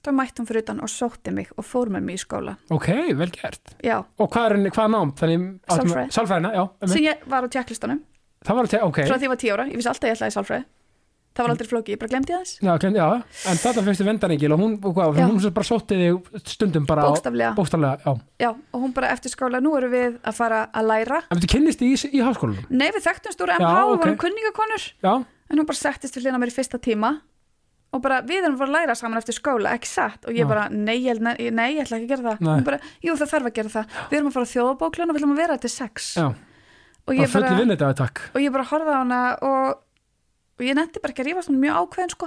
Speaker 3: þá mætti hún fyrir utan og sótti mig og fór með mig í skóla
Speaker 1: ok, vel gert.
Speaker 3: já,
Speaker 1: Og hvað er henni, hvað nám? Þannig, áttum-
Speaker 3: Sálfræði.
Speaker 1: Sálfræðina, já. einmitt.
Speaker 3: sem ég var á tjekklistanum
Speaker 1: Það var að tegja, ok.
Speaker 3: frá því ég var 10 ára, ég vissi alltaf að ég ætlaði í sálfræði það var aldrei flóki, ég bara glemdi þess
Speaker 1: Já, glemt, já, en þetta fyrstu vendanengil og hún, og hvað,
Speaker 3: Já.
Speaker 1: hún sem bara sótti þig stundum bara á-
Speaker 3: Bókstaflega.
Speaker 1: bókstaflega, já.
Speaker 3: já, og hún bara eftir skóla, nú erum við að fara að læra
Speaker 1: En þú kynnist í, í háskólanum?
Speaker 3: nei, við þekktumst úr MH
Speaker 1: Já,
Speaker 3: og
Speaker 1: ok.
Speaker 3: vorum kunningakonur
Speaker 1: Já,
Speaker 3: en hún bara settist við hlýna mér í fyrsta tíma og bara við erum bara að læra saman eftir skóla ekki satt og
Speaker 1: Já.
Speaker 3: ég bara nei, ég- nei, nei, ég ætla ekki að gera það
Speaker 1: Nei.
Speaker 3: Hún bara, jú það þarf að gera það, við erum að fara á þjóðabóklun og við ætlum að vera þetta sex
Speaker 1: já,
Speaker 3: og
Speaker 1: bara
Speaker 3: ég
Speaker 1: fulli
Speaker 3: bara,
Speaker 1: vinnu þetta, takk.
Speaker 3: og ég bara horfði á hana og, og ég nefndi bara ekki að rífast hún er mjög ákveðin sko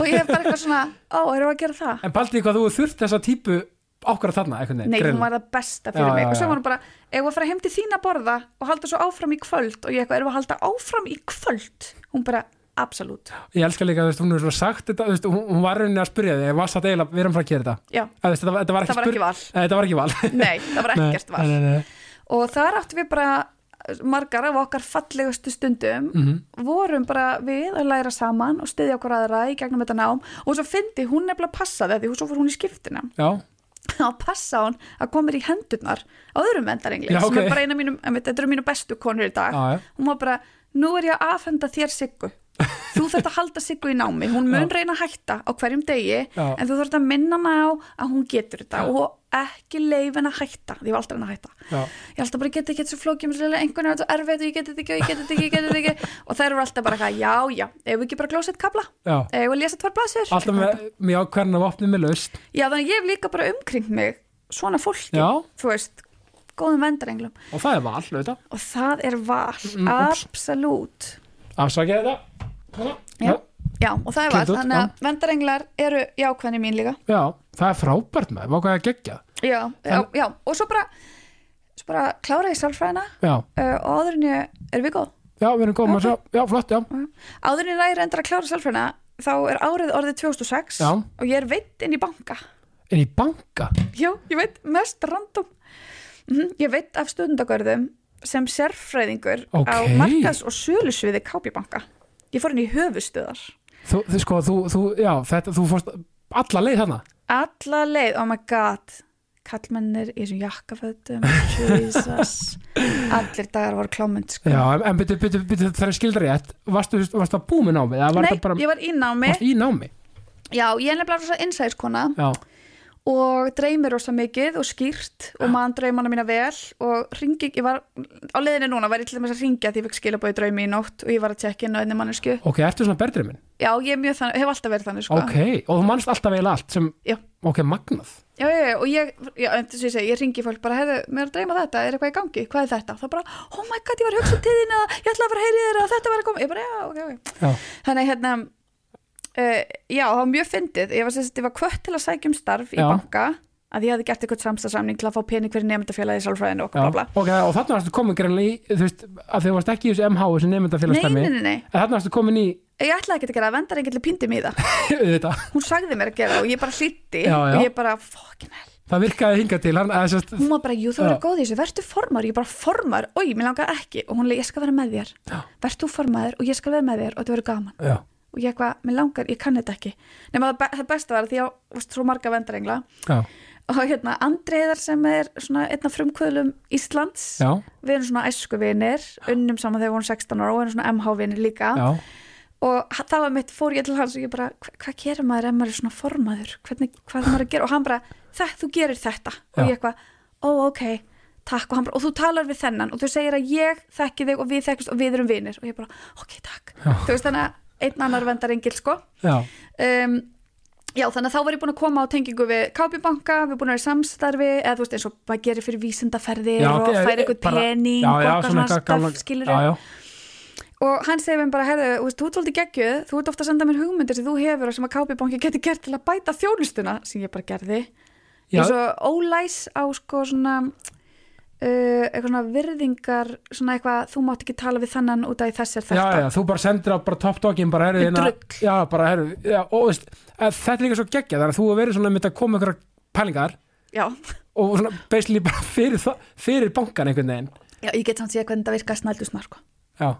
Speaker 3: og ég er bara eitthvað svona, ó, erum við að gera það
Speaker 1: En paldi hvað þú þurft þessa típu ákvara þarna, einhvern veginn.
Speaker 3: nei, hún
Speaker 1: greinilega.
Speaker 3: var það besta fyrir
Speaker 1: Já,
Speaker 3: mig
Speaker 1: já,
Speaker 3: og svo
Speaker 1: já.
Speaker 3: var hún bara, ef að fara heim til þín að borða og halda svo áfram í kvöld og ég eitthvað, erum við að halda áfram í kvöld hún bara, absolutt,
Speaker 1: Ég elska líka, þú veist, hún er svona sagt þetta, þú veist, hún, hún var rauninni að spyrja þig, var satt eiginlega, við erum frá að gera þetta.
Speaker 3: já,
Speaker 1: Eða, þú veist, þetta, var- þetta var ekki
Speaker 3: það var ekki
Speaker 1: spurning.
Speaker 3: val
Speaker 1: Þetta var ekki val.
Speaker 3: nei, það var
Speaker 1: Nei,
Speaker 3: ekkert val
Speaker 1: Nei, nei, nei.
Speaker 3: og þar áttum við bara margar af okkar fallegustu stundum
Speaker 1: Mhm.
Speaker 3: vorum bara við að læra saman og styðja okkur aðra í gegnum þetta nám og svo fyndi hún nefnilega passaði af því hún svo fór hún í skiptina
Speaker 1: Já,
Speaker 3: þá passa hún að koma mér í hendurnar á öðrum vendarengli
Speaker 1: Já,
Speaker 3: sem
Speaker 1: ok.
Speaker 3: er bara eina mínum, einmitt, þetta eru mínu bestu konur í dag
Speaker 1: já, já.
Speaker 3: hún var bara, nú er ég að afhenda þér siggu þú þurft að halda Siggu í námi hún mun reyna að hætta á hverjum degi
Speaker 1: Já.
Speaker 3: en þú þurft að minna hana á að hún getur þetta og ekki leif henni að hætta því ég var alltaf henni að hætta
Speaker 1: Já.
Speaker 3: ég alltaf bara geti ekki þetta svo flókjum einhvern veginn er þetta erfitt og ég geti þetta ekki og ég geti þetta ekki, ég geti þetta ekki og þær eru alltaf bara eitthvað, já, já, eigum við ekki bara klósett kabla
Speaker 1: Já.
Speaker 3: eigum við að lesa tvær blaðsir
Speaker 1: Alltaf með, með ákveðan af opnið með laust
Speaker 3: já, þannig að ég hef líka bara umkring mig svona fólki,
Speaker 1: Já.
Speaker 3: þú veist góðum vendarenglum
Speaker 1: og það er val, auðvitað.
Speaker 3: og það er val,
Speaker 1: Mm, ups.
Speaker 3: absolút
Speaker 1: Afsakið þetta. Svona.
Speaker 3: já. já, og það er
Speaker 1: Klingt
Speaker 3: val,
Speaker 1: út,
Speaker 3: þannig að vendarenglar eru jákvæðni mín líka
Speaker 1: Já, það er frábært með, var hvað að gegja.
Speaker 3: já, já, já, og svo bara svo bara klára ég sálfræðina
Speaker 1: Já,
Speaker 3: uh, og áður en ég, erum við góð?
Speaker 1: já, við erum góðum að sjá, já, flott, já.
Speaker 3: áður en ég er endur að klára sálfræðina þá er árið orðið 2006
Speaker 1: Já.
Speaker 3: og ég er veitt inn í banka
Speaker 1: En í banka,
Speaker 3: já, ég veit, mest random mm, ég veit af stundagörðum sem sérfræðingur á
Speaker 1: Ókei.
Speaker 3: markas- og sölusviði KB banka ég fór inn í höfustöðar
Speaker 1: þú, þú sko, þú, þú, já, þetta, þú fórst alla leið þarna.
Speaker 3: alla leið, oh my god kallmennir í þessum jakkafötum Jesus allir dagar voru klámynd sko.
Speaker 1: Já, en- en byrju, byrju, byrju, það er skildar rétt, varstu, varstu að búið með námið, eða var
Speaker 3: Nei,
Speaker 1: það bara,
Speaker 3: ég var í námi
Speaker 1: varstu í námi?
Speaker 3: Já, ég er nefnilega rosa innsæðiskona
Speaker 1: Já,
Speaker 3: og dreymir rosa mikið og skýrt og mann dreymana mína vel og ringi, ég var á leiðinni núna var ég til dæmis að ringja því ég fekk skilabóði draumi í nótt og ég var að tjekka inn á einni mannesku
Speaker 1: ok, ertu svona berðriminn?
Speaker 3: Já, ég er mjög þannig, hef alltaf verið þannig sko
Speaker 1: Ok, og þú manst alltaf eiginlega allt sem,
Speaker 3: Já.
Speaker 1: ok, magnað.
Speaker 3: Já, já, já, og ég, já, en þess að ég segi, ég ringi fólk bara, heyrðu, mér er að dreyma þetta, er eitthvað í gangi, hvað er þetta? Það bara, oh my god, ég var að hugsa til þín að ég ætla að fara að heyri þér að þetta var að koma, ég bara, já, ok, ok.
Speaker 1: Já.
Speaker 3: Þannig, hérna, uh, já, það var mjög fyndið, ég var sem sagt, ég var kvött til að sækja um starf í
Speaker 1: Já.
Speaker 3: banka, að ég hafði gert eitthvað samstasamning til að fá pening fyrir nefndafélagi í sálfræðinu og
Speaker 1: Já,
Speaker 3: okkur, bla, bla.
Speaker 1: ok, og þannig varstu komin greinlega í, þú veist, að þau varst ekki í þessu MH, þessu
Speaker 3: Nei,
Speaker 1: nefndafélagstæmi,
Speaker 3: nei, nei, nei,
Speaker 1: en þannig varstu komin í,
Speaker 3: ég ætlaði ekki að gera það, vendar enginn pindi mig í það.
Speaker 1: þetta,
Speaker 3: Hún sagði mér að gera það og ég bara hlýddi
Speaker 1: Já, já.
Speaker 3: og ég bara, fucking hell.
Speaker 1: það virkaði hinga til, hann, eða sérst,
Speaker 3: hún var bara, jú þú verður
Speaker 1: Já.
Speaker 3: góð í þessu, verður formar ég bara formar, oi, mér langar ekki og hún leiði, ég skal vera með þér, verður þú formaður og ég skal vera með þér og þetta verður gaman
Speaker 1: já,
Speaker 3: og ég eitthvað, mér langar, ég kann þetta ekki nema það, be það besta var að því að þú veist svo marga vendarengla
Speaker 1: já,
Speaker 3: og hérna Andriðar sem er svona einna frumkvöðlum Íslands
Speaker 1: já,
Speaker 3: við erum svona æskuvinir, unnum saman þegar við vorum 16 ára og erum svona MH-vinir líka
Speaker 1: já,
Speaker 3: og h- það var mitt fór ég til hans og ég bara, "Hva- hvað gerir maður ef maður er svona formaður Hvernig, hvað er maður að gera og hann bara, það, þú gerir þetta og
Speaker 1: Já.
Speaker 3: ég eitthvað, ó ok takk og hann bara, og þú talar við þennan og þú segir að ég þekki þig og við þekkist og við erum vinir og ég bara, ok takk
Speaker 1: Já.
Speaker 3: þú veist þannig að einn annar vendar engil sko
Speaker 1: já,
Speaker 3: um, Já, þannig að þá var ég búin að koma á tengingu við KB banka, við búin að vera í samstarfi eða þú veist eins og maður gerir fyrir vísindaferðir
Speaker 1: já,
Speaker 3: og
Speaker 1: ok, eh,
Speaker 3: færi eitthvað
Speaker 1: bara-
Speaker 3: pening
Speaker 1: já,
Speaker 3: og
Speaker 1: já,
Speaker 3: eitthvað svona
Speaker 1: gamla-
Speaker 3: stöff skilur
Speaker 1: já, já,
Speaker 3: og hann segir mér bara, herðu, þú veist, þú ert aldrei geggjuð þú ert ofta að senda mér hugmyndir sem þú hefur og sem að KB-banki geti gert til að bæta þjónustuna sem ég bara gerði
Speaker 1: Já.
Speaker 3: eins og ólæs á sko svona uh, eitthvað svona virðingar svona eitthvað, þú mátt ekki tala við þennan út af þessir
Speaker 1: já,
Speaker 3: þetta
Speaker 1: já, þú bara sendir á bara toppdókin, bara herðu
Speaker 3: Með
Speaker 1: hérna,
Speaker 3: drugg.
Speaker 1: já, bara herðu, já, og þú veist, að þetta er líka svo geggja, þannig að þú hefur verið svona mynd að koma ykkur pælingar
Speaker 3: já.
Speaker 1: og svona basically bara fyrir, það- fyrir bankan einhvern veginn,
Speaker 3: já, ég get samt séð hvernig það virka snældusnar sko.
Speaker 1: já.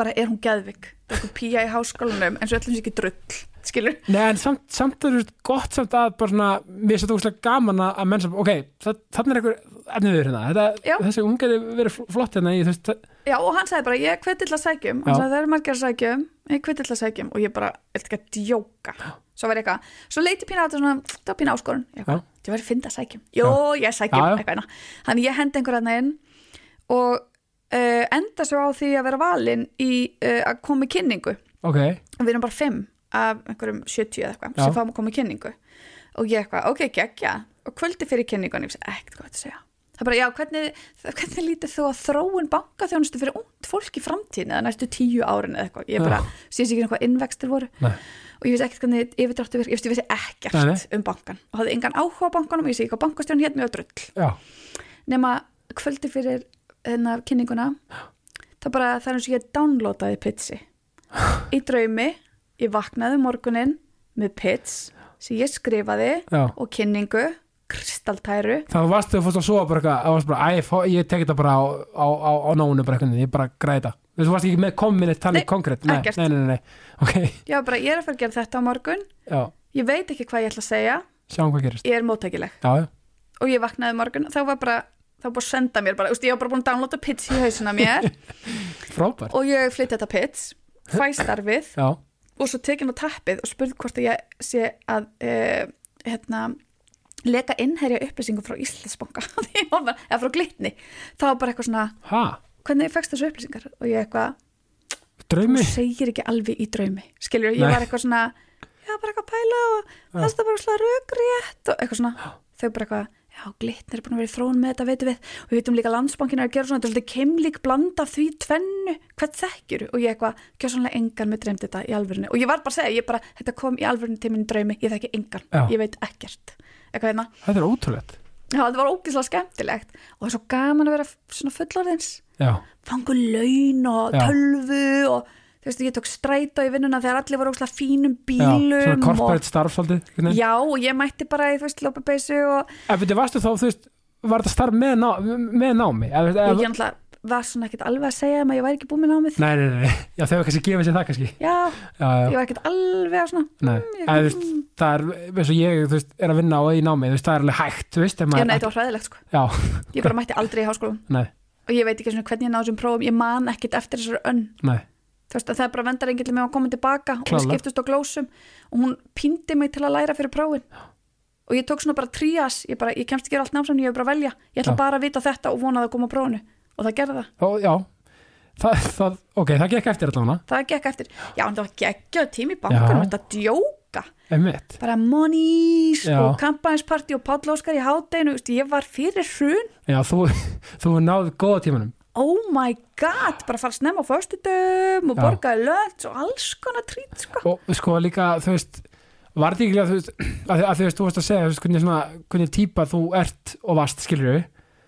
Speaker 3: bara er hún geðvik, það er eitthvað pía í háskólanum eins og öllum sé ekki drull, skilur
Speaker 1: Nei, en samt, samt er þetta gott samt að bara svona, mér finnst þetta úrslega gaman að að menn sem, ok, þannig er einhver efnið við hérna,
Speaker 3: Já.
Speaker 1: þetta, þessi ungæði verið fl- flott hérna í þú veist,
Speaker 3: Já, og hann sagði bara, ég hveti til að sækjum hann
Speaker 1: Já.
Speaker 3: sagði, það eru margir að sækjum, ég hveti til að sækjum og ég bara, er þetta ekki að djóka svo var ég eitthvað, svo leiti pína á þetta svona það var pína áskorun, ég
Speaker 1: Já.
Speaker 3: eitthvað, þetta verið að finna að sækjum jú, ég sækjum,
Speaker 1: Já, já.
Speaker 3: eitthvað hérna. þannig ég hendi einhverjarna inn og uh, enda svo á því að vera valinn í uh, að koma í kynningu
Speaker 1: ok,
Speaker 3: og við erum bara fimm af einhverjum 70 eða eitthvað
Speaker 1: Já.
Speaker 3: sem fáum að koma í kynningu og ég eitthvað, ok, geggja og kvöldi fyrir kynningun, ég vissi ekkert hvað þetta segja það er bara, já, hvernig, hvernig lítið þú að þróun bankaþjónustu fyrir ungt fólk í framtíðin eða næstu tíu árin eða eitthvað ég bara, síðan ekki hvað innvextir voru
Speaker 1: Nei.
Speaker 3: og ég vissi ekkert hvernig yfirdráttu virk ég vissi, ég vissi ekkert
Speaker 1: Nei, nei.
Speaker 3: um bankan og hafði engan áhuga á bankanum, ég vissi ekki hvað bankastjón hérna mjög drull
Speaker 1: já,
Speaker 3: nema kvöldi fyrir hennar kynninguna það bara það er eins og ég downloadaði pitsi í draumi ég vaknaði um morguninn með pits sem ég skrifaði
Speaker 1: já
Speaker 3: og kynningu kristaltæru
Speaker 1: þannig varstu að fórst að sofa bara eitthvað, það varst bara, æ, fó- ég tek þetta bara á, á, á, á nónu bara einhvern veginn, ég bara græði þetta, þú veist, þú varst ekki með kominni
Speaker 3: Nei,
Speaker 1: talið konkrétt, nei,
Speaker 3: ekkert.
Speaker 1: nei, nei, nei, ok,
Speaker 3: ég var bara ég er að fara að gera þetta á morgun
Speaker 1: já,
Speaker 3: ég veit ekki hvað ég ætla að segja
Speaker 1: sjáum hvað gerist,
Speaker 3: ég er móttækileg
Speaker 1: já, já,
Speaker 3: og ég vaknaði um morgun þá var bara þá var búið að senda mér bara, úst, ég var bara búin að downloada pits í hausina mér
Speaker 1: frábært,
Speaker 3: og ég flytti þetta pits fæ starfið
Speaker 1: já,
Speaker 3: og svo tekin á tappið og spurði hvort að ég sé að uh, hérna leka innherja upplýsingum frá Íslandsbanka Því ég var bara- eða frá glitni þá var bara eitthvað svona,
Speaker 1: ha,
Speaker 3: hvernig fækst þessu upplýsingar og ég eitthvað, þú
Speaker 1: draumi
Speaker 3: segir ekki alveg í draumi skilur, ég
Speaker 1: Nei.
Speaker 3: var eitthvað svona já, bara eitthvað að pæla og það er bara svona rökrétt og eitthvað svona, þau bara eitthvað já, glitnir er búin að vera í þróun með þetta, veitum við og við veitum líka að landsbankinn er að gera svona þetta er svolítið keimlík blanda af því tvennu hvert þekkjur og ég eitthvað, gjör sannlega engan með dreymd þetta í alvörinu og ég var bara að segja, ég bara þetta kom í alvörinu til minn draumi, ég þekki engan
Speaker 1: Já.
Speaker 3: ég veit ekkert, eitthvað hérna
Speaker 1: Þetta er ótrúlegt
Speaker 3: já, þetta var ógislega skemmtilegt og það er svo gaman að vera svona fullorðins
Speaker 1: Já,
Speaker 3: fangu laun og
Speaker 1: Já.
Speaker 3: tölvu og þú veist, ég tók stræta í vinnuna þegar allir voru óslega fínum
Speaker 1: já,
Speaker 3: bílum
Speaker 1: svona
Speaker 3: og,
Speaker 1: corporate starfsaldið einhvern veginn.
Speaker 3: já, og ég mætti bara í þú veist, lópabeysu og
Speaker 1: En veitir, varstu þá, þú veist, var þetta starf með, ná, með námi? Eða, eða,
Speaker 3: ég náttúrulega var svona ekkert alveg að segja um að ég væri ekki búin með námið
Speaker 1: Nei, nei, nei, nei, já, þau hefur kannski gefið sér það kannski
Speaker 3: já,
Speaker 1: Já, já,
Speaker 3: ég var ekkert alveg að svona "Mm,
Speaker 1: nei
Speaker 3: ég-
Speaker 1: Eða, þú veist, það er, veist, og ég, þú veist, er að vinna á í námi, þú veist, það er alveg hægt, þú veist ef
Speaker 3: já,
Speaker 1: maður-
Speaker 3: nei, þetta var hræðilegt sko,
Speaker 1: Já,
Speaker 3: ég bara mætti aldrei í háskólan
Speaker 1: nei,
Speaker 3: og ég veit ekki svona hvernig ég náðu þessum prófum ég man ekkert eftir þessari önn
Speaker 1: nei,
Speaker 3: þú veist, að það er bara vendar engillin með að koma tilbaka og við
Speaker 1: Klárlega.
Speaker 3: skiptust á glósum og hún píndi mig til að læra fyrir prófin og ég tók svona bara trías ég, bara, ég kemst ekki allt námsam, ég hef bara að velja ég ætla
Speaker 1: Já.
Speaker 3: bara að vita þetta og vonaði að koma á prófinu og það gerði það,
Speaker 1: Ó, já það, það, ok, það gekk eftir allavega
Speaker 3: það gekk eftir já, en það var geggjöð tími í bankanum
Speaker 1: Já.
Speaker 3: þetta djóka,
Speaker 1: Einmitt,
Speaker 3: bara monies
Speaker 1: Já.
Speaker 3: og kampænsparti og Páll Óskar í hátdeinu þú veist, ég var fyrir hrun,
Speaker 1: já, þú, þú náðu góða tímanum
Speaker 3: oh my god bara fara snemma á föstudum og
Speaker 1: Já.
Speaker 3: borgaði lönt og alls konar trít sko.
Speaker 1: og sko líka, þú veist var þetta ekki að þú veist að, að þú veist, þú veist að segja, þú veist, hvernig svona hvernig típa þú ert og vast, skilur við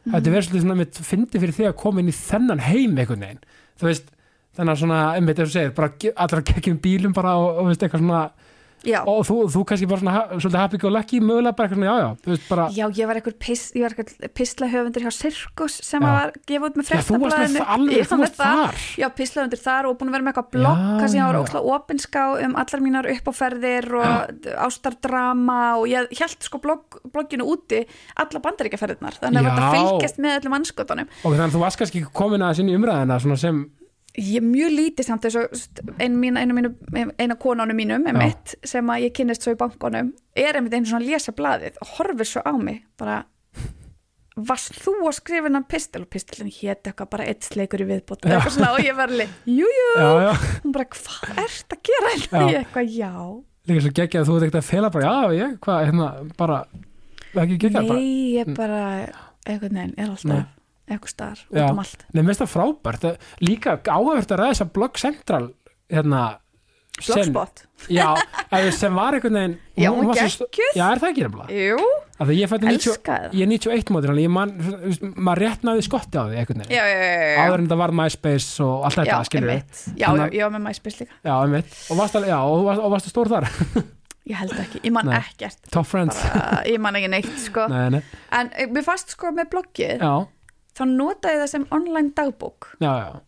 Speaker 3: Mhm.
Speaker 1: þetta verður svolítið svona, mitt fyndi fyrir þig að koma inn í þennan heim einhvern veginn þú veist, þannig að svona, einmitt eins og segir bara ge- allra geggjum bílum bara og, og veist, eitthvað svona,
Speaker 3: já,
Speaker 1: og þú, þú kannski bara svona ha- svolítið happy go lucky, mögulega bara eitthvað svona, já, já, þú veist, bara,
Speaker 3: Já, ég var eitthvað pis, ég var eitthvað pislahöfundur hjá Sirkus sem
Speaker 1: Já.
Speaker 3: að var gefa út með
Speaker 1: já, þú varst með
Speaker 3: fréttablaðinu
Speaker 1: það alveg,
Speaker 3: Ég
Speaker 1: þú
Speaker 3: var með
Speaker 1: varst þar
Speaker 3: Já, pislahöfundur þar og búin að vera með eitthvað
Speaker 1: Já,
Speaker 3: blokk sem ég var
Speaker 1: já.
Speaker 3: ókslega opinská um allar mínar uppáferðir og ástardrama og ég held sko blogg, blogginu úti alla bandaríkaferðirnar þannig að
Speaker 1: Já.
Speaker 3: þetta fylgjast með öllum anskotunum
Speaker 1: og þannig að þú varst kannski komin aðeins inn í umræðina svona sem,
Speaker 3: Ég er mjög lítið samt þess að ein, mín, einu, mínu, eina konanum mínum emitt, sem að ég kynnist svo í bankanum er einmitt einu svona að lesa blaðið og horfir svo á mig bara varst þú að skrifa hennan pistil og pistilin hét eitthvað bara eitt sleikur í viðbót
Speaker 1: Já.
Speaker 3: eitthvað svona og ég var alveg jú, jú.
Speaker 1: já, já
Speaker 3: hún bara hvað ert að gera hérna
Speaker 1: Já.
Speaker 3: ég eitthvað já
Speaker 1: líka svo geggjað að þú ert ekkert að fela bara, já, ég, hvað, hérna, bara það er ekki geggjað bara, Mm.
Speaker 3: nei ég bara einhvern veginn er alltaf
Speaker 1: Nei.
Speaker 3: eitthvað starf út
Speaker 1: Já.
Speaker 3: um allt
Speaker 1: nei, mér finnst það frábært Það- líka áhægt að ræða þess að Blog Central hérna, sem,
Speaker 3: blogspot
Speaker 1: já, eða sem var einhvern veginn
Speaker 3: Já,
Speaker 1: hún var svo-
Speaker 3: geggjuð.
Speaker 1: já, er það ekki nefnilega
Speaker 3: jú
Speaker 1: að ég fætti 90,
Speaker 3: elskaði það
Speaker 1: ég er 91 mótur, ég man, þú veist, maður rétt náði skotti á því einhvern veginn,
Speaker 3: já, já, já, já.
Speaker 1: áður en það var MySpace og allt
Speaker 3: já,
Speaker 1: þetta, skilur við,
Speaker 3: einmitt. já, já,
Speaker 1: Þannig að-
Speaker 3: ég var með MySpace líka
Speaker 1: já, einmitt og varst alveg, já, og varst, og varst stór þar
Speaker 3: Ég held ekki, ég man
Speaker 1: Nei.
Speaker 3: ekkert
Speaker 1: top friends,
Speaker 3: bara, Ég man ekki neitt sko
Speaker 1: nei, nei,
Speaker 3: En eh, mér fast sko með bloggið
Speaker 1: já,
Speaker 3: Þá notaði ég það sem online dagbók
Speaker 1: já, já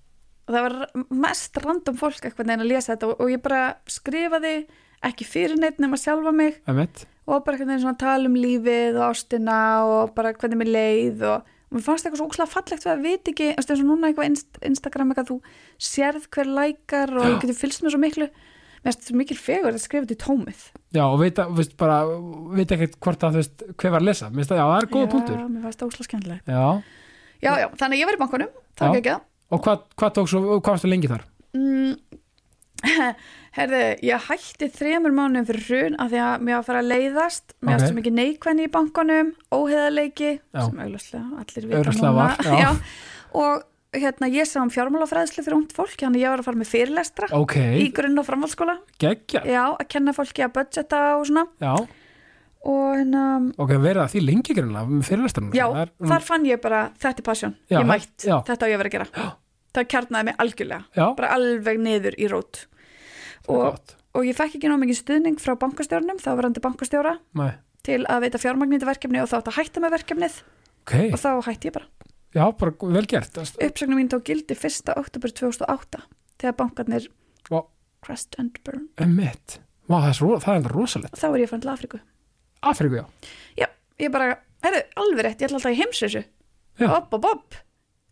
Speaker 3: Og það var mest random fólk eitthvað neginn að lesa þetta Og, og ég bara skrifaði ekki fyrir neitt nema sjálfa mig
Speaker 1: einmitt,
Speaker 3: Og bara eitthvað neginn svona tala um lífið og ástina Og bara hvernig mér leið Og, og mér fannst eitthvað svo ókslega fallegt Við að vita ekki, þú veist eins og núna eitthvað inst, Instagram Eitthvað þú sérð hver lækar Og þú getur fylgst með svo miklu Mér finnst svo mikil fegur að skrifa þetta í tómið
Speaker 1: Já, og veit, að- veist, bara, veit ekkert hvort að þú veist hver var að lesa, minnst það, já, það er góða
Speaker 3: Já,
Speaker 1: punktur
Speaker 3: Mér fannst það ókslega skemmtileg
Speaker 1: Já,
Speaker 3: Já, já, þannig að ég var í bankunum, það
Speaker 1: Já.
Speaker 3: var ekki það.
Speaker 1: og hvað, hvað tók svo, hvað varstu lengi þar?
Speaker 3: Mm, herðu, ég hætti þremur mánuðum fyrir hrun af því að mér var að fara að leiðast,
Speaker 1: Ok.
Speaker 3: mér var svo mikið neikvæðni í bankunum, óheðaleiki,
Speaker 1: Já.
Speaker 3: sem auglustlega allir vita
Speaker 1: Augljóslega
Speaker 3: núna.
Speaker 1: var, já.
Speaker 3: og hérna, ég sá um fjármálafræðslu fyrir ungt fólk, þannig að ég var að fara með fyrirlestra
Speaker 1: Ok,
Speaker 3: í grunn og framhaldsskóla,
Speaker 1: geggja,
Speaker 3: já, að kenna fólki að budgeta og svona.
Speaker 1: já,
Speaker 3: Og hérna,
Speaker 1: ok, verið að því lengi grunna, fyrirlestarinn
Speaker 3: já,
Speaker 1: það er,
Speaker 3: þar fann ég bara, þetta er passion,
Speaker 1: Já,
Speaker 3: ég mætt,
Speaker 1: já.
Speaker 3: þetta á ég að vera að gera. Það kjarnaði mig algjörlega.
Speaker 1: já,
Speaker 3: bara alveg niður í rót
Speaker 1: það er
Speaker 3: og,
Speaker 1: gott,
Speaker 3: og ég fekk ekki ná mikið stuðning frá bankastjórnum, þá var hann til bankastjóra
Speaker 1: Nei.
Speaker 3: til að veita fjármagnið verkefni og þá átt að hætta með verkefnið
Speaker 1: ok,
Speaker 3: og þá hætti ég bara.
Speaker 1: já, bara vel gert Það-
Speaker 3: Uppsögnum mín tók gildi 1. oktober 2008 þegar bankarnir
Speaker 1: Vá.
Speaker 3: crashed and burn
Speaker 1: Einmitt, Vá, það er, svo, það er enda rosalegt
Speaker 3: og þá er ég fann til Afríku.
Speaker 1: Afríku, já,
Speaker 3: Já, ég bara, herru, alveg rétt, ég ætla alltaf í heimsreysu.
Speaker 1: Já.
Speaker 3: Bob, bob, bob,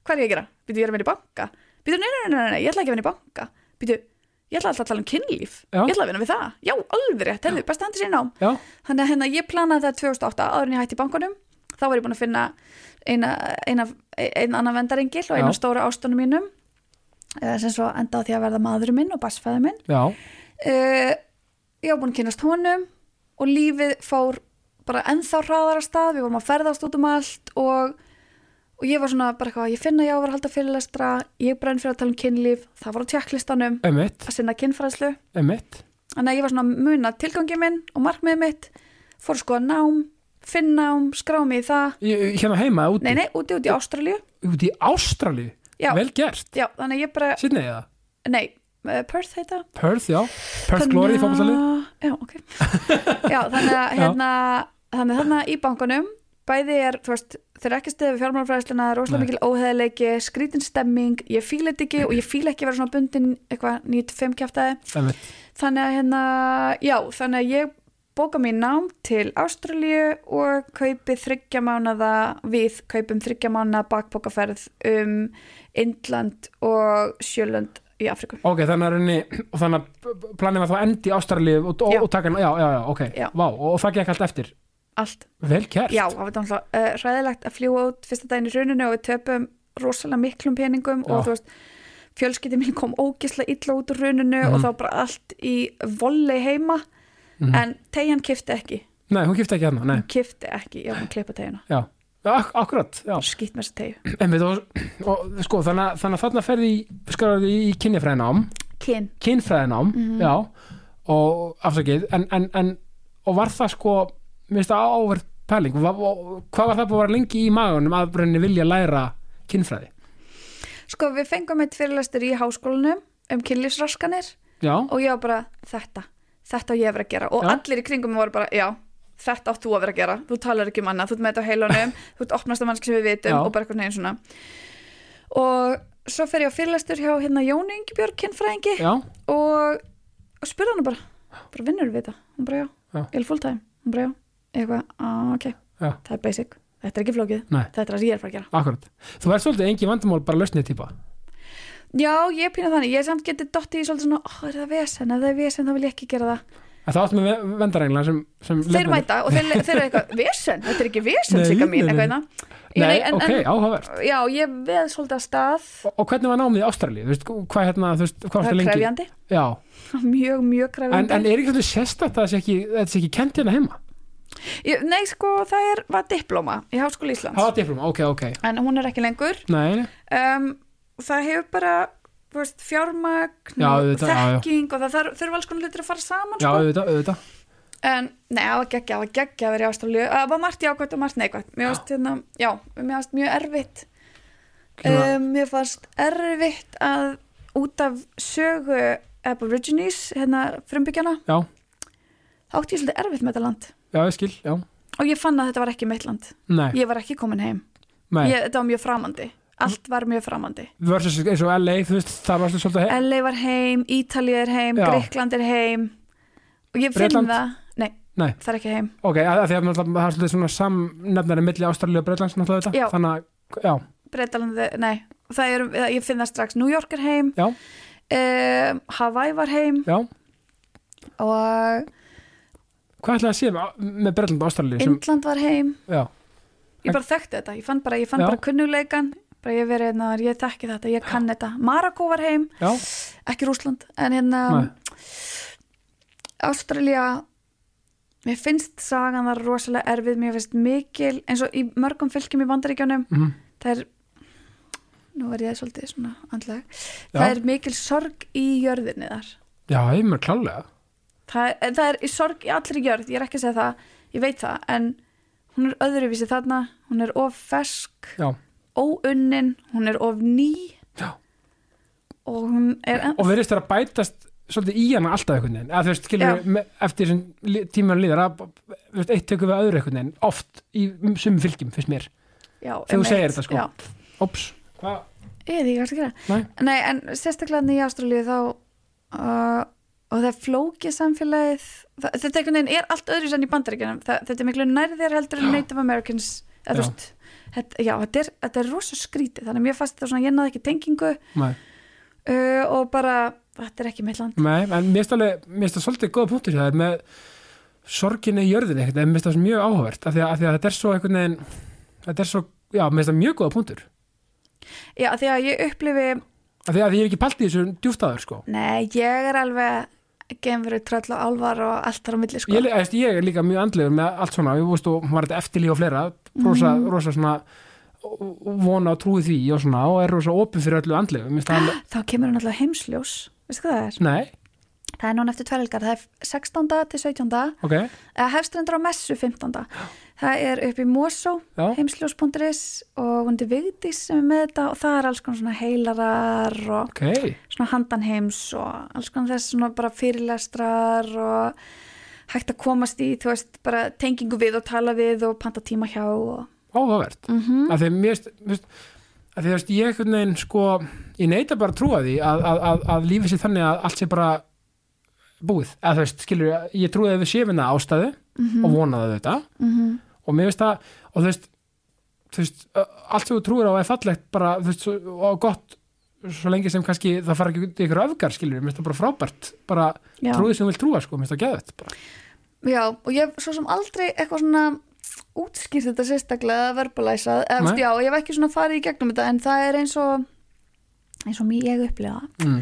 Speaker 3: hvað er ég að gera? Býtu, ég er að vinna í banka. Býtu, nei, nei, nei, nei, nei, ég ætla ekki að vinna í banka. Býtu, ég ætla alltaf að tala um kynlíf
Speaker 1: Já.
Speaker 3: ég ætla að vinna við það, já, alveg rétt herðu, best hendur sér nám
Speaker 1: Já.
Speaker 3: þannig að hérna, ég planaði það 2008 áður en ég hætti í bankunum þá var ég búin að finna eina, eina, eina annan vendarengil og eina
Speaker 1: Já.
Speaker 3: stóra ástunum mínum eh, sem svo endaði á því að verða maðurinn minn og basfæður minn
Speaker 1: já,
Speaker 3: uh, ég var búin að kynast honum og lífið fór bara ennþá hraðara stað, við vorum að ferðast út um allt og, og ég var svona bara eitthvað, ég finna ég á að vera að halda fyrirlestra ég brenn fyrir að tala um kynlíf, það var á tjekklistanum
Speaker 1: emitt,
Speaker 3: að sinna kynfræðslu
Speaker 1: emitt
Speaker 3: þannig að ég var svona að muna tilgangi minn og markmiðið mitt, fór sko að nám finn nám, skrá mig í það
Speaker 1: Hérna heima, úti,
Speaker 3: nei, nei, úti, úti í Ástralíu
Speaker 1: úti í Ástralíu
Speaker 3: Já.
Speaker 1: Vel gert,
Speaker 3: já, þannig að ég bara,
Speaker 1: sýnni ég það
Speaker 3: nei, eh, Perth heita
Speaker 1: Perth, já, Perth Glory fókbaltalið
Speaker 3: Já, ok. Já, þannig að hérna, þannig að þarna í bankanum, bæði er, þú veist, þeir eru ekki stefið við fjármálfræðsluna, rosalega
Speaker 1: Nei.
Speaker 3: mikil óheðileiki, skrítin stemming, ég fíla þetta ekki og ég fíla ekki að vera svona bundin eitthvað 9-5 kjæftæði.
Speaker 1: Emitt,
Speaker 3: Þannig að hérna, já, þannig að ég bóka mér nám til Ástralíu og kaupi þryggja mánada, við kaupum þryggja mánada bakbókaferð um Indland og Sjölönd í Afriku.
Speaker 1: ok, þannig að rauninni og þannig að planið var þá að endi í Ástralíu og, og,
Speaker 3: Já.
Speaker 1: og taka, hann- já, já, já, ok
Speaker 3: Já.
Speaker 1: Vá, og, og það gekk allt eftir,
Speaker 3: Allt
Speaker 1: vel gert
Speaker 3: Já, það var náttúrulega uh, ræðilegt að fljúa út fyrsta daginn í rauninu og við töpum rosalega miklum peningum og
Speaker 1: Já.
Speaker 3: þú veist fjölskyldi mín kom ógisla illa út úr rauninu
Speaker 1: Mhm.
Speaker 3: og þá bara allt í volley heima en Mm. tegjan kifti ekki
Speaker 1: Nei, hún gifti ekki hérna, Mhm. nei,
Speaker 3: kifti ekki, ég var búin að klippa tegjuna
Speaker 1: já Ak Akkurat, já
Speaker 3: skýtt með þessa tegju,
Speaker 1: En við og, og sko, þannig, að- þannig að þarna ferði í, skarði í kynjafræðinám,
Speaker 3: kyn
Speaker 1: kynfræðinám,
Speaker 3: Mhm.
Speaker 1: já, og afsakið, en, en, en, og var það sko, mér finnst það áverð pæling, og, og, hvað var það búið að vera lengi í magunum að reyni vilja læra kynfræði?
Speaker 3: Sko við fengum eitt fyrirlestur í háskólanum um kynlífsraskanir
Speaker 1: Já,
Speaker 3: og ég var bara þetta, þetta á ég að vera að gera og
Speaker 1: Já.
Speaker 3: allir í kringum mig voru bara, já þetta átt þú að vera að gera, þú talar ekki um annað þú ert með þetta á heilunum, þú ert opnast að mannski sem við vitum
Speaker 1: Já.
Speaker 3: og bara eitthvað neginn svona og svo fer ég á fyrirlestur hjá hérna Jóni Ingebjörg kynfræðingi
Speaker 1: já,
Speaker 3: og, og spurði hana bara, bara vinnur við þetta hún bara já,
Speaker 1: Já.
Speaker 3: ég er full time hún bara já, eitthvað, "Ah, ok
Speaker 1: Já.
Speaker 3: það er basic, þetta er ekki flókið
Speaker 1: Nei.
Speaker 3: þetta er það sem ég er að fara að gera
Speaker 1: akkurat. Þú verður svolítið engi vandamál bara lausnið típa.
Speaker 3: já, ég er pínað þannig, ég samt getið dottið í svolítið svona, ó, er það vesen, ef það er vesen þá vil ég ekki gera það
Speaker 1: En það áttum við vendarengla sem, sem
Speaker 3: þeir
Speaker 1: lifnar-
Speaker 3: mæta og þeir, þeir eru eitthvað vesen, þetta er ekki vesen
Speaker 1: Nei,
Speaker 3: sigga
Speaker 1: nei, nei.
Speaker 3: mín, eitthvað hérna. einna
Speaker 1: Nei, ok, áhugavert.
Speaker 3: en, já, ég veð svolítið að stað
Speaker 1: Og, og hvernig var námið í Ástralíu? Þú veist, hvað hérna, þú veist, hvað var það
Speaker 3: það er
Speaker 1: lengi?
Speaker 3: krefjandi,
Speaker 1: Já,
Speaker 3: mjög, mjög
Speaker 1: en,
Speaker 3: krefjandi
Speaker 1: en er ekki svolítið sérstætt að það sé ekki, þetta sé ekki kent hérna heima?
Speaker 3: ég, nei, sko, það er, var diploma í Háskóla Íslands
Speaker 1: Það var diploma, ok, ok.
Speaker 3: en hún er ekki lengur
Speaker 1: Nei, nei.
Speaker 3: um, það hefur bara þú veist, fjármagn
Speaker 1: Já,
Speaker 3: og
Speaker 1: auðvitað, já, já.
Speaker 3: þekking og það þarf- þurfa alls konar hlutir að fara saman
Speaker 1: já,
Speaker 3: sko.
Speaker 1: auðvitað, auðvitað.
Speaker 3: en nei, það var geggja, það var geggja að vera í ástaflíu það var margt jákvæmt og margt neikvæmt mér varst, hérna, já, mér varst mjög erfitt
Speaker 1: Svona-
Speaker 3: um, mér fannst erfitt að út af sögu Aborigines, hérna frumbyggjana
Speaker 1: Já,
Speaker 3: þá átti ég svolítið erfitt með þetta land
Speaker 1: já, ég skil, já.
Speaker 3: og ég fann að þetta var ekki mitt land
Speaker 1: Nei,
Speaker 3: ég var ekki komin heim,
Speaker 1: nei.
Speaker 3: ég, þetta var mjög framandi allt var mjög framandi
Speaker 1: Versus eins og LA, þú veist, það var svolítið heim.
Speaker 3: LA var heim, Ítalið er heim,
Speaker 1: Já.
Speaker 3: Greikland er heim og ég finn
Speaker 1: Bretland?
Speaker 3: það nei,
Speaker 1: Nei.
Speaker 3: það er ekki heim
Speaker 1: Ok, að, að því að náttúrulega það er svolítið svona samnefnari milli Ástralíu og Breitlands náttúrulega þetta.
Speaker 3: Já.
Speaker 1: Þannig að, já,
Speaker 3: Breitland, nei, það er, ég finn það strax New York er heim
Speaker 1: Já.
Speaker 3: um, Hawaii var heim
Speaker 1: já.
Speaker 3: og
Speaker 1: Hvað ætlaði að sé með, með Breitland og Ástralíu? Sem,
Speaker 3: Indland var heim
Speaker 1: já,
Speaker 3: ég bara þekkti þetta, ég fann bara, ég fann
Speaker 1: Já.
Speaker 3: bara kunnuleikan bara ég verið hérna, ég þekki þetta, ég kann þetta Marako var heim,
Speaker 1: já,
Speaker 3: ekki Rúsland en hérna
Speaker 1: nei,
Speaker 3: Ástralja mér finnst sagan þar rosalega erfið mér finnst mikil, eins og í mörgum fylgjum í bandaríkjónum,
Speaker 1: mhm,
Speaker 3: það er nú er ég svolítið svona andlega
Speaker 1: Já.
Speaker 3: það er mikil sorg í jörðinni þar
Speaker 1: já, ég mér klálega.
Speaker 3: það er, en það er í sorg í allri gjörð ég er ekki að segja það, ég veit það en hún er öðruvísi þarna hún er of fersk,
Speaker 1: Já.
Speaker 3: óunnin hún er of ný
Speaker 1: Já.
Speaker 3: og hún er en,
Speaker 1: Og verðist þér að bætast svolítið í hana alltaf einhvern veginn. Að þú veist, skilur
Speaker 3: Já.
Speaker 1: við, með- eftir þessum tíman líður að, þú veist, eitt tökum við öðru einhvern veginn. Oft í sumum fylgjum, finnst mér.
Speaker 3: já,
Speaker 1: Þegar
Speaker 3: einmitt,
Speaker 1: þú segir þetta, sko.
Speaker 3: já.
Speaker 1: Ops. Hvað?
Speaker 3: ég veit ekki hvað það gera
Speaker 1: Nei.
Speaker 3: Nei, en sérstaklega þarna í Ástralíu þá uh, og það er flókið samfélagið það, þetta einhvern veginn er allt öðru sem í bandaríkjunum það, þetta er miklu nærðir heldur en Native Americans eða,
Speaker 1: Já.
Speaker 3: þú veist, þetta, já, þetta er, þetta er rosa skrítið þannig að mér fannst þetta svona, ég náði ekki tengingu
Speaker 1: Nei.
Speaker 3: uh, og bara þetta er ekki mitt land
Speaker 1: Nei, en mér finnst alveg, mér finnst það svolítið góða punktur hjá þér með sorginni í jörðinni, einhvern veginn, mér finnst það mjög áhugavert af því að, af því að þetta er svo einhvern veginn þetta er svo, já, mér finnst það mjög góða punktur
Speaker 3: já, af því að ég upplifi
Speaker 1: af því að ég hef ekki pælt í þessu djúftaður, sko
Speaker 3: Nei, ég er alveg genfuru tröll og álvar og allt þar á milli sko.
Speaker 1: Ég, ég, veist, ég er líka mjög andlegur með allt svona, ég veist, og var þetta eftirlíf og fleira, rosa, rosa svona vona og trúi því og svona og er rosa opið fyrir öllu andlegu, mér finnst það alveg,
Speaker 3: Þá kemur hún alltaf heimsljós, veistu hvað það er?
Speaker 1: nei,
Speaker 3: Það er núna eftir tverlgar, það er 16. til 17.
Speaker 1: ok,
Speaker 3: eða hefst reyndar á messu 15. Það er upp í Mosó,
Speaker 1: Já.
Speaker 3: heimsljós.is og hún er Vigdís sem er með þetta og það er alls konar svona heilarar og
Speaker 1: ok,
Speaker 3: svona handan heims og alls konar þess svona bara fyrirlestrar og hægt að komast í, þú veist, bara tengingu við og tala við og panta tíma hjá og...
Speaker 1: áhugavert
Speaker 3: Mm
Speaker 1: af því að mér finnst- mér finnst- af því að þú veist, ég einhvern veginn sko ég neita bara að trúa því að, að, að, að lífið sér þannig að allt sé bara búið, eða þú veist, skilur ég, ég trúið að við séum hérna ástæðu og vonaði þetta og mér finnst það, og þú veist þú veist, ö, allt sem þú trúir á er fallegt bara, þú veist, svo- og gott svo lengi sem kannski það fara ekki út í ykkur öfgar skilur, mér finnst það bara frábært bara
Speaker 3: Já.
Speaker 1: trúið sem þú vilt trúa, sko, mér finnst það geðvett bara.
Speaker 3: Já, og ég hef svo sem aldrei eitthvað svona útskýrt þetta sérstaklega að verbalæsað, eða veist,
Speaker 1: Nei.
Speaker 3: já, ég hef ekki svona farið í gegnum þetta en það er eins og eins og mér ég upplifa
Speaker 1: Mm.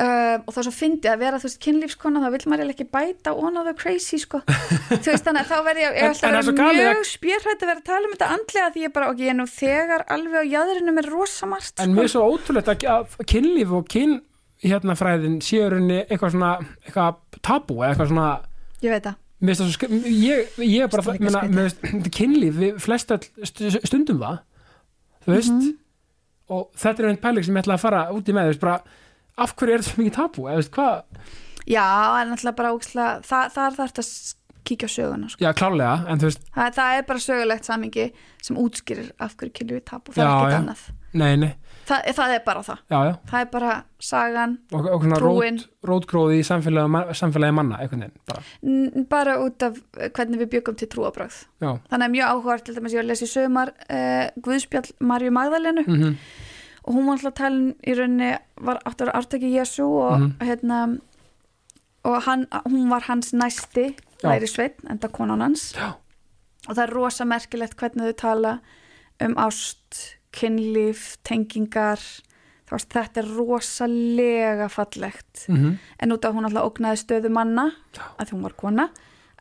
Speaker 3: uh, og þá svo fyndi að vera þú veist kynlífskona þá vill maður eiginlega ekki bæta on of the crazy sko, þú veist þannig að þá verði ég, ég
Speaker 1: En-
Speaker 3: ætla
Speaker 1: en það er
Speaker 3: að
Speaker 1: svo
Speaker 3: vera
Speaker 1: galið að-
Speaker 3: mjög spjörhætt að vera að tala um þetta andlega því ég bara, ok, ég er nú þegar alveg á jæðrinu með sko. rosamargt
Speaker 1: En mér er svo ótrúlegt að, að kynlíf og kyn hérna fræðin séu rauninni eitthvað svona eitthvað tabú eða eitthvað svona
Speaker 3: ég veit það,
Speaker 1: mér finnst það svo skri- ég, ég er bara
Speaker 3: Skrítið,
Speaker 1: meina,
Speaker 3: skrítið.
Speaker 1: mér finnst kynlíf við flest öll st- stundum það þú veist
Speaker 3: Mhm.
Speaker 1: og þetta er einn pæling sem ég ætla að fara út í með þú veist bara af hverju er þetta svo mikið tabú eða þú veist hvað
Speaker 3: já, en alltaf bara óksla, það, þar þarf þetta að kíkja á söguna sko.
Speaker 1: já klárlega en þú veist
Speaker 3: það, það er bara sögulegt samingi sem útskýrir af hverju kynlífi er tabú, það
Speaker 1: Já,
Speaker 3: er ekkert
Speaker 1: já.
Speaker 3: annað
Speaker 1: nei nei
Speaker 3: það, það er bara það,
Speaker 1: já já
Speaker 3: það er bara sagan
Speaker 1: og, og svona
Speaker 3: Trúin.
Speaker 1: rót, rótgróði í samfélagi, samfélagi manna einhvern veginn bara
Speaker 3: n- bara út af eh, hvernig við byggum til trúabröð
Speaker 1: já
Speaker 3: þannig er mjög áhugavert til dæmis ég var að lesa í sögumar uh, Guðspjall Marju Magdalenu
Speaker 1: mm
Speaker 3: og hún var alltaf talin í rauninni var átt að vera ártaki Jésu og
Speaker 1: Mhm.
Speaker 3: hérna og hann, hún var hans næsti
Speaker 1: Já.
Speaker 3: læri sveitn, enda konan hans
Speaker 1: Já.
Speaker 3: og það er rosa merkilegt hvernig þau tala um ást kynlíf, tengingar þú veist, þetta er rosalega fallegt
Speaker 1: -hmm.
Speaker 3: en út af hún alltaf ógnaði stöðu manna að því hún var kona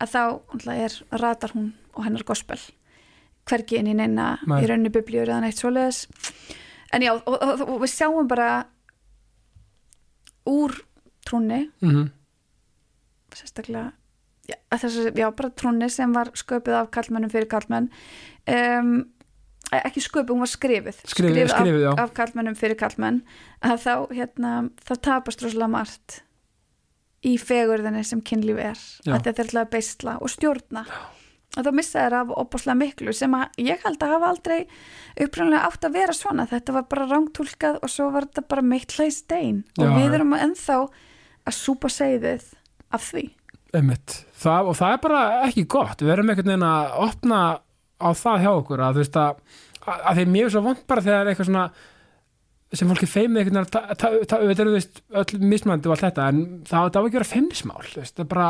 Speaker 3: að þá alltaf er ratar hún og hennar gospel hvergi inn í neina
Speaker 1: Nei.
Speaker 3: í raunni biblíur eða neitt svoleiðis en já, og, og, og við sjáum bara úr trúnni
Speaker 1: Mm -hmm.
Speaker 3: sérstaklega já, þessar, já, bara trúnni sem var sköpuð af kallmennum fyrir kallmenn um, ekki sköpuð, hún var skrifuð
Speaker 1: Skrifuð- skrifuð, já.
Speaker 3: af, af kallmennum fyrir kallmenn að þá, hérna, þá tapast rosalega margt í fegurðinni sem kynlíf er
Speaker 1: Já.
Speaker 3: að þetta er alltaf að beisla og stjórna og þá missa þær af opaslega miklu sem að ég held að hafa aldrei upprænlega átt að vera svona þetta var bara rángtúlkað og svo var þetta bara meitla í stein
Speaker 1: Já,
Speaker 3: og við
Speaker 1: já.
Speaker 3: erum ennþá að súpa segðið af því
Speaker 1: Einmitt. Það, og það er bara ekki gott við erum einhvern veginn að opna á það hjá okkur að þú veist að, að að því mér er svo vond bara þegar eitthvað svona sem fólki feimið einhvern veginn að ta- ta- ta- auðvitað eru þú veist öll mismandi og allt þetta en það það á ekki að vera feimnismál þú veist, það er bara,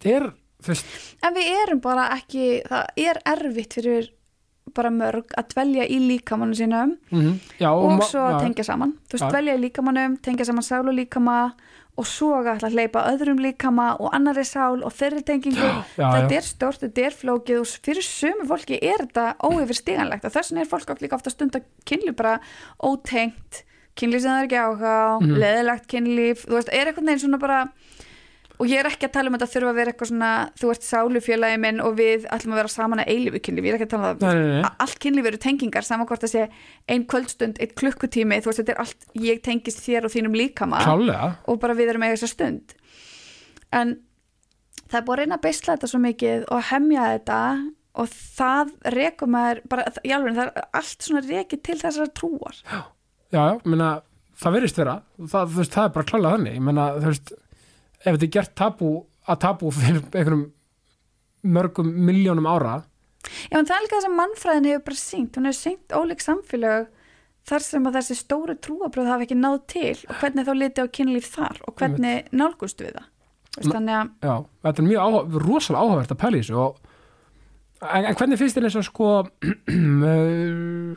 Speaker 1: það er þú veist,
Speaker 3: En við erum bara ekki, það er erfitt fyrir bara mörg að dvelja í líkamannu sínum
Speaker 1: já,
Speaker 3: Mhm. og,
Speaker 1: ma-
Speaker 3: svo
Speaker 1: já,
Speaker 3: tengja saman. Þú veist,
Speaker 1: Já.
Speaker 3: dvelja í líkamannum, tengja saman sál og líkama og svo að ætla að hleypa öðrum líkama og annari sál og þeirri tengingu.
Speaker 1: já,
Speaker 3: þetta
Speaker 1: já.
Speaker 3: er stort, þetta er flókið og fyrir sömu fólki er þetta óyfirstiganlegt og þess vegna er fólk okkur líka ofta stund að kynlu bara ótengt, kynlíf sem það er ekki áhuga, mm
Speaker 1: Mhm.
Speaker 3: leðilegt kynlíf, þú veist, er einhvern veginn svona bara og ég er ekki að tala um að þetta þurfa að vera eitthvað svona þú ert sálufélagi minn og við ætlum að vera saman að eilífu kynlíf, ég er ekki að tala
Speaker 1: Nei,
Speaker 3: um það
Speaker 1: nei, nei, nei.
Speaker 3: A- allt kynlíf eru tengingar saman hvort það sé ein kvöldstund, eitt klukkutími þú veist þetta er allt, ég tengist þér og þínum líkama
Speaker 1: klálega
Speaker 3: og bara við erum eiga þessa stund en það er búið að reyna að beisla þetta svo mikið og hemja þetta og það rekum maður bara, í alveg, það er allt svona rekið til þessar trúar
Speaker 1: já, já, menna, það verðist vera það, þú veist, það er bara klálega þannig Ég menna, þú veist, ef þetta er gert tabú að tabú fyrir einhverjum mörgum miljónum ára
Speaker 3: Já, en það er líka það sem mannfræðin hefur bara sínt, hún hefur sínt ólík samfélög þar sem að þessi stóru trúabröð hafa ekki náð til og hvernig þá liti á kynlíf þar og hvernig nálgust við það Þú veist, þannig að
Speaker 1: Já, þetta er mjög áhuga, rosalega áhugavert að pæla í þessu og En, en hvernig finnst þér eins og sko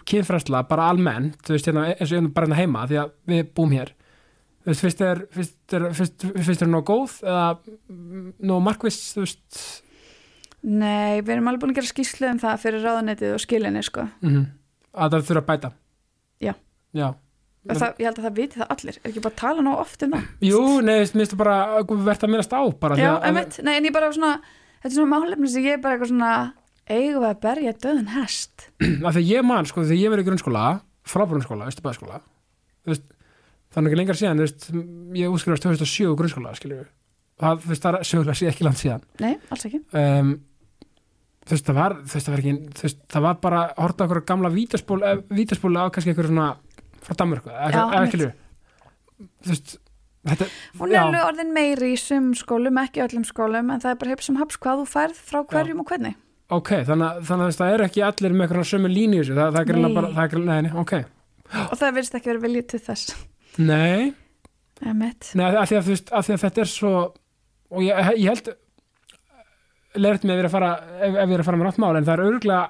Speaker 1: kynfræsla bara almennt, þú veist, hérna, eins og hérna bara hérna heima því að við búum hér þú veist, finnst þér, finnst þér, finnst, finnst þér nóg góð eða nóg markviss, þú veist
Speaker 3: nei, við erum alveg búin að gera skýslu um það fyrir ráðunetið og skilinni sko.
Speaker 1: mhm, að það þurfa að bæta
Speaker 3: Já.
Speaker 1: Já.
Speaker 3: Og það, ég held að það viti það allir, er ekki bara að tala nóg oft um það
Speaker 1: Jú, nei, þú veist, minnst þú bara sko, verðt að minnast á bara því
Speaker 3: Já,
Speaker 1: að-
Speaker 3: einmitt, nei, en ég bara svona þetta er svona málefni sem ég er bara eitthvað svona eigum við að berja döðan hest
Speaker 1: af því að ég man sko þegar ég verið í grunnskóla frá grunnskóla, austurbæðskóla veist, það er nú ekki lengar síðan þú veist, ég útskrifast 2007 úr grunnskóla skiljum við það, þú veist, það er sögulega síðan ekki langt síðan
Speaker 3: nei, alls ekki
Speaker 1: um, þú veist, það var, þú veist, það var ekki þú veist, það var bara að horta okkur gamla vítaspól eh, vítaspóla á kannski einhverju svona frá Danmörku, eða
Speaker 3: Já,
Speaker 1: eitthvað- eða
Speaker 3: einmitt.
Speaker 1: skiljum við þú veist, þetta
Speaker 3: hún er
Speaker 1: Já.
Speaker 3: alveg orðin meiri í sum skólum ekki í öllum skólum, en það er bara hefð sem haps hvað þú færð frá hverjum og hvernig
Speaker 1: Ok, þannig, að- þannig að þú veist, það eru ekki allir með eitthvað sömu línu í þessu, það, það er
Speaker 3: Nei.
Speaker 1: greinlega bara, það er greinlega, nei, nei, ok.
Speaker 3: og það virðist ekki verið viljið til þess
Speaker 1: Nei,
Speaker 3: einmitt,
Speaker 1: Nei, af því að, þú veist, af því að þetta er svo og ég, ég held leirt mig ef ég er að fara ef, ef ég er að fara með rátt mál, en það er örgulega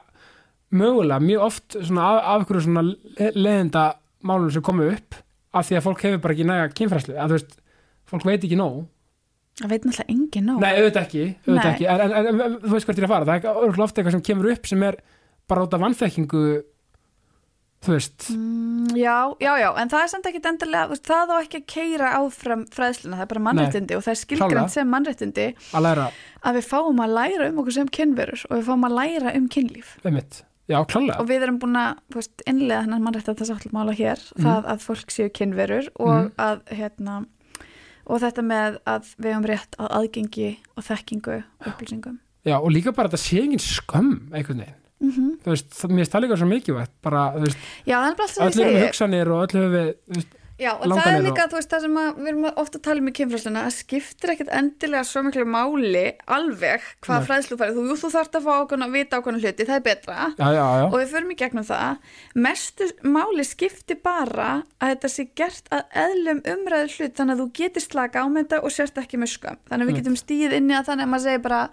Speaker 1: mögulega mjög oft svona af, af hverju svona le- leiðinda málum sem komu upp, af því að fólk hefur bara ekki næga kynfræslu, að þú veist fólk veit ekki nóg,
Speaker 3: það veit náttúrulega engin nóg
Speaker 1: nei, auðvitað ekki, auðvitað
Speaker 3: Nei.
Speaker 1: ekki. En, en, en, en þú veist hvert ég er að fara, það er örgulega ofta eitthvað sem kemur upp sem er bara út af vannþekkingu þú veist
Speaker 3: Mm, Já, já, já, en það er samt ekkit endilega, þú veist, það á ekki að keira áfram fræðsluna, það er bara mannréttindi og það er
Speaker 1: Klárlega.
Speaker 3: skilgrænt sem mannréttindi
Speaker 1: að læra
Speaker 3: að við fáum að læra um okkur sem kynverur og við fáum að læra um kynlíf
Speaker 1: um mitt, já, klálega
Speaker 3: og við erum búin að þú veist, innlega hennan mannréttandi sáttmála hér, það að fólk séu kynverur og að, hérna, og þetta með að við höfum rétt að aðgengi og þekkingu og upplýsingum.
Speaker 1: já, og líka bara þetta sé engin skömm einhvern veginn
Speaker 3: Mm
Speaker 1: þú veist, það, mér stæði eitthvað svo mikilvægt bara, þú veist,
Speaker 3: Já, það er bara allt sem
Speaker 1: öll
Speaker 3: ég
Speaker 1: eru með
Speaker 3: segi.
Speaker 1: hugsanir og öll hefur við, þú veist,
Speaker 3: Já, og það er
Speaker 1: langanir
Speaker 3: líka, þú veist, það sem að, við erum ofta að tala um í kynfræðsluna, það skiptir ekkit endilega svo miklu máli alveg hvað
Speaker 1: Nei.
Speaker 3: fræðslu færið. Þú, jú, þú þarft að fá ákveðna, vita ákveðna hluti, það er betra
Speaker 1: já, já, já
Speaker 3: og við förum í gegnum það. Mestu máli skiptir bara að þetta sé gert að eðlum umræðu hlut þannig að þú getur slaka á með þetta og sérst ekki muska. Þannig
Speaker 1: Mm.
Speaker 3: að við getum stíð inn í að þannig að maður segir bara,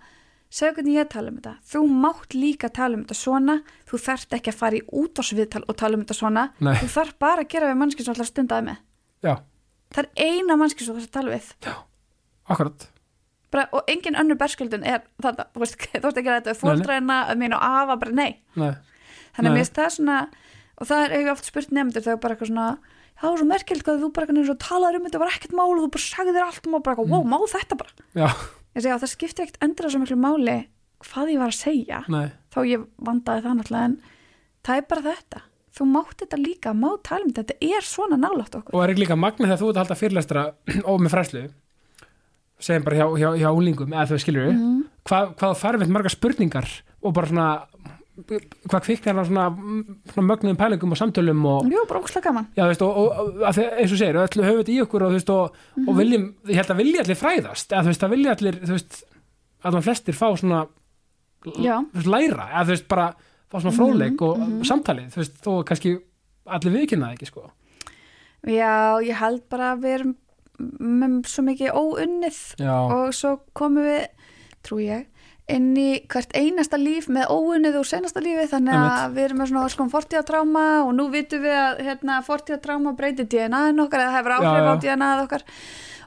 Speaker 3: segðu hvernig ég tala um þetta. Þú mátt líka tala um þetta svona, þú þarft ekki að fara í útásviðtal og tala um þetta svona,
Speaker 1: Nei.
Speaker 3: þú þarft bara að gera við mannski sem allar stundaði með.
Speaker 1: já,
Speaker 3: Það er eina mannski sem þú þarfst að tala við
Speaker 1: akkurat,
Speaker 3: bara, og engin önnur berskjöldun er þetta, þú veist, þú veist ekki að þetta er fóldræna að mín og afa, bara nei
Speaker 1: nei, Nei.
Speaker 3: þannig að mér finnst það svona og það er eiginlega oft spurt nefndur þegar bara eitthvað svona já, svo merkjöld hvað þú bara eitthvað eins og talaður um þetta var ekkert mál og þú bara sagði þér allt um og bara eitthvað,
Speaker 1: Mm.
Speaker 3: wow, má þetta bara
Speaker 1: já,
Speaker 3: ég segja, það skiptir ekkert endur svo miklu máli hvað ég var að segja
Speaker 1: nei
Speaker 3: þá ég vandaði það náttúrulega en það er bara þetta, þú mátt þetta líka má tala um þetta, þetta er svona nálátt okkur
Speaker 1: og er ekki líka magnið þegar þú ert að halda fyrirlestra og með fræslu segjum bara hjá, hjá, hjá úlingum, eða þú skilur mm. hvað, hvað þú farið með margar spurningar og bara svona hvað kviknar á svona, svona mögnuðum pælingum og samtölum og,
Speaker 3: Jú, bara ókslega gaman
Speaker 1: Já, þú veist, og, og, og að því- eins og segir, við ætlum höfum þetta í okkur og, þú veist, og, og
Speaker 3: Mhm.
Speaker 1: viljum, ég held að vilja allir fræðast, eða þú veist, að vilja allir, þú veist, allan flestir fá svona
Speaker 3: Já. Mhm,
Speaker 1: þú veist, læra, eða þú veist, bara fá svona fróðleik og samtalið, þú veist, þó að kannski allir viðkynnaði ekki, sko.
Speaker 3: Já, ég held bara að við erum með svo mikið óunnið
Speaker 1: Já,
Speaker 3: og svo komum við, trú ég, inn í hvert einasta líf með óunnið úr senasta lífi þannig að við erum með svona alls konar fortíðatráma og nú vitum við að hérna, fortíðatráma breytir DNA-in okkar eða hefur áhrif
Speaker 1: Já,
Speaker 3: á
Speaker 1: já.
Speaker 3: DNA-ið okkar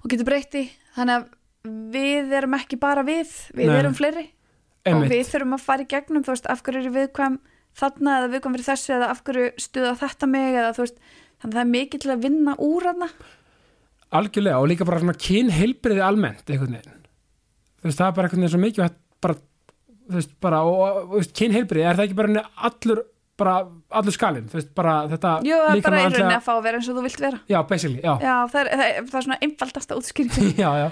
Speaker 3: og getur breyti þannig að við erum ekki bara við, við
Speaker 1: Nei.
Speaker 3: erum fleiri og
Speaker 1: einmitt,
Speaker 3: við þurfum að fara í gegnum þú veist, af hverju er viðkvæm þarna eða viðkvæm fyrir þessu eða af hverju stuða þetta mig eða þú veist, þannig að það er mikið til að vinna úr hana
Speaker 1: algjörlega og líka bara svona kynheilbriði almennt, einhvern veginn. Þú veist, það er bara einhvern veginn svo mikið bara, þú veist, bara, og, og þú veist, kynheilbriði, er það ekki bara henni allur, bara allur skalinn, þú veist, bara þetta
Speaker 3: Jú, það er
Speaker 1: líkam
Speaker 3: bara
Speaker 1: og
Speaker 3: í rauninni
Speaker 1: andlega-
Speaker 3: að fá að vera eins og þú vilt vera
Speaker 1: Já, basically, já.
Speaker 3: Já, það er, það er, það er svona einfaldasta útskýringin
Speaker 1: já, já.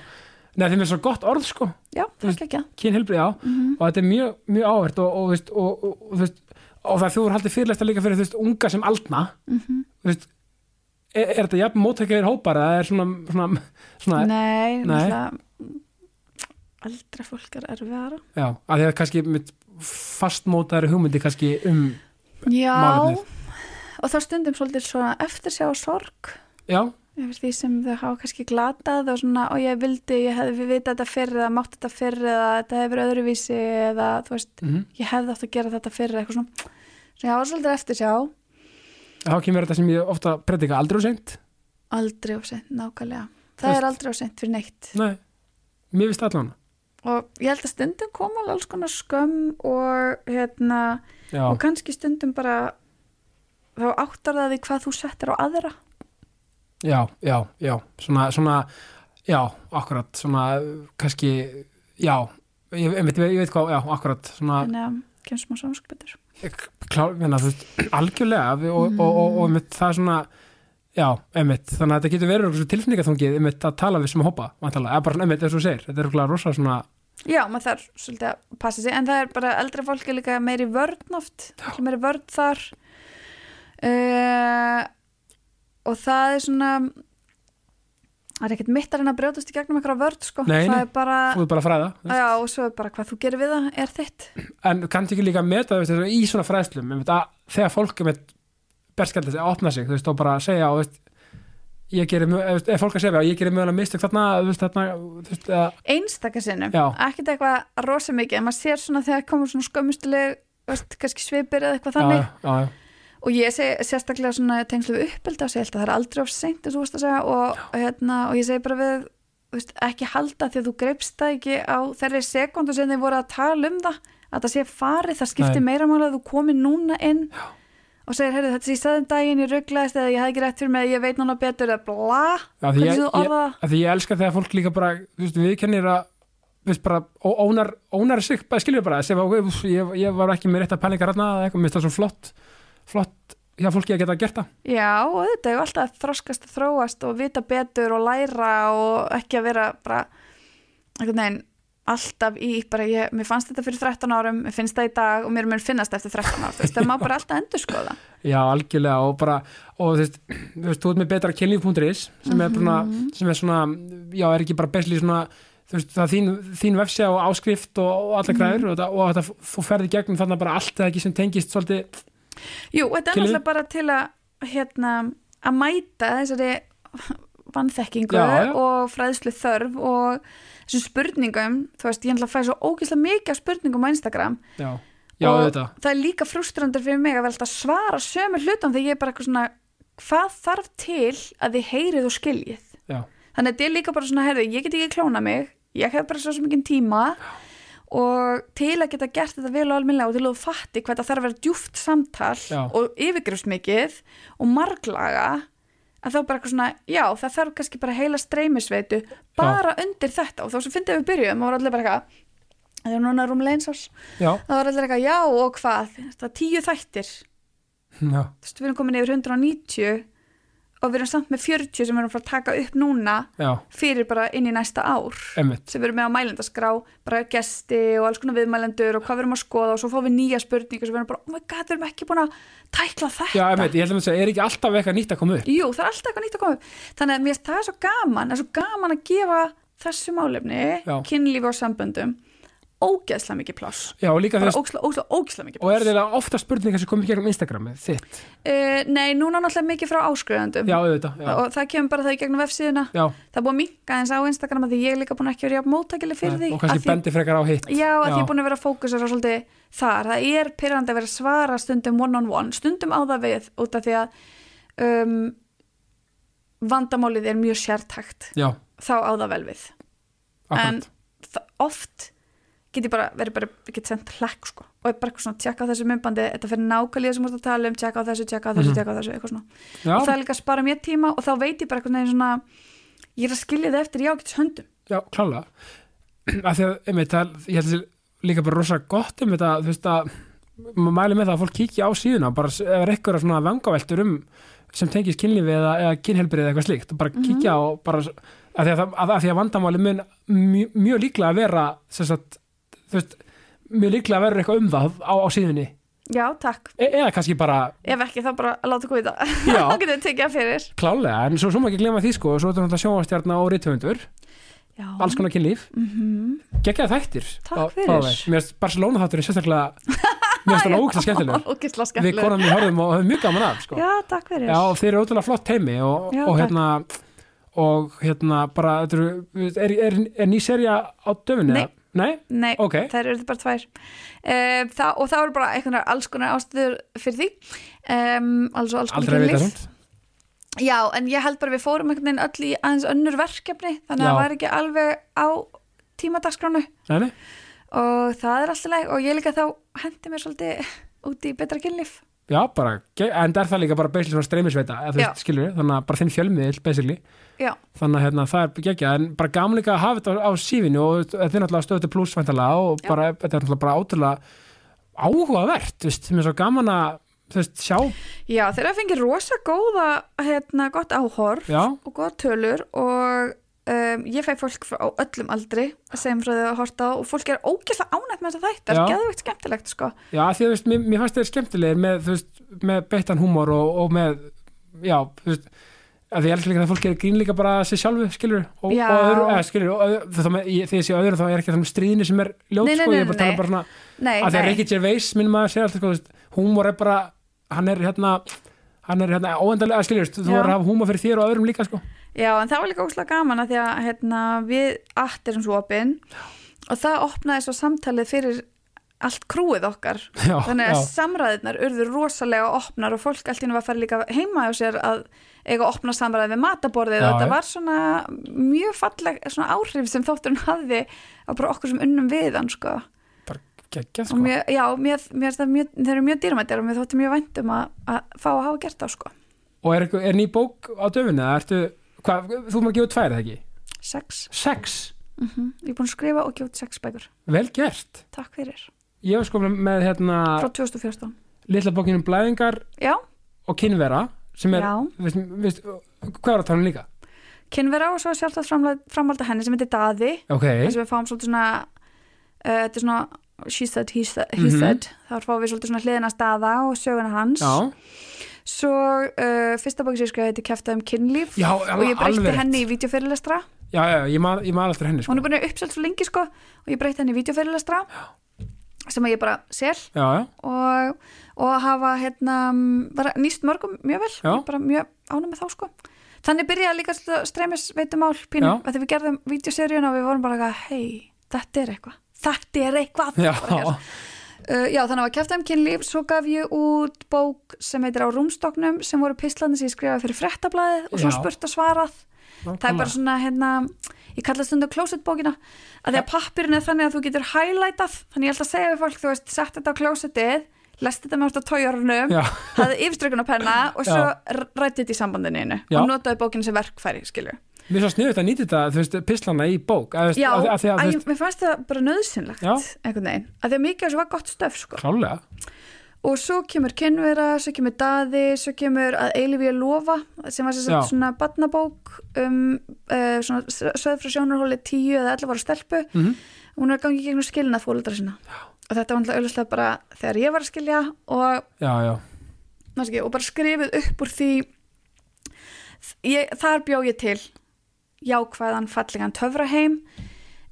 Speaker 1: Nei, þeim er svo gott orð, sko,
Speaker 3: Já, það er ekki
Speaker 1: kynhelbrið, já, og þetta er mjög, mjög áhvert og, og, veist, og, og, og, veist, og það þú er haldið fyrirlesta líka fyrir, þú veist, unga sem aldna, þú veist, er, er þetta jafn móttækjaðir hópar, eða er svona, svona, svona,
Speaker 3: Nei,
Speaker 1: Nei.
Speaker 3: náttúrulega mm, eldra fólk er erfiðara
Speaker 1: já, að því að kannski mitt fastmótaðari hugmyndi kannski um,
Speaker 3: Já,
Speaker 1: Málefnið.
Speaker 3: og þá stundum svolítið svona eftir sjá sorg
Speaker 1: já,
Speaker 3: yfir því sem þau hafa kannski glatað og svona, og ég vildi, ég hefði við vitað þetta fyrr eða mátt þetta fyrr eða þetta hefur öðruvísi eða þú veist,
Speaker 1: mhm.
Speaker 3: ég hefði átt að gera þetta fyrr eitthvað svona, svona ég hafa svolítið eftir sjá
Speaker 1: þá kemur þetta sem ég ofta predika aldrei og seint
Speaker 3: aldrei of sent, nákvæmlega
Speaker 1: Þú
Speaker 3: það
Speaker 1: veist-
Speaker 3: er aldrei of sent fyrir neitt
Speaker 1: nei, mér vist allan
Speaker 3: og ég held að stundum koma alveg alls konar skömm og hérna,
Speaker 1: já,
Speaker 3: og kannski stundum bara þá áttar það því hvað þú settir á aðra
Speaker 1: já, já, já svona, svona, já, akkurat svona, kannski, já ég, ég, veit, ég veit hvað, já, akkurat svona,
Speaker 3: þannig að kemur smá samskiptur
Speaker 1: klár, menna, þú veist, algjörlega við, og, og, og, og einmitt, það er svona já, einmitt, þannig að þetta getur verið einhversu tilfinningaþungið, einmitt að tala við sem hópa vantanlega, eða bara svona, einmitt, eins og þú segir, þetta er okkur rosa svona,
Speaker 3: já, maður þarf svolítið að passa sig en það er bara eldra fólk er líka meiri vörn oft ekki meiri vörn þar uh, og það er svona það er ekkert mitt að reyna að brjótast í gegnum einhverja vörn sko,
Speaker 1: Nei,
Speaker 3: það
Speaker 1: nei.
Speaker 3: er bara
Speaker 1: þú er bara að fræða þú veist.
Speaker 3: Já, og svo er bara hvað þú gerir við það er þitt.
Speaker 1: en kannski ekki líka að meta þú veist, þess að í svona fræðslum einmitt, að, þegar fólk er með berskjaldið að opna sig, þú veist, og bara að segja og, þú veist, ég gerir, mö- ef ef fólk að segja já, ég gerir mögulega mistök þarna, þú veist, þarna þú veist, að,
Speaker 3: Einstaka sinnum,
Speaker 1: Já.
Speaker 3: ekkert eitthvað rosa mikið, en maður sér svona þegar komur svona skömmustileg, veist, kannski svipir eða eitthvað
Speaker 1: já,
Speaker 3: þannig.
Speaker 1: já, já,
Speaker 3: Og ég seg sérstaklega svona í tengslu við uppeldi og segja að það er aldrei of seint, eins og þú veist að segja, og, hérna, og ég segi bara við, þú veist, ekki halda því að þú greipst það ekki á þeirri sekundu sem þið voru að tala um það, að það sé farið, það skiptir meira mála að þú komir núna inn Já. og segir, heyrðu, þetta sé í staðum daginn, ég rugglaðist eða ég hafði ekki rétt fyrir mig, ég veit núna betur eða bla,
Speaker 1: Já, því
Speaker 3: hvernig
Speaker 1: ég-
Speaker 3: þú
Speaker 1: ég-
Speaker 3: orða það?
Speaker 1: að því ég elska þegar fólk líka bara þú veist, viðkennir að þú veist, bara, ó- ónar, ónar sig, bara skilur bara sem, okay, úff, ég, ég var ekki með rétt að pælinga rætna eða eitthvað, mér finnst það svo flott flott hjá fólki að geta gert það
Speaker 3: Já, og þetta er alltaf að þroskast og þróast og vita betur og læra og ekki að vera bara einhvern veginn alltaf í bara ég, mér fannst þetta fyrir 13 árum mér finnst það í dag og mér mun finnast eftir 13 árum þú veist, það má bara alltaf endur skoða
Speaker 1: já, algjörlega og bara og þú veist, þú veist, þú ert með betra kynlíf.is sem, mm
Speaker 3: Mhm.
Speaker 1: sem er svona já, er ekki bara besli svona þú veist, það er þín, þín vefsja og áskrift og, og
Speaker 3: Mhm.
Speaker 1: allar græður og, það, og það, þú ferði gegnum þarna bara allt eða ekki sem tengist svolítið,
Speaker 3: Jú, og þetta er
Speaker 1: Kynlíf?
Speaker 3: náttúrulega bara til að hérna, að mæta þessari vannþekkingu
Speaker 1: Já, já.
Speaker 3: og fræðslu þörf og þessum spurningum þú veist, ég ætla að fæ svo ógeðslega mikið af spurningum á Instagram
Speaker 1: já, já,
Speaker 3: og
Speaker 1: þetta
Speaker 3: það er líka frústrandur fyrir mig að velta að svara sömu hlutum þegar ég er bara eitthvað svona hvað þarf til að þið heyrið og skiljið
Speaker 1: Já.
Speaker 3: þannig að þetta er líka bara svona herðu, ég get ekki klóna mig ég hef bara svo sem ekki tíma og til að geta gert þetta vel og alminlega og til að þú fatti hvað það þarf að vera djúft samtal
Speaker 1: Já.
Speaker 3: og yfirgrifsmikið og marglaga að þá bara eitthvað svona, já, það þarf kannski bara heila streymisveitu, bara undir þetta og þá svo fyndið við byrjuðum og voru allir bara eitthvað það er núna rúmlega eins árs
Speaker 1: já,
Speaker 3: Það var allir eitthvað, já og hvað, það er tíu þættir,
Speaker 1: já,
Speaker 3: þú veist, við erum komin yfir 190 og við erum samt með 40 sem við erum frá að taka upp núna
Speaker 1: já,
Speaker 3: fyrir bara inn í næsta ár
Speaker 1: emmitt
Speaker 3: sem við erum með á mælendaskrá, bara gesti og alls konar viðmælendur og hvað við erum að skoða og svo fáum við nýja spurningar sem við erum bara, oh my god, við erum ekki búin að tækla þetta.
Speaker 1: Já, einmitt, ég ætlum að segja, er ekki alltaf eitthvað nýtt að koma upp?
Speaker 3: Jú, það er alltaf eitthvað nýtt að koma upp. Þannig að mér finnst það er svo gaman, það er svo gaman að gefa þessu málefni,
Speaker 1: Já.
Speaker 3: kynlífi og samböndum, ógeðslega mikið pláss.
Speaker 1: Já, og líka
Speaker 3: Bara
Speaker 1: þess,
Speaker 3: ógeðslega, ógeðslega, ógeðslega mikið
Speaker 1: og
Speaker 3: pláss.
Speaker 1: er þetta ofta spurningar sem komið gegnum Instagramið þitt?
Speaker 3: Uh, nei, núna náttúrulega mikið frá áskrifandum
Speaker 1: Já, auðvitað, já,
Speaker 3: og það kemur bara það í gegnum vefsíðuna
Speaker 1: já,
Speaker 3: það er búið að minka eins á Instagram að því ég er líka búin að ekki verið jafn móttækileg fyrir því
Speaker 1: Eh, og kannski
Speaker 3: Af því-
Speaker 1: bendi frekar á hitt.
Speaker 3: Já, að því ég er búin að vera að fókusera svolítið þar, það er pyrrandi að vera að svara stundum one on one, stundum á það við út af því að um, vandamálið er mjög sértakt
Speaker 1: Já,
Speaker 3: þá á það vel við en
Speaker 1: akkurat,
Speaker 3: það, oft get ég bara verið bara, ég get sendt hlæk sko og er bara eitthvað svona, tjekka á þessu myndbandi þetta fyrir nákvæmlega sem þú ert að tala um, tjekka á þessu, tjekka á þessu,
Speaker 1: Mhm.
Speaker 3: tjekka á þessu, eitthvað svona
Speaker 1: já,
Speaker 3: og það er líka að spara mér tíma og þá veit ég bara einhvern veginn svona ég er að skilja það eftir í ágætis höndum
Speaker 1: já, klála. Af því að, einmitt, það, er- ég held þessi líka bara rosa gott um þetta, þú veist að, maður mæli með það að fólk kíkja á síðuna, bara s- ef er eitthvað svona vangaveltur um sem tengist kynlífi eða, eða kynhelbrið eða eitthvað slíkt, og bara kíkja á, bara, s- af því að, það- af, af því að vandamáli mun mjög, mjög líklega að vera, sem sagt, þú veist, mjög líklega verður eitthvað um það á, á síðunni
Speaker 3: já, takk,
Speaker 1: e eða kannski bara
Speaker 3: ef ekki þá bara að láta góða þá
Speaker 1: já,
Speaker 3: getum við tekið það fyrir
Speaker 1: klálega, en svo, svo maður ekki glemma því sko, svo er þetta náttúrulega sjónvastjarna og rithöfundur
Speaker 3: já,
Speaker 1: alls konar kynlíf,
Speaker 3: Mhm.
Speaker 1: geggjaði þættir
Speaker 3: Takk
Speaker 1: Bá-
Speaker 3: fyrir.
Speaker 1: báðir. Mér finnst Barcelona þátturinn sérstaklega finnst hann ógislega skemmtilegur
Speaker 3: Ógislega
Speaker 1: við
Speaker 3: skemmtilegur
Speaker 1: konan við horfum og höfum mjög gaman af sko.
Speaker 3: Já, takk fyrir
Speaker 1: Já, þeir eru ótrúlega flott heimi og,
Speaker 3: Já,
Speaker 1: og
Speaker 3: takk.
Speaker 1: hérna og hérna bara þetta eru- er, er, er ný serja á döfunni?
Speaker 3: Nei.
Speaker 1: eða? Nei?
Speaker 3: Nei,
Speaker 1: Ok.
Speaker 3: þær eru bara tvær um, það, og það eru bara einhverjar alls konar ástöður fyrir því um, alls og alls konar
Speaker 1: Aldrei að vita
Speaker 3: kynlíf.
Speaker 1: samt
Speaker 3: Já, en ég held bara við fórum einhvern veginn öll í aðeins önnur verkefni þannig að
Speaker 1: Já.
Speaker 3: það var ekki alveg á tímadagskránu
Speaker 1: Nei, nei,
Speaker 3: og það er alltaf læg og ég líka þá hendi mér svolítið út í betra kynlíf
Speaker 1: já bara ge- en það er það líka bara basically svona streymisveita eða þú
Speaker 3: Já.
Speaker 1: veist, skilur þannig að bara þinn fjölmiðil basically
Speaker 3: Já,
Speaker 1: þannig að hérna, það er geggjað en bara gaman líka að hafa þetta á, á sífinu og þetta er náttúrulega stöðutu pluss væntanlega og
Speaker 3: Já.
Speaker 1: bara, þetta er náttúrulega bara ótrúlega áhugavert, þú veist, mér er svo gaman að þú veist, sjá,
Speaker 3: Já þeir eru fengið rosa góða hérna, gott áhorf
Speaker 1: já,
Speaker 3: og góða tölur og um, ég fæ fólk frá á öllum aldri sem frá því að horta á og fólk er ógeðslega ánægt með þetta þætt, það er
Speaker 1: Já.
Speaker 3: geðveikt skemmtilegt sko.
Speaker 1: já, því að þú veist, mér, mér fannst þeir skemmtilegir með, þú veist, með beittan húmor og, og með, já, þú veist að því ég elskar líka að fólk er grín líka bara að sér sjálfu, skilur, og,
Speaker 3: Já.
Speaker 1: og öðru, eða, skilur, og öðru, þá með, ég, þegar ég sé öðru þá er ekki þannig stríðinu sem er ljót,
Speaker 3: Nei, nei,
Speaker 1: sko, ég
Speaker 3: nei,
Speaker 1: er bara að
Speaker 3: nei,
Speaker 1: tala bara svona
Speaker 3: Nei,
Speaker 1: að því að
Speaker 3: nei.
Speaker 1: Ricky Gervais minn maður segja alltaf sko, þú veist, húmor er bara hann er hérna hann er hérna óendalega skiljast þú
Speaker 3: Já.
Speaker 1: voru að hafa húmor fyrir þér og öðrum líka sko.
Speaker 3: Já, en það var líka óslega gaman að því að hérna, við allt erum svo opinn og það opnaði svo samtalið fyrir allt krúið okkar
Speaker 1: já,
Speaker 3: þannig að
Speaker 1: já,
Speaker 3: samræðirnar urðu rosalega opnar og fólk allt í hennu var að fara líka heima á sér að eiga að opna samræði við mataborðið
Speaker 1: Já,
Speaker 3: og þetta
Speaker 1: já.
Speaker 3: var svona mjög falleg svona áhrif sem þótturinn hafði á bara okkur sem unnum við hann sko.
Speaker 1: geggja
Speaker 3: og
Speaker 1: sko.
Speaker 3: mér, já, mér, mér, það mjög, þeir eru mjög dýrmættir og mér þótti mjög vænt um að, að fá að hafa gert það sko.
Speaker 1: og er, einhver- er ný bók á döfunni eða ertu, hvað, þú maður gefur tvær eða ekki
Speaker 3: sex,
Speaker 1: sex,
Speaker 3: ég er búin að skrifa og gjótt sex bækur
Speaker 1: vel gert
Speaker 3: takk fyrir,
Speaker 1: ég var sko með hérna
Speaker 3: frá 2014
Speaker 1: litla bókinum blæðingar
Speaker 3: já,
Speaker 1: og kynvera sem er,
Speaker 3: já,
Speaker 1: veist, veist, hvað er að tala um líka?
Speaker 3: kynvera og svo sjálfsagt framla- framhalda henni sem heitir Daði
Speaker 1: ok,
Speaker 3: þess að við fáum svolítið svona uh, þetta er svona she said, he said, he
Speaker 1: Mhm.
Speaker 3: said. þá fáum við svolítið svona hliðina staða og söguna hans
Speaker 1: já,
Speaker 3: svo uh, fyrsta bók sem ég skrifaði heitir kæfta um kynlíf
Speaker 1: já
Speaker 3: og ég breytti
Speaker 1: alveg rétt.
Speaker 3: henni í videofyrirlestra
Speaker 1: já, já, ég maður ma alltaf henni sko.
Speaker 3: hún er búin að vera uppselt svo lengi sko og ég breytti henni í videofyrirlestra sem að ég bara sel
Speaker 1: já, já,
Speaker 3: og, og hafa hérna, m, bara nýst mörgum mjög vel
Speaker 1: Já.
Speaker 3: Ég er bara mjög ánum með þá sko þannig byrjaði líka streymis veitumál
Speaker 1: Já.
Speaker 3: pínum, að því við gerðum vídeoseríun og við vorum bara hei, þetta er eitthvað þetta er eitthvað
Speaker 1: já,
Speaker 3: Bara eitthvað. Uh, já, þannig að var kæftæm kynlíf, svo gaf ég út bók sem heitir á rúmstoknum sem voru pislandi sem ég skrifaði fyrir frettablaðið og svo
Speaker 1: Já.
Speaker 3: spurt og svarað það er
Speaker 1: nákvæmlega.
Speaker 3: bara svona, hérna, ég kalla stundu klósettbókina, að því að pappirinn er þannig að þú getur highlightað, þannig ég ætla að segja við fólk, þú veist, sett þetta á klósettið lest þetta með þetta tójörnum
Speaker 1: já,
Speaker 3: hafði yfirstrykun á penna og svo
Speaker 1: Já.
Speaker 3: rætti þetta í sambandinu einu
Speaker 1: Já.
Speaker 3: og notaði bókina sem verkfæri, skilju
Speaker 1: Mér er svo sniðut að nýta þetta, þú veist, pislana í bók að, þú veist,
Speaker 3: Já,
Speaker 1: að, að því að,
Speaker 3: að
Speaker 1: þú
Speaker 3: ég,
Speaker 1: veist,
Speaker 3: mér fannst það bara nöðsynlegt
Speaker 1: Já.
Speaker 3: einhvern veginn, að því að mikið af þessu var gott stöf sko.
Speaker 1: klálega
Speaker 3: og svo kemur kynvera, svo kemur daði svo kemur að eilífi að lofa sem var sem
Speaker 1: Já.
Speaker 3: sagt svona badnabók um, uh, svona söð frá sjónarhóli 10 eða 11 ára stelpu
Speaker 1: Mhm.
Speaker 3: hún er gangið gegnum skilnað fólundra sinna Já. og þetta var náttúrulega auðvitað bara þegar ég var að skilja og,
Speaker 1: Já, já,
Speaker 3: maður sé ekki, og bara skrifið upp úr því ég, þar bjó ég til jákvæðan fallegan töfraheim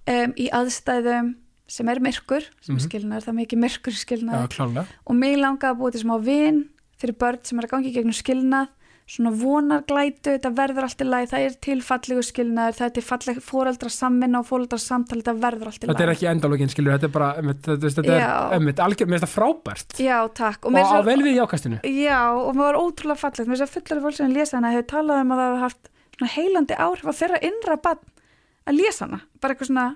Speaker 3: um, í aðstæðum sem er myrkur sem mm
Speaker 1: Mhm.
Speaker 3: skilnaður, það er mikið myrkur í
Speaker 1: já,
Speaker 3: skilnaði
Speaker 1: klálega
Speaker 3: og mig langaði að búa til smá vin fyrir börn sem er að gangi í gegnum skilnað svona vonarglætu, þetta verður allt í lagi það er til fallegu skilnaður, það er til falleg fóreldra samvinna og fóreldra samtali þetta verður allt í
Speaker 1: Þetta er
Speaker 3: lagi
Speaker 1: ekki endalógin, skilur, þetta er bara einmitt, þetta, þú veist, þetta er,
Speaker 3: Já.
Speaker 1: einmitt, algjör, mér finnst það frábært
Speaker 3: Já, takk
Speaker 1: og,
Speaker 3: meira
Speaker 1: og á
Speaker 3: svo-
Speaker 1: vel við í ákastinu
Speaker 3: Já, og maður var ótrúlega fallegt mér þess að fullar fólk sem lesa hana hefur talað um að það hafa haft svona heilandi áhrif á þeirra innra bann að lesa hana bara eitthvað svona,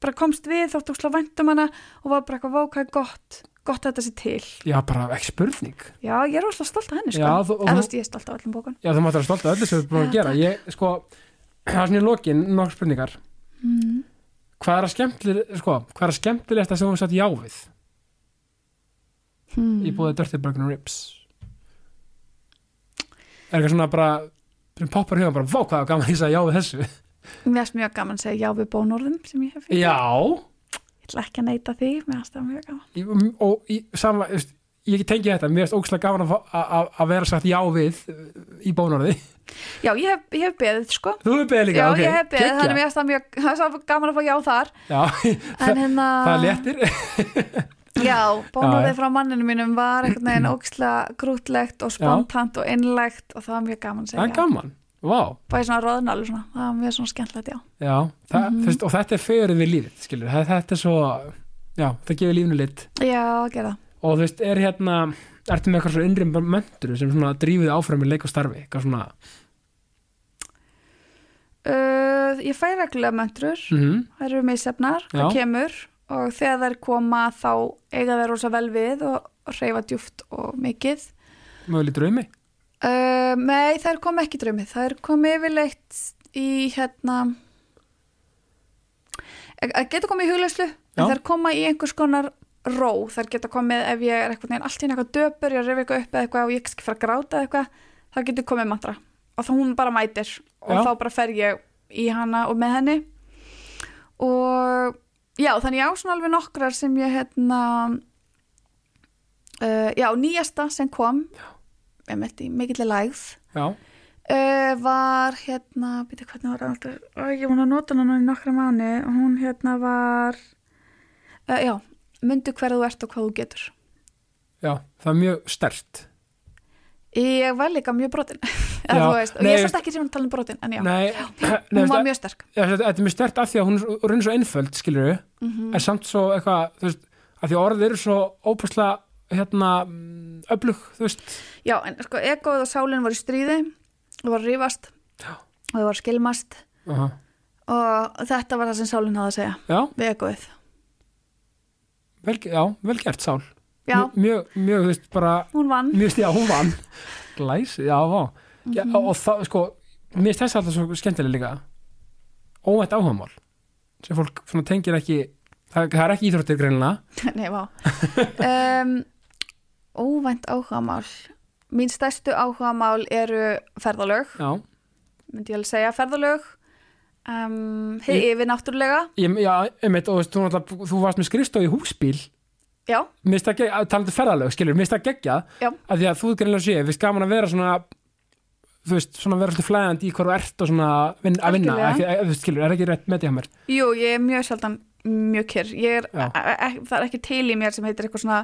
Speaker 3: bara komst við þótt óslega vænt um hana og var bara eitthvað vákaði gott, gott að þetta sé til
Speaker 1: Já, bara ekki spurning
Speaker 3: Já, ég er óslega stolt af henni sko.
Speaker 1: Já, þú- og
Speaker 3: eða þú
Speaker 1: hún-
Speaker 3: veist, ég er stolt af öllum bókun
Speaker 1: Já, þú mátt vera stolt af öllu sem við erum búin að
Speaker 3: Já,
Speaker 1: gera Ég, sko, það er svona í lokin, nokk spurningar
Speaker 3: mm.
Speaker 1: Hvað er að skemmtileg, sko, hvað er að skemmtilegsta sem hún satt já við
Speaker 3: hmm.
Speaker 1: í búið Dirty Burger and Ribs Er eitthvað svona bara sem poppar í hugan bara, vá hvað er gaman að ég sagði já við þessu
Speaker 3: Mér erst mjög gaman að segja já við bónorðum sem ég hef fengið.
Speaker 1: Já,
Speaker 3: Ég ætla ekki að neyta því, mér erst það mjög gaman
Speaker 1: Í- m- og í, sama, þú veist, ég tengi þetta, mér finnst ógslag gaman að fá- að að- að vera sagt já við uh, í bónorði
Speaker 3: Já, ég hef, ég hef beðið sko
Speaker 1: þú hefur beðið líka,
Speaker 3: Já,
Speaker 1: ok,
Speaker 3: ég hef beðið,
Speaker 1: geggjað.
Speaker 3: þannig mér erst það mjög það er svo gaman að fá já þar
Speaker 1: já,
Speaker 3: En hérna
Speaker 1: það er léttir,
Speaker 3: Já, já,
Speaker 1: Já, já.
Speaker 3: bónorðið frá manninu mínum var einhvern veginn ógislega grútlegt og spontant og innlegt og það var mjög gaman að
Speaker 1: það er
Speaker 3: segja,
Speaker 1: gaman, vá
Speaker 3: bæði svona roðnálu svona, það var mjög svona skemmtilegt, já
Speaker 1: Já, það,
Speaker 3: Mhm.
Speaker 1: mm og þetta er fegurinn við lífið, skilur, það, þetta er svo já, það gefur lífinu lit
Speaker 3: já, gera,
Speaker 1: og þú veist, er hérna ertu með eitthvað svona innri mentur sem svona drífið áfram í leik og starfi, eitthvað svona
Speaker 3: uh, ég fæ reglulega möntrur
Speaker 1: mm
Speaker 3: þær eru misjafnar,
Speaker 1: Já.
Speaker 3: það kemur og þegar þær koma þá eiga þær rosa vel við og reyfa djúft og mikið
Speaker 1: möguleg draumi
Speaker 3: uh, nei, þær kom ekki í draumi þær kom yfirleitt í hérna það geta komið í huglauslu
Speaker 1: Já.
Speaker 3: en þær koma í einhvers konar ró þær geta komið ef ég er eitthvað neginn allt í einu eitthvað döpur, ég er að reyfa eitthvað upp eða eitthvað og ég ekki fara að gráta eða eitthvað, það getur komið mantra og þá hún bara mætir og
Speaker 1: Já.
Speaker 3: þá bara fer ég í hana og með henni og já, þannig ég á svona alveg nokkrar sem ég hérna uh, já, nýjasta sem kom einmitt í mikill lægð
Speaker 1: Já,
Speaker 3: uh, var hérna, býta hvernig var aldrei, Æ, ég var að nota hana núna í nokkra mánu hún hérna var uh, já, myndu hver þú ert og hvað þú getur
Speaker 1: já, það er mjög stert
Speaker 3: ég var líka mjög brotin
Speaker 1: Já,
Speaker 3: Eða, þú veist, og
Speaker 1: nei,
Speaker 3: ég
Speaker 1: ég
Speaker 3: er satt ekki sem að tala um brotin en já,
Speaker 1: Nei, nei
Speaker 3: hún var
Speaker 1: veist, e-,
Speaker 3: mjög sterk
Speaker 1: Já, þetta þetta er mjög stert af því að hún er svo- hún er svo einföld, skilur við
Speaker 3: Mhm.
Speaker 1: en samt svo eitthvað, þú veist af því að orðið eru svo ópæslega hérna, mm, öflug, þú veist
Speaker 3: Já, en sko, egoið og sálinn voru í stríði og voru að rífast
Speaker 1: Já.
Speaker 3: og þau voru að skilmast
Speaker 1: Aha.
Speaker 3: og þetta var það sem sálinn hafði að segja
Speaker 1: Já,
Speaker 3: við egoið.
Speaker 1: vel, já, vel gert sál
Speaker 3: Já,
Speaker 1: Mjög- Mjög, mjög, þú veist, bara
Speaker 3: hún vann.
Speaker 1: Mér finnst ég að hún vann Glæsi, já, vá já, Og það, sko, mér finnst þess alltaf svo skemmtilega líka Óvænt áhugamál sem fólk svona tengir ekki það, það er ekki íþróttir greinilega
Speaker 3: Nei, vá. um, óvænt áhugamál. Mín stærstu áhugamál eru ferðalög,
Speaker 1: Já,
Speaker 3: myndi ég alveg segja ferðalög. Um, hið
Speaker 1: Ég-
Speaker 3: yfir náttúrulega,
Speaker 1: ég, já einmitt, og þú, veist, þú, náttúrulega- þú varst með skrifstof í húsbíl
Speaker 3: já,
Speaker 1: Mér finnst það gegja, talandi um ferðalög, skilur, mér finnst það gegja
Speaker 3: Já.
Speaker 1: að því að þú greinlega sé, við gaman að vera svona þú veist, svona vera alltaf flæðandi í hvað þú ert og svona vin, að vinna,
Speaker 3: Algjörlega.
Speaker 1: ekki, að, þú veist, skilur, er ekki rétt með því að mér
Speaker 3: jú, ég er mjög sjaldan mjög kyrr, ég er,
Speaker 1: Já.
Speaker 3: e- e- það er ekki til í mér sem heitir eitthvað svona,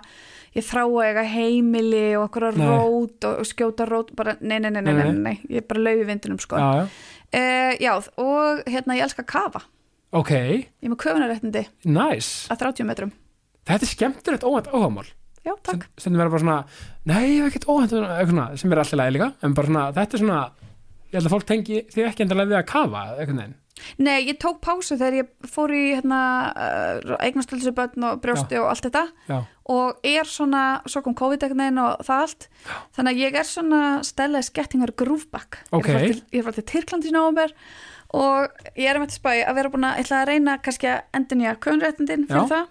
Speaker 3: ég þrá að eiga heimili og eitthvað
Speaker 1: Nei.
Speaker 3: rót og, og skjóta rót, bara nei, nei, nei, nei, nei, nei, nei. ég er bara lauf í vindunum sko.
Speaker 1: Já, já,
Speaker 3: Uh, já, og hérna ég elska að kafa
Speaker 1: ok,
Speaker 3: Ég er með köfunaréttindi
Speaker 1: nice
Speaker 3: að 30 metrum
Speaker 1: Þetta er skemmtilegt óvænt áhugamál
Speaker 3: Já, takk
Speaker 1: stundum vera bara svona nei, ég hef ekkert óhænt eitthvað svona, sem er alltaf lægi líka en bara svona, þetta er svona ég held að fólk tengi því ekki endalega við að kafa eitthvað neinn,
Speaker 3: Nei, ég tók pásu þegar ég fór í hérna, uh, eignastöldsu börn og brjósti og allt þetta
Speaker 1: já,
Speaker 3: og er svona, svo kom COVID-eknin og það allt þannig að ég er svona stella skettingar grúfbakk
Speaker 1: Ok.
Speaker 3: Ég er frá til Tyrklandi í nómur og ég er með til spæ að vera búin að, ætla að reyna kannski að endinja köfunaréttindin fyrir
Speaker 1: Já.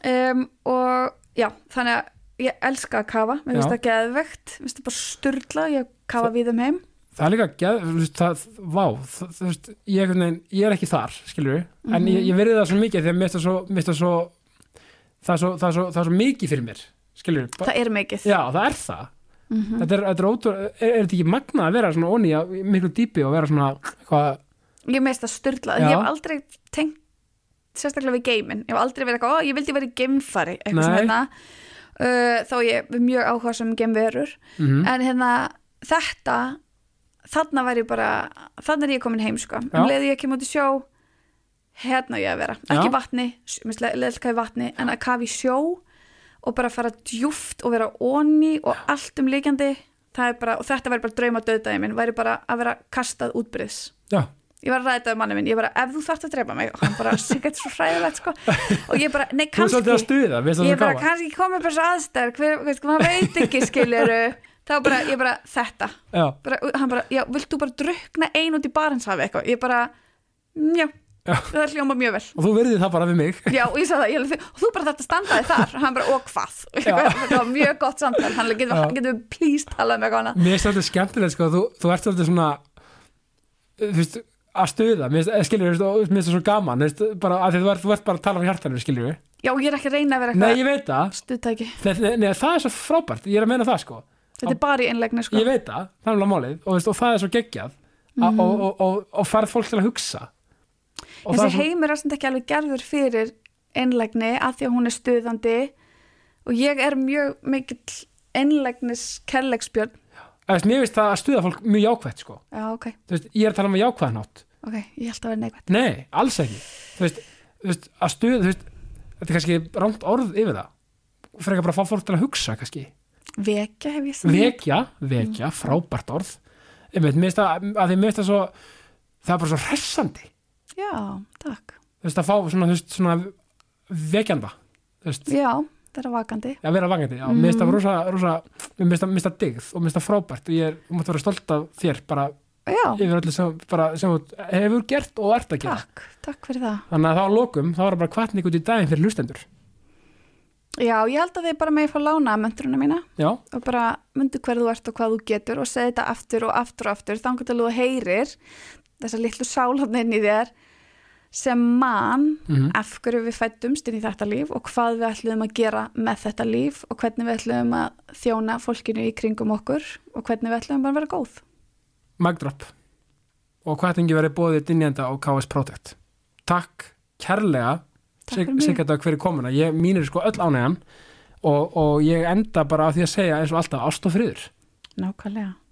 Speaker 3: það um, og já, þannig að ég elska að kafa, mér finnst
Speaker 1: Já.
Speaker 3: það geðvegt mér finnst það bara sturla, ég kafa við um heim
Speaker 1: það er líka geð, þú veist, það, vá, það, þú veist ég, einhvern veginn, ég er ekki þar, skilur en
Speaker 3: Mhm.
Speaker 1: ég, ég verið það svo mikið því að mér finnst það svo, mér finnst það svo það er svo, það er svo, það er svo mikið fyrir mér skilur, ba-
Speaker 3: það Mm. er mikið Mhm.
Speaker 1: já, það er það þetta er, þetta er ótrú, er, er þetta ekki magna að vera svona onni á miklu dýpi og vera svona hvað,
Speaker 3: ég meist það styrla,
Speaker 1: Já.
Speaker 3: ég hef aldrei tengt sérstaklega við geimin ég hef aldrei verið eitthvað, ó ég vildi verið geimfari
Speaker 1: Nei.
Speaker 3: eitthvað svona hérna. uh, þá ég er mjög áhuga sem geimverur
Speaker 1: mm -hmm,
Speaker 3: en hérna þetta þarna var ég bara, þarna er ég komin heim sko,
Speaker 1: Já.
Speaker 3: um leiði ég kem út í sjó hérna á ég að vera,
Speaker 1: Já.
Speaker 3: ekki vatni leðilka í vatni, en að kafa í sjó og bara fara djúft og vera onni og allt um líkjandi það er bara, og þetta væri bara drauma döðdæði minn væri bara að vera kastað útbyrðis
Speaker 1: já,
Speaker 3: ég var að ræða þetta um manni minn, ég bara ef þú þarft að drepa mig og hann bara, sér gæti svo hræðilegt sko. og ég bara, nei
Speaker 1: þú er svolítið að
Speaker 3: kannski
Speaker 1: stuða mér finnst það
Speaker 3: ég
Speaker 1: svo
Speaker 3: bara,
Speaker 1: gaman.
Speaker 3: kannski komið bara svo aðstæður hver, veist, maður veit ekki skiluru þá bara, ég bara, þetta
Speaker 1: já,
Speaker 3: bara, hann bara, já, vilt þú bara drukna ein út í barinsafi eitthvað, ég bara "Mm, já,
Speaker 1: Já.
Speaker 3: það hljóma mjög vel
Speaker 1: og þú verðið það bara við mig
Speaker 3: já, og ég sagði það, ég, alveg, og þú bara þetta standaði þar og hann bara, og hvað þetta var mjög gott samtal, hann
Speaker 1: Já.
Speaker 3: alveg, getum við- getum við please talað um eitthvað annað
Speaker 1: Mér finnst þetta skemmtilegt sko, þú, þú ert svolítið svona þú veist, að stuða mér finnst- eh, skilur, við, og mér finnst það svo gaman þú veist, bara, að þú ert, þú ert bara að tala frá hjartanum skilur við.
Speaker 3: já, og ég er ekki að reyna að vera
Speaker 1: Nei,
Speaker 3: eitthvað
Speaker 1: ég veit það
Speaker 3: stuðtæki,
Speaker 1: Nei, nei, nei, það er svo frábært, ég er að meina það sko
Speaker 3: þetta er bara í einlegni sko.
Speaker 1: Ég veit það, það er alveg málið og, þú veist, og það er svo geggjað
Speaker 3: Mhm.
Speaker 1: mm. og, og, og, og færð fólk til að hugsa og
Speaker 3: þessi
Speaker 1: er svo,
Speaker 3: heimur er samt ekki alveg gerður fyrir einlægni að því að hún er stuðandi og ég er mjög mikill einlægnis kellegsbjörn
Speaker 1: Æst, mér finnst það að stuða fólk mjög jákvætt sko.
Speaker 3: já ok,
Speaker 1: Þú veist, ég er að tala um að jákvæðan átt
Speaker 3: ok, ég held að vera neikvætt
Speaker 1: nei, alls ekki þú veist, þú veist, að stuða þú veist, þetta er kannski rámt orð yfir það frekar bara að fá fólk til að hugsa kannski
Speaker 3: vekja hef ég sagt
Speaker 1: vekja,
Speaker 3: Mm.
Speaker 1: vekja, frábært orð einmitt, mér finnst það, að því mér finnst það svo það er bara svo hressandi
Speaker 3: já, takk,
Speaker 1: þú veist, að fá svona, þú veist, svona vekjanda, þú veist
Speaker 3: já, það er vakandi
Speaker 1: að vera vangandi, já, mér finnst
Speaker 3: Mm.
Speaker 1: það rosa, rosa mér finnst það- mér finnst það digð og mér finnst það frábært og ég er, þú mátt vera stolt af þér bara
Speaker 3: já,
Speaker 1: yfir öllu sem, bara, sem þú hefur gert og ert að gera
Speaker 3: takk, takk fyrir það
Speaker 1: þannig að þá að lokum, þá var það bara kvartning út í daginn fyrir hlustendur
Speaker 3: já, ég held að þið bara meginn fá lána mönturuna mína
Speaker 1: já,
Speaker 3: og bara myndu hver þú ert og hvað þú getur og segja þetta aftur og aftur og aftur þangar til þú heyrir þessa litlu sálan inn í þér sem mann
Speaker 1: Mhm.
Speaker 3: af hverju við fættumst inn í þetta líf og hvað við ætlum að gera með þetta líf og hvernig við ætlum að þjóna fólkinu í kringum okkur og hvernig við ætlum bara að vera góð
Speaker 1: magdrop og kvartningi verið bóðið dynjanda og KS Protect takk kærlega
Speaker 3: Takk fyrir mig.
Speaker 1: Siggardag fyrir komuna, ég, mín er sko öll ánægjan og, og ég enda bara á því að segja eins og alltaf ást og friður
Speaker 3: Nákvæmlega